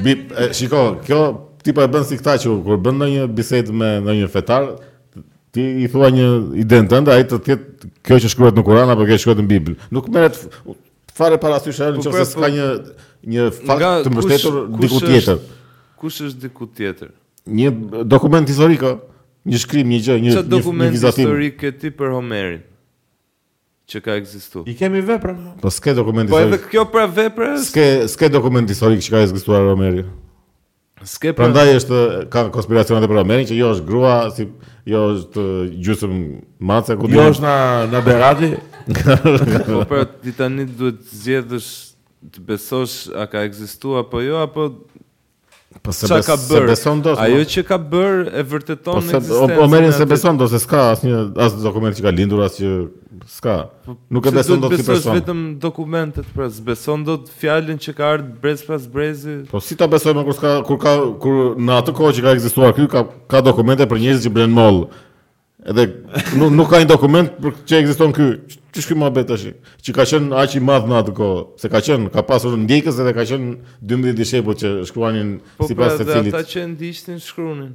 [SPEAKER 1] bi, e, shiko, kjo tipa e bën si këta që kur bën ndonjë bisedë me ndonjë fetar, ti i thua një idenë tënde, ai të tjetë kjo që shkruhet në Kur'an apo kjo që shkruhet në Bibël. Nuk merret f- fare parasysh në
[SPEAKER 3] Po,
[SPEAKER 1] nëse
[SPEAKER 3] pra, po,
[SPEAKER 1] s'ka një një fakt
[SPEAKER 3] Nga
[SPEAKER 1] të
[SPEAKER 3] kush-
[SPEAKER 1] mbështetur
[SPEAKER 3] kush
[SPEAKER 1] diku
[SPEAKER 3] është-
[SPEAKER 1] tjetër.
[SPEAKER 3] Kush është diku tjetër?
[SPEAKER 1] Një dokument historik, ë, një shkrim, një gjë, një një,
[SPEAKER 3] Çfarë
[SPEAKER 1] një
[SPEAKER 3] dokument
[SPEAKER 1] vizatim.
[SPEAKER 3] historik ke ti për Homerin? Që ka ekzistuar.
[SPEAKER 2] I kemi veprën.
[SPEAKER 1] Po s'ke dokument
[SPEAKER 3] Po edhe
[SPEAKER 1] historik.
[SPEAKER 3] kjo pra vepra është?
[SPEAKER 1] S'ke s'ke dokument historik që ka ekzistuar Romeri.
[SPEAKER 3] S'ke pra.
[SPEAKER 1] Prandaj është ka konspiracionet e për Amerin që jo është grua, si jo është gjysmë mace ku
[SPEAKER 2] Jo është na na Berati.
[SPEAKER 3] Po pra ti tani duhet të zgjedhësh të besosh a ka ekzistuar apo jo apo
[SPEAKER 1] po se,
[SPEAKER 3] çka
[SPEAKER 1] bes,
[SPEAKER 3] ka
[SPEAKER 1] se
[SPEAKER 3] bërë.
[SPEAKER 1] beson do.
[SPEAKER 3] Ajo që ka bërë e vërteton
[SPEAKER 1] po se
[SPEAKER 3] ekzistencën.
[SPEAKER 1] o- Omerin
[SPEAKER 3] e
[SPEAKER 1] se
[SPEAKER 3] atij.
[SPEAKER 1] beson do se s'ka asnjë as dokument që ka lindur as që s'ka. Nuk e
[SPEAKER 3] Pse
[SPEAKER 1] beson
[SPEAKER 3] Po, duhet
[SPEAKER 1] dot si
[SPEAKER 3] besosh
[SPEAKER 1] person.
[SPEAKER 3] vetëm dokumentet, pra s'beson dot fjalën që ka ardhur brez pas brezi.
[SPEAKER 1] Po si ta besojmë kur s'ka kur ka kur në atë kohë që ka ekzistuar ky ka ka dokumente për njerëz që blen moll. Edhe nuk, nuk ka një dokument për që ekziston ky. Ç'është ky mohabet tash? Që ka qenë aq i madh në atë kohë, se ka qenë, ka pasur ndjekës edhe ka qenë 12 dishepull që shkruanin
[SPEAKER 3] Po pra
[SPEAKER 1] sipas
[SPEAKER 3] dhe
[SPEAKER 1] secilit.
[SPEAKER 3] ata që e ndiqnin shkruanin.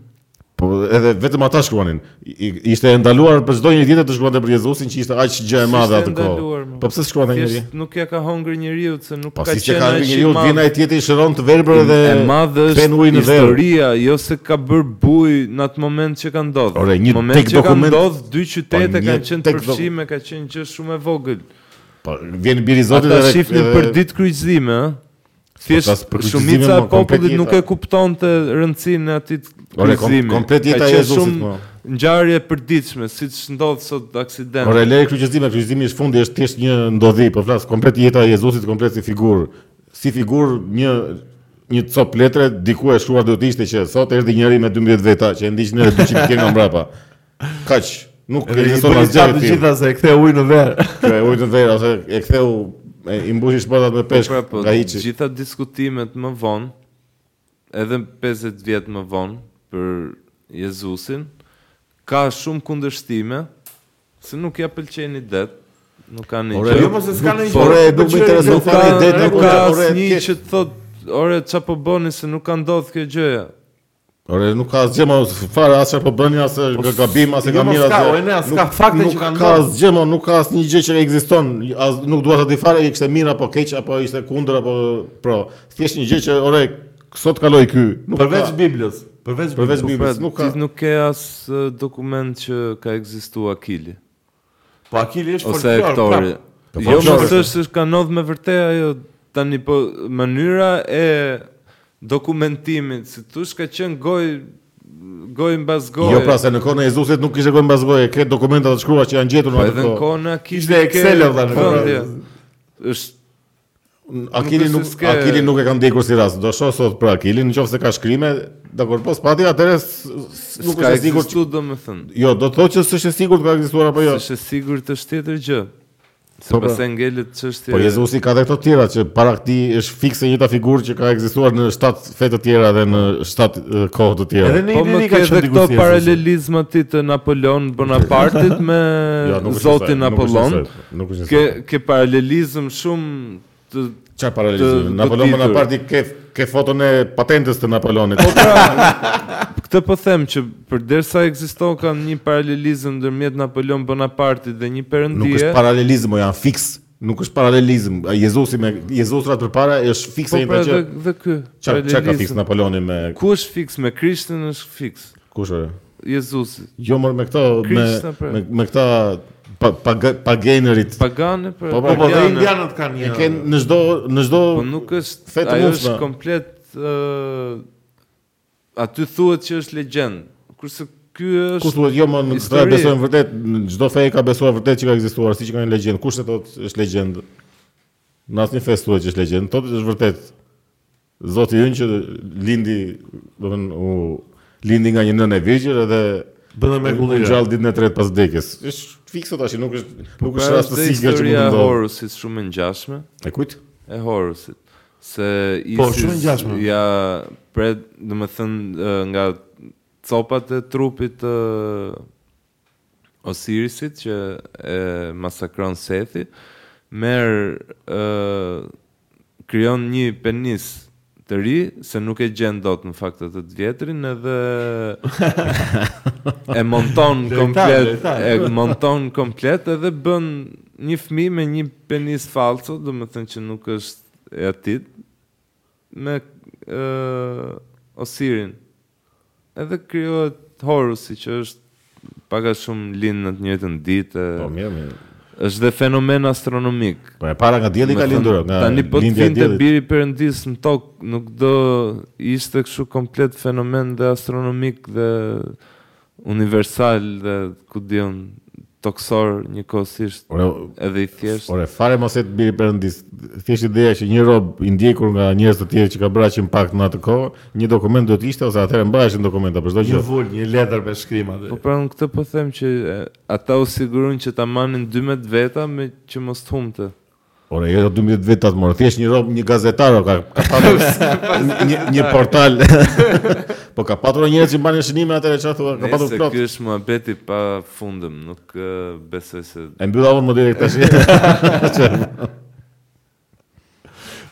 [SPEAKER 1] Po edhe vetëm ata shkruanin. I, i- ishte e ndaluar për çdo një tjetër të shkruante për Jezusin që ishte aq gjë e madhe
[SPEAKER 3] S'ishte
[SPEAKER 1] atë kohë.
[SPEAKER 3] ndaluar, mo.
[SPEAKER 1] Po pse shkruante njëri?
[SPEAKER 3] Thjesht nuk ja ka hungër njeriu se nuk
[SPEAKER 1] Po
[SPEAKER 3] ka
[SPEAKER 1] si që
[SPEAKER 3] qenë
[SPEAKER 1] ka
[SPEAKER 3] aq i
[SPEAKER 1] njeriu
[SPEAKER 3] madh.
[SPEAKER 1] vjen ai tjetri i shëron të verbër dhe
[SPEAKER 3] e madhe
[SPEAKER 1] kthen
[SPEAKER 3] është
[SPEAKER 1] ujin në verë.
[SPEAKER 3] historia, jo se ka bër buj në atë moment që ka ndodhur.
[SPEAKER 1] Ore, një
[SPEAKER 3] moment
[SPEAKER 1] tek
[SPEAKER 3] që
[SPEAKER 1] dokument-
[SPEAKER 3] ka ndodhur dy qytete
[SPEAKER 1] Po, një
[SPEAKER 3] kanë qenë
[SPEAKER 1] tek
[SPEAKER 3] përfshime, ka qenë gjë shumë e vogël.
[SPEAKER 1] Po vjen biri i Zotit
[SPEAKER 3] Ata shifnin për ditë kryqëzime, ëh.
[SPEAKER 1] tas
[SPEAKER 3] Thjesht
[SPEAKER 1] për kryqëzime,
[SPEAKER 3] shumica e
[SPEAKER 1] mo, komplet
[SPEAKER 3] popullit nuk
[SPEAKER 1] jeta.
[SPEAKER 3] e kuptonte rëndësinë e atij
[SPEAKER 1] Ore, kom-
[SPEAKER 3] kryqëzimi.
[SPEAKER 1] komplet jeta e Jezusit, po. mo.
[SPEAKER 3] ngjarje e përditshme, siç ndodh sot aksident.
[SPEAKER 1] Ora lej kryqëzime, kryqëzimi është fundi, është thjesht një ndodhi, po flas komplet jeta e Jezusit, komplet si figurë. Si figurë një një cop letre diku e shkruar do të ishte që sot erdhi njëri me 12 veta që e ndiqnin edhe 200 km nga mbrapa. Kaq, nuk
[SPEAKER 2] Dhe i
[SPEAKER 1] ekziston
[SPEAKER 2] bëri
[SPEAKER 1] asgjë
[SPEAKER 2] sa të
[SPEAKER 1] këtu.
[SPEAKER 2] gjitha se e kthe ujë në verë.
[SPEAKER 1] Kjo e ujtë në verë, ose e ktheu e, i mbushi shpatat me peshk
[SPEAKER 3] Pra, po,
[SPEAKER 1] nga hiçi.
[SPEAKER 3] gjitha diskutimet më vonë, edhe 50 vjet më vonë për Jezusin, ka shumë kundërshtime se nuk ja pëlqen idet, nuk ka një.
[SPEAKER 1] Ore,
[SPEAKER 3] gjë.
[SPEAKER 1] jo,
[SPEAKER 2] mos e s'ka
[SPEAKER 3] Nuk-
[SPEAKER 2] ndonjë
[SPEAKER 3] po,
[SPEAKER 1] Ore, nuk më intereson
[SPEAKER 3] Nuk ka,
[SPEAKER 1] fare ideja,
[SPEAKER 3] nuk
[SPEAKER 1] nuk
[SPEAKER 3] ka
[SPEAKER 1] ore,
[SPEAKER 3] asnjë
[SPEAKER 1] thjesht-
[SPEAKER 3] që të thot, ore ç'a po bëni se nuk ka ndodhur kjo gjëja.
[SPEAKER 1] Ore, nuk ka asgjë më fare as çfarë po bëni, as ka gabim, as e
[SPEAKER 2] jo,
[SPEAKER 1] ka
[SPEAKER 2] mos
[SPEAKER 1] mirë
[SPEAKER 2] ka,
[SPEAKER 1] asgjë.
[SPEAKER 2] ore, ne, as
[SPEAKER 1] Nuk-
[SPEAKER 2] ka fakte
[SPEAKER 1] nuk
[SPEAKER 2] që kanë
[SPEAKER 1] ka
[SPEAKER 2] ndodhur.
[SPEAKER 1] asgjë më, nuk ka asnjë gjë që ekziston. As nuk dua ta di fare e kishte mirë apo keq apo ishte kundër apo pro. Thjesht një gjë që ore sot kaloi ky. Nuk
[SPEAKER 2] Përveç
[SPEAKER 1] ka,
[SPEAKER 2] Biblës, Po, përveç
[SPEAKER 1] përveç
[SPEAKER 2] Biblës.
[SPEAKER 1] Biblës,
[SPEAKER 3] Pra,
[SPEAKER 1] nuk ka.
[SPEAKER 3] ti nuk ke as eh, dokument që ka ekzistuar Akili
[SPEAKER 2] Po Akili është
[SPEAKER 3] ose
[SPEAKER 2] folklor,
[SPEAKER 3] Hektori.
[SPEAKER 2] prap.
[SPEAKER 1] Po,
[SPEAKER 3] Jo,
[SPEAKER 1] folklor
[SPEAKER 3] mos
[SPEAKER 1] është.
[SPEAKER 3] është se ka ndodhur me vërtet ajo tani po mënyra e dokumentimit, si thosh ka qenë gojë gojë mbas goje.
[SPEAKER 1] Jo pra se në kohën e Jezusit nuk kishte gojë mbas goje, ke dokumenta të shkruara që janë gjetur
[SPEAKER 3] po
[SPEAKER 1] në
[SPEAKER 3] edhe
[SPEAKER 1] atë
[SPEAKER 3] në
[SPEAKER 1] kohë.
[SPEAKER 3] kohën e Akilit
[SPEAKER 2] Ishte
[SPEAKER 3] ke
[SPEAKER 2] Excel-o tani, po,
[SPEAKER 3] vëndje. Është
[SPEAKER 1] Akili
[SPEAKER 3] nuk
[SPEAKER 1] nuk
[SPEAKER 3] është se s'ke-
[SPEAKER 1] Akili nuk e ka ndjekur si rast. Do shoh sot për Akilin, nëse ka shkrime, dakor, po s'pati atëherë s- s- nuk
[SPEAKER 3] s'ka
[SPEAKER 1] është e sigurt.
[SPEAKER 3] ekzistuar domethënë.
[SPEAKER 1] Jo, do të thotë që s'është e sigurt ka ekzistuar apo jo.
[SPEAKER 3] Është e sigurt është tjetër gjë. Se
[SPEAKER 1] pra.
[SPEAKER 3] pastaj ngelet çështja.
[SPEAKER 1] Po Jezusi ka dhe këto tjera që para këtij është fikse njëta figurë që ka ekzistuar në 7 fe të tjera dhe në 7 kohë të tjera.
[SPEAKER 2] Edhe në
[SPEAKER 3] Po më
[SPEAKER 2] Itali
[SPEAKER 3] ke
[SPEAKER 2] ka
[SPEAKER 3] dhe
[SPEAKER 2] qenë
[SPEAKER 3] këto
[SPEAKER 2] diku si Jezusi.
[SPEAKER 3] paralelizma ti të Napoleon Bonapartit me
[SPEAKER 1] Jo, nuk është asaj, nuk
[SPEAKER 3] Zotin
[SPEAKER 1] është
[SPEAKER 3] Apollon.
[SPEAKER 1] asaj, Nuk është.
[SPEAKER 3] Ke
[SPEAKER 1] asaj.
[SPEAKER 3] ke paralelizëm shumë të
[SPEAKER 1] Çfarë paralizimi?
[SPEAKER 3] të-
[SPEAKER 1] Napoleon
[SPEAKER 3] të ditur. Po,
[SPEAKER 1] Bonaparte ke ke foton e patentës të Napoleonit.
[SPEAKER 3] pra, këtë po them që përderisa ekziston kanë një paralelizëm ndërmjet Napoleon Bonapartit dhe një
[SPEAKER 1] Nuk është
[SPEAKER 3] perëndie. po pra
[SPEAKER 1] paralelizëm, o janë fiks. Nuk është paralelizëm. A, Jezusi me Jezusrat përpara është fikse
[SPEAKER 3] Po pra
[SPEAKER 1] njëta që
[SPEAKER 3] dhe, dhe ky.
[SPEAKER 1] çka çka ka fiks
[SPEAKER 3] paralelizëm.
[SPEAKER 1] Napoleoni me
[SPEAKER 3] Ku është fiks me Krishtin është fiks.
[SPEAKER 1] kush ore?
[SPEAKER 3] Jezusi.
[SPEAKER 1] Jo mor me këto me
[SPEAKER 3] Krishna, pra.
[SPEAKER 1] me, me këta pa, pa, pagenerit.
[SPEAKER 3] Pagane për
[SPEAKER 1] Po, po,
[SPEAKER 2] Po po, dhe
[SPEAKER 3] pagane.
[SPEAKER 2] indianët kanë
[SPEAKER 1] E
[SPEAKER 2] një.
[SPEAKER 1] ken në çdo në çdo
[SPEAKER 3] Po nuk është
[SPEAKER 1] Fe të
[SPEAKER 3] ajo
[SPEAKER 1] mundshme.
[SPEAKER 3] është komplet ë aty thuhet që është legjend. Kurse ky
[SPEAKER 1] Kush
[SPEAKER 3] është
[SPEAKER 1] thuhet jo më në këtë
[SPEAKER 3] histori.
[SPEAKER 1] besojnë vërtet, në çdo fe e ka besuar vërtet që ka ekzistuar, siç ka një legjendë. Kush e thotë është legjendë? Në asnjë fe thuhet që është legjendë, thotë që është vërtet. Zoti ynë që lindi, domethënë u lindi nga një nënë e virgjër edhe
[SPEAKER 2] Bënë me
[SPEAKER 1] u
[SPEAKER 2] kullira.
[SPEAKER 1] gjallë ditën e tretë pas vdekjes. Është fikse tash, nuk është nuk
[SPEAKER 3] pra
[SPEAKER 1] është rast
[SPEAKER 3] është
[SPEAKER 1] të
[SPEAKER 3] dhe
[SPEAKER 1] sigurt që mund
[SPEAKER 3] historia
[SPEAKER 1] të
[SPEAKER 3] e
[SPEAKER 1] ndodhë.
[SPEAKER 3] Horusit shumë e ngjashme
[SPEAKER 1] E kujt?
[SPEAKER 3] e Horusit. Se Isis
[SPEAKER 2] Po, shumë e ngjashme.
[SPEAKER 3] ja pret, domethënë ë, nga copat e trupit të Osirisit që e masakron Sethi, merr ë krijon një penis të ri se nuk e gjen dot në fakt atë të vjetrin edhe e monton
[SPEAKER 2] Drejtar,
[SPEAKER 3] komplet
[SPEAKER 2] drejtar.
[SPEAKER 3] e monton komplet edhe bën një fëmijë me një penis falso, do të thënë që nuk është e atit me ë Osirin. Edhe krijohet Horusi që është pak a shumë lind në të njëjtën ditë.
[SPEAKER 1] Po mirë, mirë.
[SPEAKER 3] Është dhe fenomen astronomik.
[SPEAKER 1] Po e para nga dielli
[SPEAKER 3] Me
[SPEAKER 1] ka
[SPEAKER 3] thënë,
[SPEAKER 1] lindur, nga
[SPEAKER 3] Tani po të
[SPEAKER 1] lindja e
[SPEAKER 3] vinte
[SPEAKER 1] diellit.
[SPEAKER 3] biri perëndis në tokë, nuk do ishte kështu komplet fenomen dhe astronomik dhe universal dhe ku diun toksor njëkohësisht
[SPEAKER 1] Ore,
[SPEAKER 3] edhe i thjesht.
[SPEAKER 1] Ore, fare mos e të biri perëndis. Thjesht ideja që një rob i ndjekur nga njerëz të tjerë që ka braqim pakt në atë kohë, një dokument duhet ishte ose atëherë mbaheshin dokumenta për çdo
[SPEAKER 2] Një
[SPEAKER 1] gjë.
[SPEAKER 2] vull, një letër me shkrim atë.
[SPEAKER 3] Po pra në këtë po them që e, ata u sigurojnë që ta manin 12 veta me që mos të humte.
[SPEAKER 1] Ore, jo 12 vetat morë. Thjesht një rob, një gazetar o ka ka patur një, një portal. po ka patur njerëz që mbanin shënime atëherë çfarë thua? Ka patur
[SPEAKER 3] Nëse
[SPEAKER 1] plot.
[SPEAKER 3] ky është muhabeti pa fundëm, nuk e, besoj se
[SPEAKER 1] E mbylla unë më direkt tash.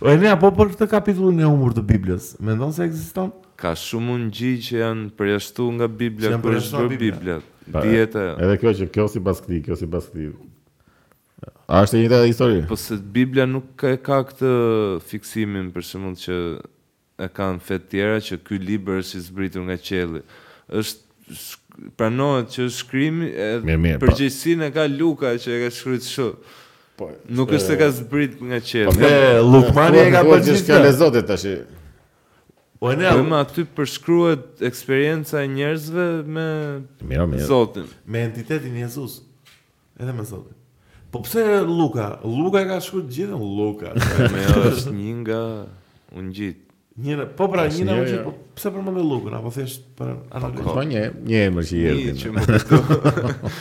[SPEAKER 2] O e nea, po për këtë kapitullin e humbur të Biblës, mendon se ekziston?
[SPEAKER 3] ka shumë ngji që janë përjashtu nga Bibla,
[SPEAKER 2] Që janë
[SPEAKER 3] kur është
[SPEAKER 2] përjashtuar
[SPEAKER 3] bërë
[SPEAKER 2] Bibla.
[SPEAKER 3] Bibla.
[SPEAKER 1] Pa,
[SPEAKER 3] Dieta.
[SPEAKER 1] Edhe kjo që kjo sipas këtij, kjo sipas këtij. A është e njëjta histori?
[SPEAKER 3] Po se Bibla nuk ka, ka këtë fiksimin për shembull që e kanë fe të tjera që ky libër është i zbritur nga qielli. Është sh- pranohet që është shkrimi e
[SPEAKER 1] Mirë, mirë, pa.
[SPEAKER 3] përgjegjësinë e ka Luka që e ka shkruar kështu.
[SPEAKER 1] Po.
[SPEAKER 3] Nuk është se ka zbrit nga qielli.
[SPEAKER 1] Ne
[SPEAKER 2] Lukmani e ka bërë gjithë
[SPEAKER 1] fjalë e Zotit tash.
[SPEAKER 2] O e nea,
[SPEAKER 3] Po më aty përshkruhet eksperienca e njerëzve me
[SPEAKER 1] Mirë, mirë.
[SPEAKER 3] Zotin.
[SPEAKER 2] me entitetin Jezus. Edhe me Zotin. Po pse Luka? Luka e ka shkruar gjithën Luka.
[SPEAKER 3] Me është një nga ungjit.
[SPEAKER 2] Njëra, po pra
[SPEAKER 1] Tash
[SPEAKER 2] njëra u
[SPEAKER 1] njëra-
[SPEAKER 2] qenë, po pse përmendë Lukën apo thjesht për analogi?
[SPEAKER 1] jo. Po një, një emër që i
[SPEAKER 3] Një
[SPEAKER 1] erdhi.
[SPEAKER 3] që më kujto.
[SPEAKER 1] po.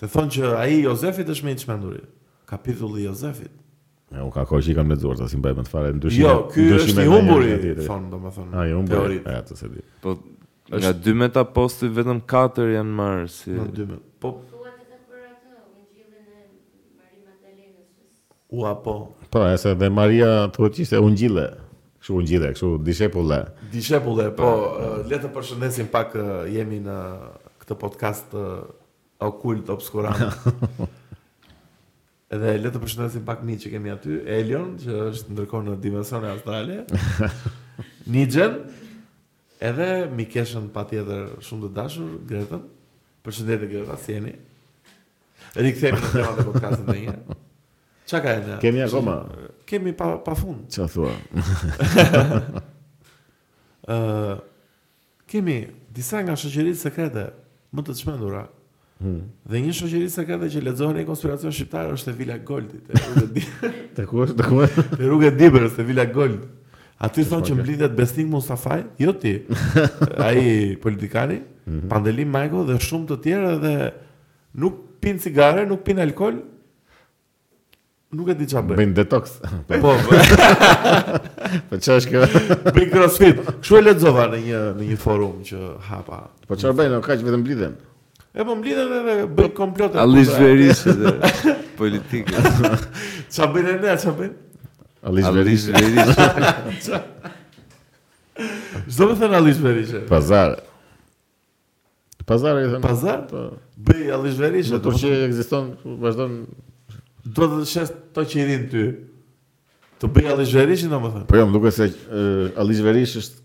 [SPEAKER 2] Se thonë që ai Jozefit është më i çmenduri. Kapitulli i Jozefit.
[SPEAKER 1] E, unë ka kohë që i kam lexuar, ta si mbaj më të fare ndryshime.
[SPEAKER 2] Jo, ky
[SPEAKER 1] ndryshime
[SPEAKER 2] është i
[SPEAKER 1] nga njëra
[SPEAKER 2] humburi,
[SPEAKER 1] nga tjetra.
[SPEAKER 2] thonë domethënë.
[SPEAKER 1] A i humburi.
[SPEAKER 2] teorit.
[SPEAKER 1] E, të se di.
[SPEAKER 3] Po nga 12 apostuj vetëm 4 janë marrë si
[SPEAKER 2] Në 12. Po,
[SPEAKER 4] Thuat edhe për atë, ungjillin e Mari Magdalenës. që s-
[SPEAKER 2] u apo.
[SPEAKER 1] Po, e se dhe Maria thuhet që ishte ungjille. Kështu ungjille, kështu dishepulle.
[SPEAKER 2] Dishepulle, po, eh, le të përshëndesim pak eh, jemi në këtë podcast eh, okult obskurant. Edhe le të përshëndesim pak mi që kemi aty, Elion, që është ndërkohë në dimensione astrale, Nixen, edhe Mikeshën patjetër shumë të dashur, Gretën. Përshëndetje Greta, si jeni? Rikthehemi në temat e podcastit më herë. Çka ka ende?
[SPEAKER 1] Kemi akoma,
[SPEAKER 2] Kemi pa pafund.
[SPEAKER 1] çfarë thua?
[SPEAKER 2] Ë, kemi disa nga shoqëritë sekrete më të çmendura. Dhe një shoqëri sekrete që lexohet në konspiracion shqiptar është e Vila Goldit, e rrugë di,
[SPEAKER 1] Te ku është? Te ku është?
[SPEAKER 2] e rrugë e Dibrës, e Vila Gold. Aty thonë që mblidhet Besnik Mustafaj, jo ti, ai politikani, Pandelim Majko dhe shumë të tjerë dhe nuk pinë cigare, nuk pinë alkool, Nuk e di çfarë bëj.
[SPEAKER 1] Bëjnë detox. Po,
[SPEAKER 2] Po,
[SPEAKER 1] po çfarë është kjo?
[SPEAKER 2] bëj crossfit. Kështu e lexova në një në një forum që hapa.
[SPEAKER 1] Po çfarë bëjnë? o, Kaq vetëm blidhen.
[SPEAKER 2] E po mblidhen edhe bëj komplote.
[SPEAKER 3] Alli zverisë dhe Po, politikës.
[SPEAKER 2] Çfarë bën ne, çfarë bën?
[SPEAKER 1] Allish
[SPEAKER 3] Alli
[SPEAKER 1] Berisha.
[SPEAKER 3] zverisë.
[SPEAKER 2] Çdo më thënë alli zverisë.
[SPEAKER 1] Pazar. Pazar e thënë.
[SPEAKER 2] Pazar?
[SPEAKER 1] Po.
[SPEAKER 2] Bëj alli
[SPEAKER 1] Në
[SPEAKER 2] zverisë.
[SPEAKER 1] Turqi ekziston, vazhdon.
[SPEAKER 2] Do të shes to që i din ty. Të bëj alli zverisë domethënë.
[SPEAKER 1] Po jo, më duket se Allish Berisha është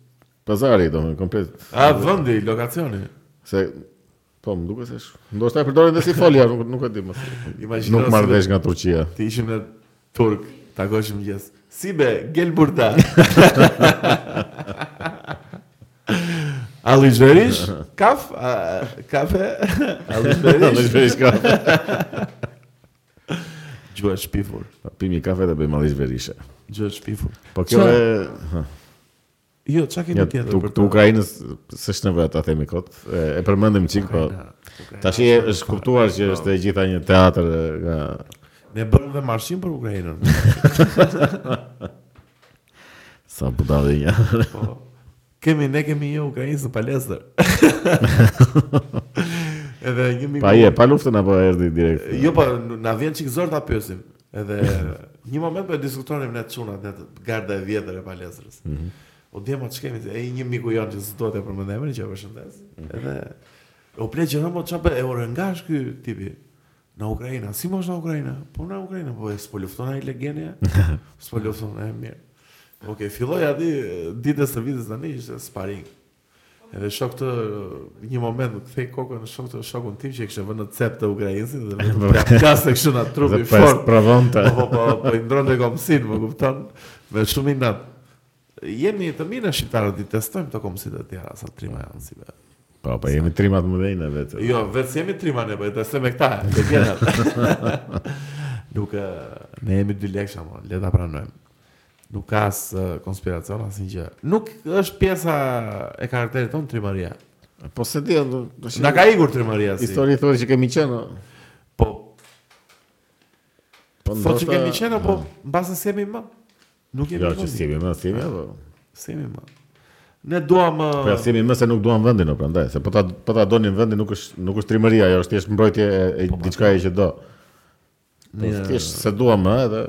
[SPEAKER 1] pazari domethënë komplet.
[SPEAKER 2] A vendi, lokacioni.
[SPEAKER 1] Se po më duket se është. Ndoshta e përdorin dhe si folja, nuk nuk e di më.
[SPEAKER 2] Imagjino.
[SPEAKER 1] Nuk
[SPEAKER 2] si
[SPEAKER 1] marr
[SPEAKER 2] do-
[SPEAKER 1] vesh nga Turqia.
[SPEAKER 2] Ti ishim në Turk, takoshim mëngjes. Si be, gel burda. Alishverish, kaf, a, kafe,
[SPEAKER 1] Allish
[SPEAKER 2] alishverish,
[SPEAKER 1] Berisha.
[SPEAKER 2] gjua shpifur,
[SPEAKER 1] Pimi kafe dhe bëjmë Allish Berisha.
[SPEAKER 2] gjua shpifur.
[SPEAKER 1] Po kjo
[SPEAKER 2] Qa-
[SPEAKER 1] e
[SPEAKER 2] Jo, qa kemi
[SPEAKER 1] ja,
[SPEAKER 2] tjetër
[SPEAKER 1] tu,
[SPEAKER 2] për
[SPEAKER 1] tu Ukrainës s'është nevojë ta themi kot. E, e përmendim çik po. Tash e- është kuptuar që është e gjitha një teatër e, nga
[SPEAKER 2] Ne bërëm dhe marshim për Ukrainën.
[SPEAKER 1] sa budallë.
[SPEAKER 2] Po. Kemi, ne kemi një Ukrainë së palestër. Edhe një miku...
[SPEAKER 1] Pa je, pa luftën apo erdhi direkt?
[SPEAKER 2] Jo, po n- na vjen çik zor ta pyesim. Edhe një moment po e diskutonim ne çunat ne të garda e vjetër e palestrës. U djema ç'kemi, e një miku jon që s'duhet e përmend emrin që e përshëndes. Edhe u ple gjëra mo çape e orengash ky tipi. Në Ukrainë, si mosh në Ukrainë? Po në Ukrainë, po e s'po lufton ai legjenia. s'po lufton ai mirë. Okej, filloi aty e, ditës së vitës tani ishte sparing. Edhe shok të një moment më kthej kokën në shok të shokun tim që e kishte vënë në cep të ukrainsin dhe vetëm plakasë kishte na trupi
[SPEAKER 1] Dhe po
[SPEAKER 2] fort.
[SPEAKER 1] provonte.
[SPEAKER 2] Po po po, po i ndron komsin, më kupton? Me shumë inat. Jemi të mirë në shqiptarët, i testojmë të komësit e tjera, sa trima janë si be.
[SPEAKER 1] Po, po jemi trimat më dhejnë e vetë.
[SPEAKER 2] Jo, vetë si jemi trima ne, po i testojmë e këta, të tjerat. Nuk, e, ne jemi dy leksha, mo, le ta pranojmë. Nuk ka as e, konspiracion, as një gjë. Nuk është pjesa e karakterit tonë trimaria.
[SPEAKER 1] Po se di, do- do shi-
[SPEAKER 2] Na ka ikur trimaria si.
[SPEAKER 1] Histori thori që kemi qenë. o.
[SPEAKER 2] Po,
[SPEAKER 1] Po
[SPEAKER 2] Thot që
[SPEAKER 1] ndoshta-
[SPEAKER 2] kemi qenë, po mbasë se jemi më. Nuk jemi
[SPEAKER 1] Jo,
[SPEAKER 2] më.
[SPEAKER 1] që s'jemi më, s'jemi apo.
[SPEAKER 2] S'jemi më. Ne duam... eh,
[SPEAKER 1] Po ja, s'jemi më se nuk duam vendin, o prandaj, se po ta po ta donin vendin nuk është nuk është trimëria, ajo është thjesht mbrojtje e, e diçka e që do. Po
[SPEAKER 2] Ne-
[SPEAKER 1] thjesht se duam më edhe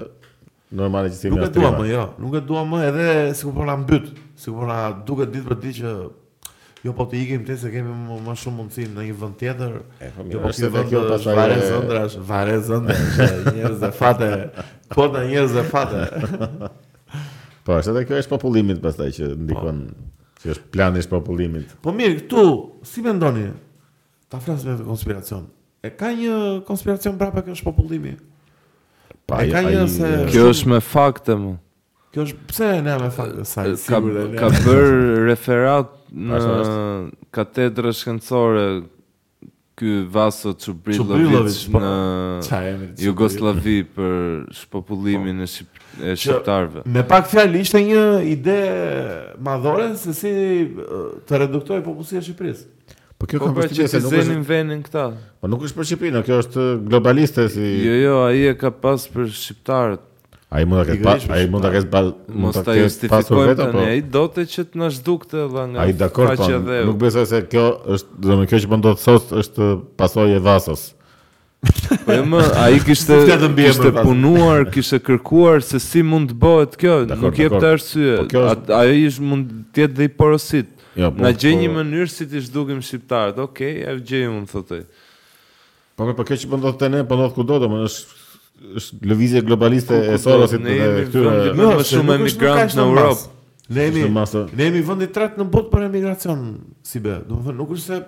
[SPEAKER 1] normale që s'jemi
[SPEAKER 2] Nuk e
[SPEAKER 1] as
[SPEAKER 2] dua
[SPEAKER 1] trima.
[SPEAKER 2] më, jo. Nuk e dua më edhe sikur po na mbyt, sikur po na duket ditë për ditë që jo po të ikim te se kemi më, më shumë mundësi në një vend tjetër.
[SPEAKER 1] po, mirë,
[SPEAKER 2] Jo po
[SPEAKER 1] është
[SPEAKER 2] si
[SPEAKER 1] edhe
[SPEAKER 2] vend
[SPEAKER 1] kjo
[SPEAKER 2] kjo
[SPEAKER 1] pastaj
[SPEAKER 2] pastaj
[SPEAKER 1] e-
[SPEAKER 2] ëndrash, vare ëndrash, njerëz dhe fate, po të njerëz dhe fate.
[SPEAKER 1] Po, është edhe kjo është popullimit pastaj që ndikon që është plani i popullimit.
[SPEAKER 2] Po mirë, këtu si mendoni? Ta flasim me konspiracion. E ka një konspiracion brapa kësh popullimi.
[SPEAKER 1] Pa,
[SPEAKER 2] E ka
[SPEAKER 1] ai- Po,
[SPEAKER 2] një se-
[SPEAKER 3] Kjo është me fakte më.
[SPEAKER 2] Kjo është pse ne me fakt sa i
[SPEAKER 3] ka,
[SPEAKER 2] sigurt e ne.
[SPEAKER 3] ka bërë referat në
[SPEAKER 1] Ashtu
[SPEAKER 3] katedrë shkencore ky Vaso
[SPEAKER 2] Çubrilović,
[SPEAKER 3] Çubrilović
[SPEAKER 2] po.
[SPEAKER 3] në
[SPEAKER 2] Qa jemi të
[SPEAKER 3] Jugoslavi për shpopullimin e, shqip, e shqiptarve.
[SPEAKER 2] Me pak fjalë ishte një ide madhore se si ë, të reduktoj popullsia e Shqipërisë.
[SPEAKER 1] Po kjo
[SPEAKER 3] Po
[SPEAKER 1] kam
[SPEAKER 3] pra që
[SPEAKER 1] përshtypjen se
[SPEAKER 3] të
[SPEAKER 1] nuk është
[SPEAKER 3] zenin venin këta.
[SPEAKER 1] Po nuk është për Shqipërinë, kjo është globaliste si
[SPEAKER 3] Jo, jo, ai e ka pas për shqiptarët.
[SPEAKER 1] ai mund ta ketë pas,
[SPEAKER 2] Pikërisht për
[SPEAKER 1] ai mund ta ketë pas, mund
[SPEAKER 3] Mos
[SPEAKER 1] ta
[SPEAKER 3] ta
[SPEAKER 1] ketë pasur
[SPEAKER 3] justifikojmë
[SPEAKER 1] vetë
[SPEAKER 3] tani,
[SPEAKER 1] po.
[SPEAKER 3] ai dote që të na zhdukte valla nga
[SPEAKER 1] Ai dakord po.
[SPEAKER 3] faqja dhe
[SPEAKER 1] Nuk besoj se kjo është, domethënë kjo që po ndodh sot është pasojë e Vasos.
[SPEAKER 3] Po jo më, ai kishte
[SPEAKER 2] S'ka të mbi
[SPEAKER 3] kishte
[SPEAKER 2] emër pas.
[SPEAKER 3] punuar, kishte kërkuar se si mund të bëhet kjo.
[SPEAKER 1] Dakor,
[SPEAKER 3] Nuk jep
[SPEAKER 1] dakor.
[SPEAKER 3] të arsye.
[SPEAKER 1] Po kjo është-
[SPEAKER 3] At- Ai ish mund të jetë dhe i porosit.
[SPEAKER 1] Jo, po,
[SPEAKER 3] Na gjej
[SPEAKER 1] po-
[SPEAKER 3] një mënyrë si të zhdukim shqiptarët. Okej, e gjej unë thotë. ai.
[SPEAKER 1] Po po po kjo që po ndodh te ne, po ndodh kudo domethënë është është lëvizje globaliste
[SPEAKER 3] Ku-
[SPEAKER 1] e
[SPEAKER 3] kudo,
[SPEAKER 1] Sorosit
[SPEAKER 3] ne
[SPEAKER 1] dhe
[SPEAKER 3] jemi
[SPEAKER 1] këtyre
[SPEAKER 3] vendi më-
[SPEAKER 2] Jo,
[SPEAKER 3] Më
[SPEAKER 2] se
[SPEAKER 3] shumë
[SPEAKER 2] nuk është
[SPEAKER 3] emigrant
[SPEAKER 2] nuk ka
[SPEAKER 3] në
[SPEAKER 2] ashtu
[SPEAKER 3] Europë.
[SPEAKER 2] masë. Ne jemi
[SPEAKER 1] Është masë.
[SPEAKER 2] ne jemi vendi i tretë në botë për emigracion, si be. Domethënë nuk është se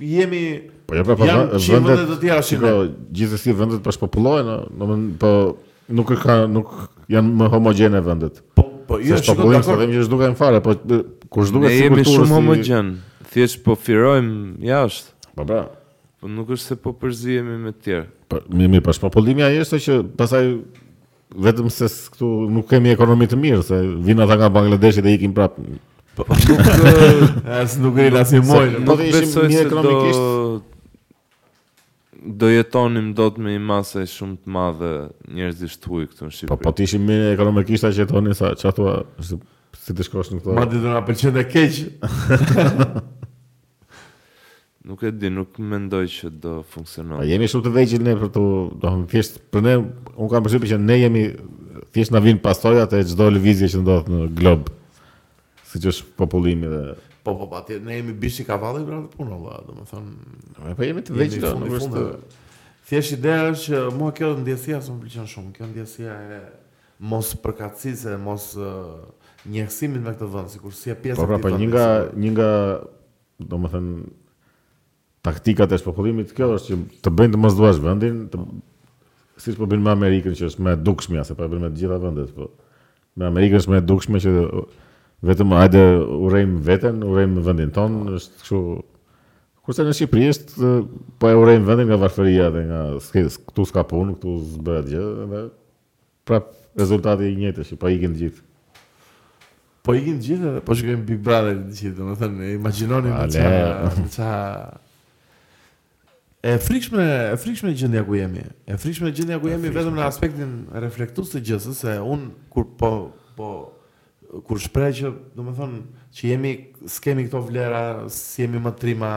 [SPEAKER 2] jemi
[SPEAKER 1] Po jo po po
[SPEAKER 2] janë
[SPEAKER 1] vë-
[SPEAKER 2] qimë vende të tjera si
[SPEAKER 1] shiko,
[SPEAKER 2] ne.
[SPEAKER 1] gjithsesi vendet po shpopullohen, o, domethënë po nuk ka nuk janë më homogjene vendet.
[SPEAKER 2] Po po
[SPEAKER 1] Jo,
[SPEAKER 2] jo,
[SPEAKER 1] se
[SPEAKER 2] shiko
[SPEAKER 1] shpopullim, se
[SPEAKER 2] dakor.
[SPEAKER 1] them që është duke në fare, po kur
[SPEAKER 3] Ne
[SPEAKER 1] zhduket si
[SPEAKER 3] jemi
[SPEAKER 1] kulturë,
[SPEAKER 3] shumë
[SPEAKER 1] si-
[SPEAKER 3] homogjen. Thjesht po firojmë jashtë.
[SPEAKER 1] Po pra.
[SPEAKER 3] Po nuk është se po përzihemi me të tjerë.
[SPEAKER 1] Po mi mi pas popullimi ai është që pastaj vetëm se s- këtu nuk kemi ekonomi të mirë se vinë ata nga Bangladeshi dhe ikin prapë.
[SPEAKER 2] Po nuk ë, as nuk rrin as i mojë.
[SPEAKER 1] Po
[SPEAKER 3] Nuk
[SPEAKER 1] dhe ishim
[SPEAKER 3] besoj
[SPEAKER 1] mirë
[SPEAKER 3] se do
[SPEAKER 1] ekonomikisht.
[SPEAKER 3] do jetonim dot me një masë shumë të madhe njerëzisht huaj këtu në
[SPEAKER 1] Po
[SPEAKER 3] Shqipëri.
[SPEAKER 1] po ti ishim mirë ekonomikisht aq jetoni sa çfarë thua si, si të shkosh në
[SPEAKER 2] Ma
[SPEAKER 1] këtë.
[SPEAKER 2] do na pëlqen të keq.
[SPEAKER 3] Nuk e di, nuk mendoj që do funksionon.
[SPEAKER 1] A jemi shumë të vegjël ne për tu, domethënë thjesht për ne un kam përshtypjen që ne jemi thjesht na vin pastojat e çdo lëvizje që ndodh në glob. Siç është popullimi dhe
[SPEAKER 2] Po po po, atje ne jemi bishi kavalli për atë punë pra, valla, domethënë
[SPEAKER 1] po jemi të
[SPEAKER 2] jemi
[SPEAKER 1] vegjël,
[SPEAKER 2] fundi
[SPEAKER 1] nuk është
[SPEAKER 2] fundeve. Thjesht ideja është që mua kjo ndjesia s'më pëlqen shumë. Kjo ndjesia e mos përkatësisë, e mos ë, njehësimit me këtë vend, sikur si e pjesë
[SPEAKER 1] Po
[SPEAKER 2] e
[SPEAKER 1] pra,
[SPEAKER 2] këtij
[SPEAKER 1] po
[SPEAKER 2] vendi,
[SPEAKER 1] një nga
[SPEAKER 2] sikur-
[SPEAKER 1] një nga domethënë taktikat e shpopullimit kjo është që të bëjnë të mos duash vendin, të siç po bën me Amerikën që është më e dukshmja se po e bën me të gjitha vendet, po me Amerikën është më e dukshme që vetëm hajde urejmë veten, urejmë vendin ton, është kështu Kurse në Shqipëri është ë, po e urejmë vendin nga varfëria dhe nga s'ke- s- këtu s'ka punë, këtu s'bëhet gjë dhe prap rezultati i njëjtë është që po ikin të gjithë.
[SPEAKER 2] Po ikin të gjithë, po shkojmë Big Brother të gjithë, domethënë imagjinoni me
[SPEAKER 1] Ale.
[SPEAKER 2] çfarë me çfarë E frikshme, e frikshme gjendja ku jemi. E frikshme gjendja ku jemi vetëm në aspektin reflektues të gjës, se un kur po po kur shpreh që domethënë që jemi skemi këto vlera, si jemi më trima,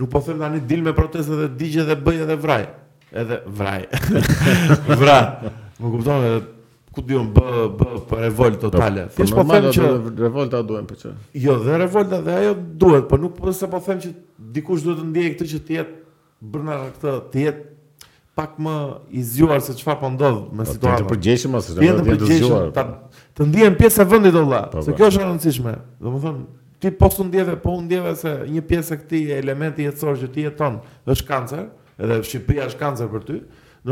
[SPEAKER 2] nuk po them tani dil me protestat dhe digje dhe bëj edhe vraj. Edhe vraj. Vra. Më kupton edhe ku diun bë bë për revolt totale.
[SPEAKER 1] Po
[SPEAKER 2] Thjesht po
[SPEAKER 1] normal,
[SPEAKER 2] them
[SPEAKER 1] ato
[SPEAKER 2] që
[SPEAKER 1] revolta duhen për çfarë?
[SPEAKER 2] Jo, dhe revolta dhe ajo duhet, po nuk po se po them që dikush duhet të ndjejë këtë që të jetë brenda këtë, të jetë pak më i zgjuar se çfarë po ndodh me
[SPEAKER 1] Po, Të jenë
[SPEAKER 2] situatën.
[SPEAKER 1] të përgjegjshëm ose
[SPEAKER 2] Të jenë të përgjegjshëm, ta të ndihen pjesë e vendit olla,
[SPEAKER 1] Po,
[SPEAKER 2] se
[SPEAKER 1] po.
[SPEAKER 2] kjo është e rëndësishme. Domethënë, ti po të ndjeve, po u ndjeve se një pjesë e këtij elementi jetësor që ti jeton është kancer, edhe Shqipëria është kancer për ty.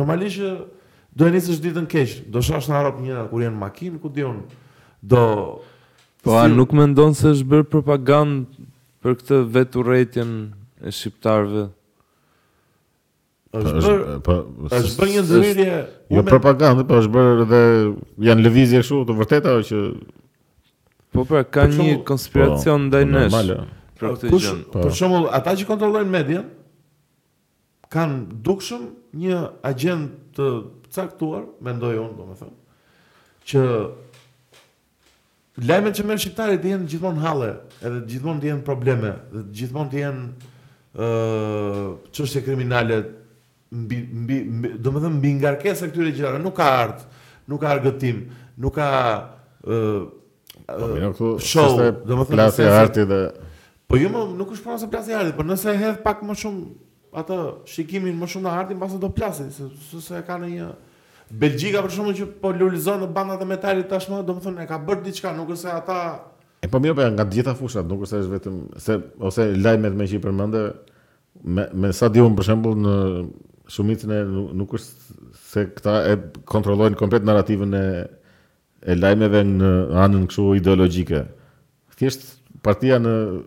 [SPEAKER 2] Normalisht që do e nisësh ditën keq, do shosh në harop një kur janë makinë, ku diun, do
[SPEAKER 3] Po a
[SPEAKER 2] si-
[SPEAKER 3] nuk mendon se është bërë propagandë për këtë veturrëtjen e shqiptarëve?
[SPEAKER 2] është bërë
[SPEAKER 1] po
[SPEAKER 2] është bërë një
[SPEAKER 1] është-
[SPEAKER 2] ndërhyrje
[SPEAKER 1] Jo
[SPEAKER 2] unë me-
[SPEAKER 1] propagandë, po është bërë dhe janë lëvizje kështu të vërteta që
[SPEAKER 3] Po pra ka
[SPEAKER 2] Për
[SPEAKER 3] një
[SPEAKER 2] shembull-
[SPEAKER 3] konspiracion
[SPEAKER 1] po,
[SPEAKER 3] ndaj nesh
[SPEAKER 1] normale.
[SPEAKER 3] për këtë
[SPEAKER 2] kush,
[SPEAKER 3] gjë.
[SPEAKER 1] Po.
[SPEAKER 2] për shembull ata që kontrollojnë median kanë dukshëm një agent të caktuar, mendoj unë domethënë, që lajmet që merr shqiptarit të jenë gjithmonë halle, edhe gjithmonë të jenë probleme, dhe gjithmonë të jenë ë çështje kriminale mbi mbi, mbi domethënë mbi ngarkesa këtyre gjërave, nuk ka art, nuk ka argëtim, nuk ka ë
[SPEAKER 1] Po mirë, këtu
[SPEAKER 2] show,
[SPEAKER 1] s'është
[SPEAKER 2] domethënë
[SPEAKER 1] plasja
[SPEAKER 2] se-
[SPEAKER 1] e artit dhe
[SPEAKER 2] Po jo, më nuk është puna se plasë arti, por nëse e hedh pak më shumë atë shikimin më shumë në artin, pastaj do plasë, se se- se ka në një Belgjika për shkakun që po lulëzon në bandat e metalit tashmë, domethënë e ka bërë diçka, nuk është se ata
[SPEAKER 1] e po mirë po janë nga të gjitha fushat, nuk është se është vetëm se ose lajmet me që i përmende me, me sa di unë për shembull në shumicën e nu- nuk është se këta e kontrollojnë komplet narrativën e e lajmeve në anën kështu ideologjike. Thjesht partia në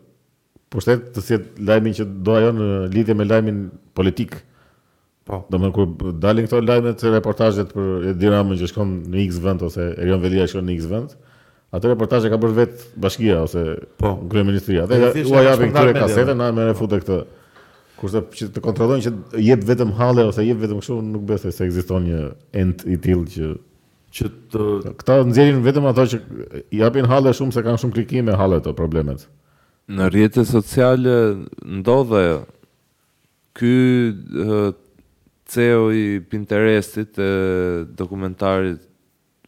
[SPEAKER 1] pushtet të sjell lajmin që do ajo në lidhje me lajmin politik.
[SPEAKER 2] po,
[SPEAKER 1] Do më thënë, kur dalin këto lajme të reportazhet për e Dinamën që shkon në X vend ose Erion Velia shkon në X vend, atë reportazhe ka bërë vetë bashkia ose
[SPEAKER 2] Po.
[SPEAKER 1] kryeministria.
[SPEAKER 2] Edhe
[SPEAKER 1] Dhe u
[SPEAKER 2] thjesht e ka
[SPEAKER 1] japin
[SPEAKER 2] shpërndar
[SPEAKER 1] këtyre
[SPEAKER 2] media.
[SPEAKER 1] kasetën, na më refutë këtë. Kurse që të kontrollojnë që jep vetëm halle ose jep vetëm kështu, nuk besoj se ekziston një ent i tillë që
[SPEAKER 2] që të
[SPEAKER 1] këta nxjerrin vetëm ato që japin halle shumë se kanë shumë klikime halle ato problemet.
[SPEAKER 3] Në rrjetet sociale ndodhe ajo. Ky ë, CEO i Pinterestit e dokumentarit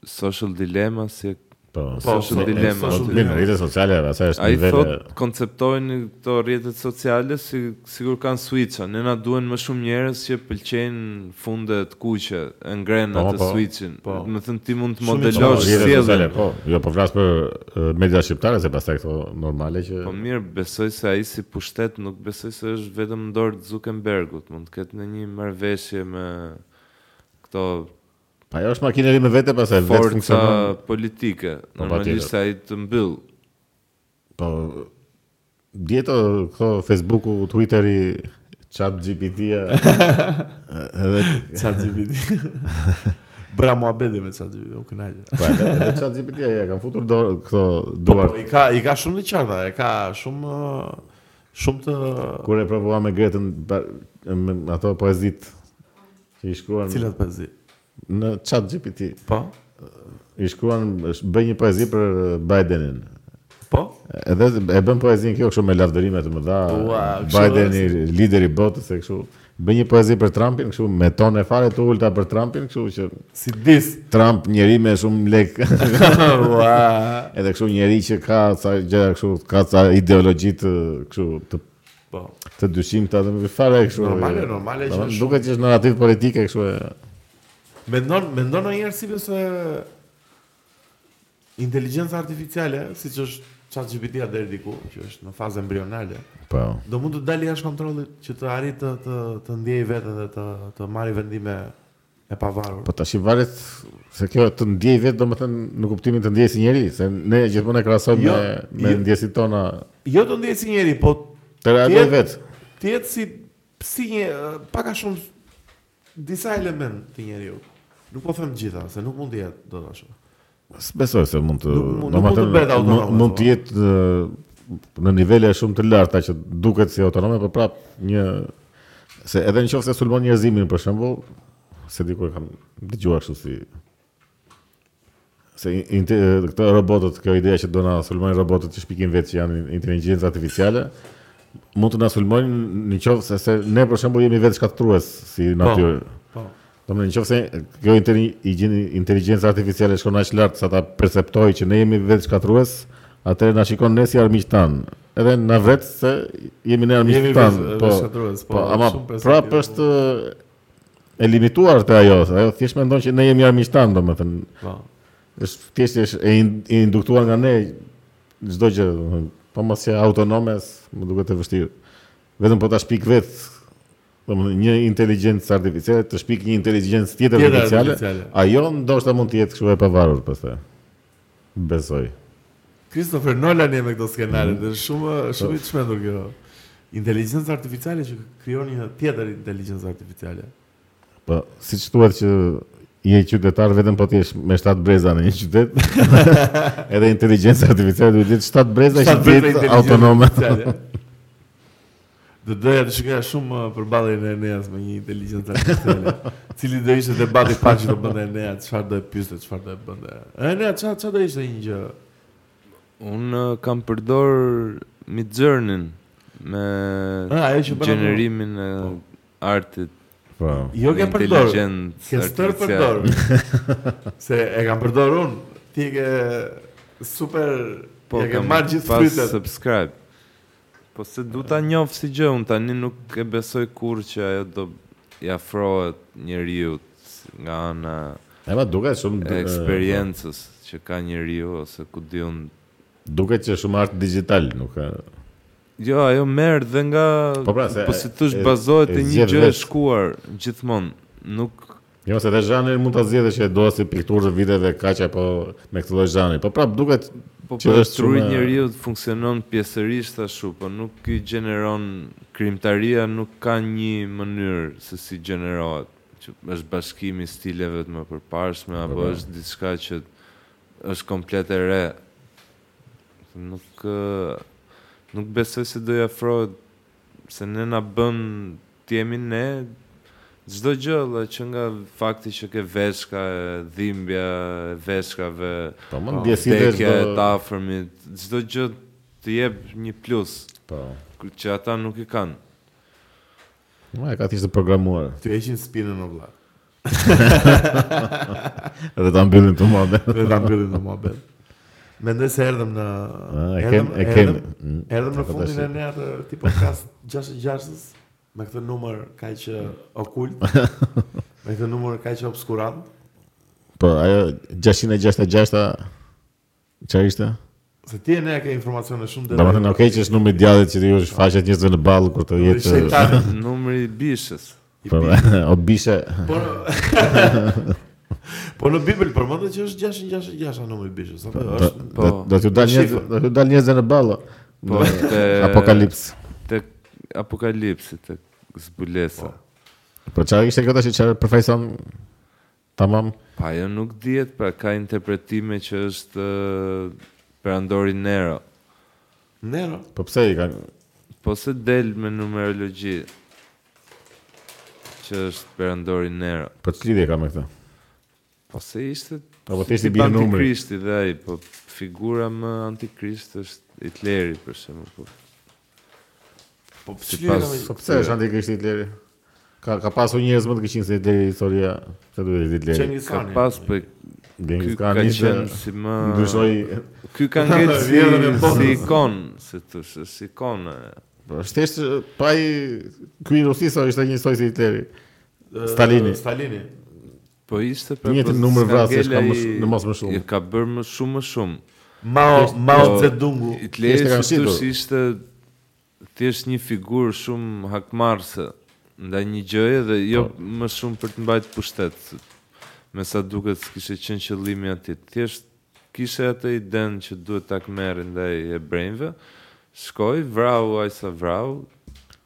[SPEAKER 3] Social Dilemma si e-
[SPEAKER 1] Po.
[SPEAKER 3] Po,
[SPEAKER 1] social
[SPEAKER 3] social dilemma.
[SPEAKER 1] Po, mirë, rrjetet sociale, asaj është
[SPEAKER 3] ai
[SPEAKER 1] nivele.
[SPEAKER 3] thot konceptojnë këto rrjetet sociale si sigur kanë switcha. Ne na duhen më shumë njerëz që pëlqejnë funde të kuqe, e ngrenë
[SPEAKER 1] Po,
[SPEAKER 3] atë
[SPEAKER 1] po.
[SPEAKER 3] switchin.
[SPEAKER 2] Po.
[SPEAKER 3] Do të thënë ti mund të
[SPEAKER 2] Shumë i
[SPEAKER 1] Po,
[SPEAKER 2] Losh,
[SPEAKER 3] modelosh
[SPEAKER 1] rrjetet sociale,
[SPEAKER 3] sjelljen.
[SPEAKER 1] po. Jo, po flas për e, media shqiptare se pastaj këto normale që
[SPEAKER 3] Po mirë, besoj se ai si pushtet nuk besoj se është vetëm në dorë të Zuckerbergut, mund të ketë në një marrëveshje me këto
[SPEAKER 1] Pa, ajo është makineri me vete pastaj vetë
[SPEAKER 3] forca
[SPEAKER 1] funksionon.
[SPEAKER 3] politike.
[SPEAKER 1] Po, patjetër.
[SPEAKER 3] Normalisht se ai të mbyll.
[SPEAKER 1] Po dieto këto Facebooku, Twitteri, ChatGPT-ja. edhe
[SPEAKER 2] ChatGPT. Bëra muhabete me ChatGPT, u kënaqë.
[SPEAKER 1] pa, edhe- edhe ChatGPT-ja ja kanë futur dorë këto
[SPEAKER 2] Po
[SPEAKER 1] duart.
[SPEAKER 2] i ka i ka shumë të qarta, e ka shumë ë, shumë të
[SPEAKER 1] Kur e provova me Gretën ba- me ato poezitë që i shkruan
[SPEAKER 2] Cilat poezi?
[SPEAKER 1] në chat GPT,
[SPEAKER 2] Po?
[SPEAKER 1] i shkruan, është- bëj një poezi për eh, Bidenin.
[SPEAKER 2] Po?
[SPEAKER 1] Edhe e bën poezin kjo kështu me lavdërime të mëdha.
[SPEAKER 2] Ua, kështu
[SPEAKER 1] Bideni lideri i botës e kështu. Bën një poezi për Trumpin, kështu me tonë e fare të ulta për Trumpin, kështu që
[SPEAKER 2] Si dis.
[SPEAKER 1] Trump njeri me shumë lek,
[SPEAKER 2] Ua.
[SPEAKER 1] edhe kështu njeri që ka ca gjëra kështu, ka ca ideologji të kështu të
[SPEAKER 2] Po.
[SPEAKER 1] të dyshimta dhe me fare kështu.
[SPEAKER 2] Normale, normale që
[SPEAKER 1] Domethënë,
[SPEAKER 2] është.
[SPEAKER 1] Duket që është narrativ politik e kështu. e-
[SPEAKER 2] Mendon, mendon ndonjëherë si besë inteligjenca artificiale, siç është ChatGPT-a deri diku, që është në fazë embrionale,
[SPEAKER 1] Po.
[SPEAKER 2] do mund të dalë jashtë kontrollit që të arrijë të të, të ndjejë veten dhe të të marrë vendime e pavarur.
[SPEAKER 1] Po tash i varet se kjo të ndjej vetë domethënë në kuptimin të ndjej si njeri, se ne gjithmonë e krahasojmë
[SPEAKER 2] Jo,
[SPEAKER 1] me me
[SPEAKER 2] jo.
[SPEAKER 1] ndjesit tona
[SPEAKER 2] Jo të ndjej si njeri, po
[SPEAKER 1] të reagoj
[SPEAKER 2] Tjetë-
[SPEAKER 1] vetë.
[SPEAKER 2] të jetë si si një eh, pak a shumë disa element të njeriu. Nuk po them gjitha, se nuk mund të jetë do të ashtu.
[SPEAKER 1] Besoj se mund të
[SPEAKER 2] Nuk mu- nuk
[SPEAKER 1] do më
[SPEAKER 2] mund të
[SPEAKER 1] thënë,
[SPEAKER 2] bëhet po. autonome,
[SPEAKER 1] mu- Mund të
[SPEAKER 2] thua.
[SPEAKER 1] jetë ë, në nivele shumë të larta që duket si autonome, por prap një se edhe në qoftë se sulmon njerëzimin për shembull, se diku e kam dëgjuar kështu si se in- inte- këto robotët, kjo ideja që do na sulmojnë robotët që shpikin vetë që janë inteligjencë artificiale, mund të na sulmojnë në qoftë se, se ne për shembull jemi vetë shkatrues si natyrë.
[SPEAKER 2] Po.
[SPEAKER 1] Do më në qofë se kjo inteli- i gjeni- inteligencë artificiale shkon aq lartë sa ta perceptoj që ne jemi vetë shkatrues, atëherë na shikon ne si armiq tanë. Edhe na vret se jemi ne armiq
[SPEAKER 2] Jemi
[SPEAKER 1] tanë.
[SPEAKER 2] vetë-
[SPEAKER 1] Po,
[SPEAKER 2] vetë shkatrues, po,
[SPEAKER 1] po, ama
[SPEAKER 2] shumë perceptiv,
[SPEAKER 1] prapë
[SPEAKER 2] po.
[SPEAKER 1] është e limituar te ajo, se ajo thjesht mendon që ne jemi armiq tanë, domethënë.
[SPEAKER 2] Po.
[SPEAKER 1] Është thjesht është e in- e induktuar nga ne çdo gjë, domethënë. Po mos që autonome, s- më duket e vështirë. Vetëm po ta shpik vetë domethënë një inteligjencë artificiale të shpik një inteligjencë tjetër
[SPEAKER 2] Tjetër
[SPEAKER 1] artificiale,
[SPEAKER 2] artificiale.
[SPEAKER 1] ajo ndoshta mund të jetë kështu e pavarur pastaj. Besoj.
[SPEAKER 2] Christopher Nolan e me këto
[SPEAKER 1] Mm.
[SPEAKER 2] skenare, dhe shumë shumë i
[SPEAKER 1] Po.
[SPEAKER 2] çmendur kjo. Inteligjenca artificiale që krijon një tjetër inteligjencë artificiale.
[SPEAKER 1] Po siç thuhet që je qytetar vetëm po të jesh me 7 breza në një qytet. Edhe inteligjenca artificiale duhet të jetë 7 breza që të jetë autonome.
[SPEAKER 2] Do doja të shikoja shumë uh, përballjen e Eneas me një inteligjencë artificiale, cili do ishte debati pa që do bënte Enea, çfarë do e pyeste, çfarë do e bënte. Enea çfarë çfarë do ishte një gjë?
[SPEAKER 3] Unë eh, kam përdor Mid Journey me
[SPEAKER 2] Ah, ajo që bën atë.
[SPEAKER 3] gjenerimin e artit.
[SPEAKER 1] Po.
[SPEAKER 2] Jo
[SPEAKER 3] me
[SPEAKER 2] ke përdor.
[SPEAKER 3] inteligjencë
[SPEAKER 2] Ke stër
[SPEAKER 3] artificiale.
[SPEAKER 2] përdor. Se e kam përdor unë. Ti ke super
[SPEAKER 3] Po
[SPEAKER 2] ja ke
[SPEAKER 3] kam
[SPEAKER 2] marrë gjithë
[SPEAKER 3] pas
[SPEAKER 2] frytet.
[SPEAKER 3] subscribe. Po se du ta njoh si gjë, unë tani nuk e besoj kur që ajo do i afrohet njeriu nga ana
[SPEAKER 1] Ema duket shumë
[SPEAKER 3] e eksperiencës që ka njeriu ose ku di unë.
[SPEAKER 1] Duket që shumë art digital, nuk ka.
[SPEAKER 3] Jo, ajo merr dhe nga
[SPEAKER 1] Po pra, se
[SPEAKER 3] po si thosh
[SPEAKER 1] e- e-
[SPEAKER 3] bazohet
[SPEAKER 1] e
[SPEAKER 3] te një
[SPEAKER 1] zgjedh
[SPEAKER 3] gjë e
[SPEAKER 1] vetë.
[SPEAKER 3] shkuar gjithmonë. Nuk
[SPEAKER 1] Jo, se dhe zhanri mund ta zgjedhësh që do si pikturë viteve kaq apo me këtë lloj zhanri. Po prap duket
[SPEAKER 3] Po
[SPEAKER 1] Që
[SPEAKER 3] për
[SPEAKER 1] është
[SPEAKER 3] truri
[SPEAKER 1] shumë e-
[SPEAKER 3] njeriu funksionon pjesërisht ashtu, po nuk i gjeneron krimtaria nuk ka një mënyrë se si gjenerohet. Që është bashkimi i stileve të më përparshme apo
[SPEAKER 1] Po, po.
[SPEAKER 3] është diçka që është komplet e re. Nuk ë, nuk besoj se do i afrohet se ne na bën të jemi ne çdo gjë valla, që nga fakti që ke veshka, e dhimbja, e veshkave,
[SPEAKER 1] po më
[SPEAKER 2] Po,
[SPEAKER 1] ndjesitë
[SPEAKER 3] Vdekja Ah, e
[SPEAKER 1] është.
[SPEAKER 3] të afërmit, çdo gjë të jep një plus
[SPEAKER 1] Po.
[SPEAKER 3] kur- që ata nuk e kanë.
[SPEAKER 1] Ma e ka thjesht të programuar.
[SPEAKER 2] Ty heqin spinën o vlla.
[SPEAKER 1] Edhe ta mbyllin të madhe.
[SPEAKER 2] Dhe ta mbyllin në mohabet. Mendoj se erdhëm në
[SPEAKER 1] Ah, e kem-
[SPEAKER 2] erdhëm-
[SPEAKER 1] e kem.
[SPEAKER 2] erdhëm-
[SPEAKER 1] Mm,
[SPEAKER 2] Erdhëm në
[SPEAKER 1] po
[SPEAKER 2] fundin
[SPEAKER 1] tash-
[SPEAKER 2] e ne atë ti podcast 66-s me këtë numër kaq eh, okult, me këtë numër kaq obskurant,
[SPEAKER 1] Po, ajo 666-a çfarë ishte?
[SPEAKER 2] se ti e ne ke informacione shumë
[SPEAKER 1] Do më thënë, okej që është numri i djallit që ju shfaqet njerëzve në ballë kur të
[SPEAKER 2] Numri
[SPEAKER 1] jetë...
[SPEAKER 2] shejtanit.
[SPEAKER 3] Numri i bishës.
[SPEAKER 2] I
[SPEAKER 1] Po,
[SPEAKER 2] bi-
[SPEAKER 1] o bishe...
[SPEAKER 2] Po Po në Bibël përmendet që është 666 a numri i bishës, apo
[SPEAKER 1] do-
[SPEAKER 2] është
[SPEAKER 3] po,
[SPEAKER 1] do- Do t'ju dal njerëz,
[SPEAKER 2] shifër.
[SPEAKER 1] do t'ju dal njerëzve në ballë.
[SPEAKER 3] Po te
[SPEAKER 1] Apokalips.
[SPEAKER 3] Te apokalipsi te zbulesa.
[SPEAKER 1] Po çfarë ishte kjo tash çfarë përfaqëson? Tamam.
[SPEAKER 3] Pa ajo nuk dihet, pra ka interpretime që është ë, perandori Nero.
[SPEAKER 2] Nero.
[SPEAKER 1] Po pse i kanë
[SPEAKER 3] Po se del me numerologji. që është Perandori Nero.
[SPEAKER 1] Po ç'lidhje ka me këtë?
[SPEAKER 3] Po se ishte
[SPEAKER 1] Apo thjesht i
[SPEAKER 3] tip
[SPEAKER 1] bie numri.
[SPEAKER 3] Antikristi dhe ai, po figura më antikrist është Hitleri për shembull, po.
[SPEAKER 2] Po
[SPEAKER 3] Si
[SPEAKER 2] çlirë
[SPEAKER 3] pas-
[SPEAKER 1] Po pse është antikrishti Hitleri? Ka ka pasur njerëz më të këqij se Hitleri historia, çfarë duhet Hitleri?
[SPEAKER 2] Çengiz
[SPEAKER 3] Ka
[SPEAKER 2] Khani.
[SPEAKER 3] pas po ky
[SPEAKER 1] Genghis
[SPEAKER 3] ka
[SPEAKER 1] Khan ishte
[SPEAKER 3] qenë si më
[SPEAKER 1] ndryshoi
[SPEAKER 3] ky ka ngel si,
[SPEAKER 1] Vjedhën e
[SPEAKER 3] si
[SPEAKER 1] botës.
[SPEAKER 3] ikon, si thosh, si ikon. e.
[SPEAKER 1] po, është thjesht pa i ky i Rusisë ishte njësoj si Hitleri. Stalini.
[SPEAKER 2] Stalini.
[SPEAKER 3] Po ishte
[SPEAKER 1] Të njëjtin
[SPEAKER 3] po
[SPEAKER 1] numër
[SPEAKER 3] s'ka
[SPEAKER 1] vrasjesh
[SPEAKER 3] ngel
[SPEAKER 1] ka më
[SPEAKER 3] ai-
[SPEAKER 1] sh- në mos më shumë.
[SPEAKER 3] i Ka bërë më shumë më shumë.
[SPEAKER 2] Mao Mao
[SPEAKER 3] Po,
[SPEAKER 2] Zedongu.
[SPEAKER 3] Hitleri
[SPEAKER 1] Thjesht e kanë
[SPEAKER 3] si thosh
[SPEAKER 1] shitur.
[SPEAKER 3] ishte thjesht një figurë shumë hakmarrëse ndaj një gjëje dhe jo
[SPEAKER 1] Po.
[SPEAKER 3] më shumë për të mbajtur pushtet. se Me sa duket s'kishte qenë qëllimi aty. Thjesht kishte atë idenë që duhet ta kmerrë ndaj hebrejve. Shkoi, vrau ai sa vrau.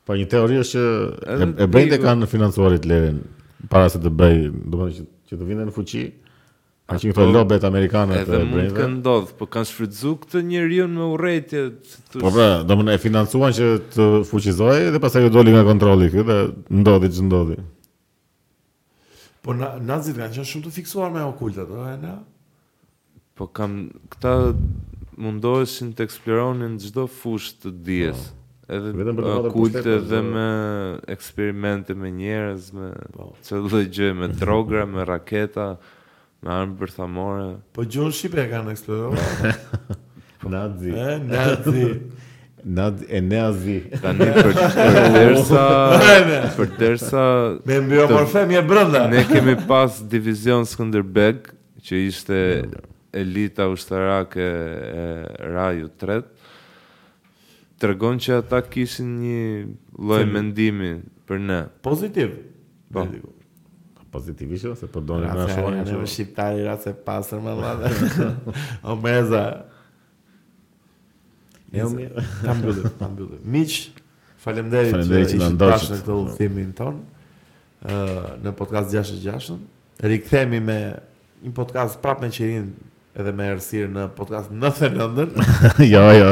[SPEAKER 1] Po një teori është që
[SPEAKER 3] Edhe
[SPEAKER 1] e- e bëjnë
[SPEAKER 3] ti-
[SPEAKER 1] kanë financuar Hitlerin para se të bëj, domethënë që që të vinte në fuqi. Ka qenë këto
[SPEAKER 3] Ato-
[SPEAKER 1] lobet amerikane të
[SPEAKER 3] Edhe mund të
[SPEAKER 1] brendve.
[SPEAKER 3] ndodh, po kanë shfrytzuar këtë njeriu me urrëtie. si thosh,
[SPEAKER 1] Po pra, do më e financuan që të fuqizoj dhe pastaj u doli nga kontrolli ky dhe ndodhi që ndodhi.
[SPEAKER 2] Po na- nazit kanë qenë shumë të fiksuar me okultet, ëh, na.
[SPEAKER 3] Po kam këta mundoheshin të eksploronin çdo fushë të dijes. Edhe
[SPEAKER 1] Po. Vetëm për të
[SPEAKER 3] uh,
[SPEAKER 1] patur
[SPEAKER 3] kulte
[SPEAKER 1] pushtetin,
[SPEAKER 3] dhe
[SPEAKER 1] zë-
[SPEAKER 3] me eksperimente me njerëz, me
[SPEAKER 2] Po.
[SPEAKER 3] çdo lloj gjë, me drogra, me raketa, me armë përthamore.
[SPEAKER 2] Po gjuhën shqipe e kanë eksploruar.
[SPEAKER 1] Nazi,
[SPEAKER 2] Ë, nazi.
[SPEAKER 1] nazi e nazi.
[SPEAKER 3] Tani për përderisa përderisa
[SPEAKER 2] Me mbiomorfem je brenda.
[SPEAKER 3] ne kemi pas divizion Skënderbeg që ishte elita ushtarake e Raju 3 tregon që ata kishin një lloj mendimi për ne.
[SPEAKER 2] Pozitiv.
[SPEAKER 3] Po.
[SPEAKER 2] Diku.
[SPEAKER 1] Pozitivisht ose po doni më
[SPEAKER 2] Raca
[SPEAKER 1] shohim
[SPEAKER 2] janë
[SPEAKER 1] që.
[SPEAKER 2] në shqiptari raca e pastër më madhe. O meza.
[SPEAKER 1] Jo,
[SPEAKER 2] Nice.
[SPEAKER 1] mirë.
[SPEAKER 2] Ta mbyllim, ta mbyllim. Miq, faleminderit
[SPEAKER 1] Faleminderit që na
[SPEAKER 2] ishit
[SPEAKER 1] ndoqët.
[SPEAKER 2] bashkë në këtë udhëtimin ton. ë në podcast 66-ën. Rikthehemi me një podcast prapë me qirin edhe me errësirë në podcast 99-ën.
[SPEAKER 1] Jo, jo.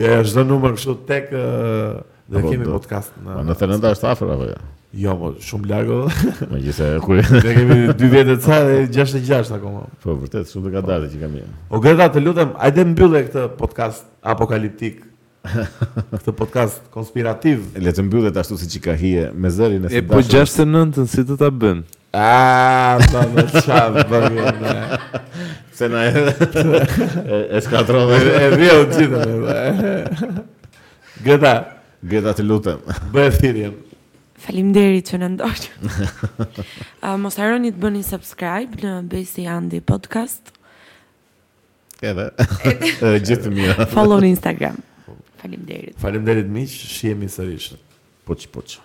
[SPEAKER 2] Ja, çdo numër kështu tek ë, dhe
[SPEAKER 1] Apo
[SPEAKER 2] kemi
[SPEAKER 1] do-
[SPEAKER 2] podcast
[SPEAKER 1] Po
[SPEAKER 2] në
[SPEAKER 1] në thënë nda është afër apo jo?
[SPEAKER 2] Jo, po shumë larg.
[SPEAKER 1] Megjithëse kur
[SPEAKER 2] Ne kemi dy vjet e ca dhe 66 akoma.
[SPEAKER 1] po vërtet shumë të ka dalë që kam jam.
[SPEAKER 2] O Greta, të lutem, ajde mbyllë këtë podcast apokaliptik. këtë podcast konspirativ.
[SPEAKER 1] Le të mbyllet ashtu siç i ka hije me zërin e
[SPEAKER 3] E po 69-ën si do ta bëjmë?
[SPEAKER 2] Ah, ta më çaf, bëgë.
[SPEAKER 1] se na e e skatrove.
[SPEAKER 2] E vjen u gjithë. Greta,
[SPEAKER 1] Gjeta të lutem.
[SPEAKER 2] bëj thirrjen.
[SPEAKER 5] Faleminderit që na ndoqët. uh, mos harroni të bëni subscribe në Besi Andi Podcast.
[SPEAKER 1] Edhe Edhe gjithë të mira.
[SPEAKER 5] Follow në Instagram. Faleminderit.
[SPEAKER 2] Faleminderit miq, shihemi sërish.
[SPEAKER 1] Poç poç.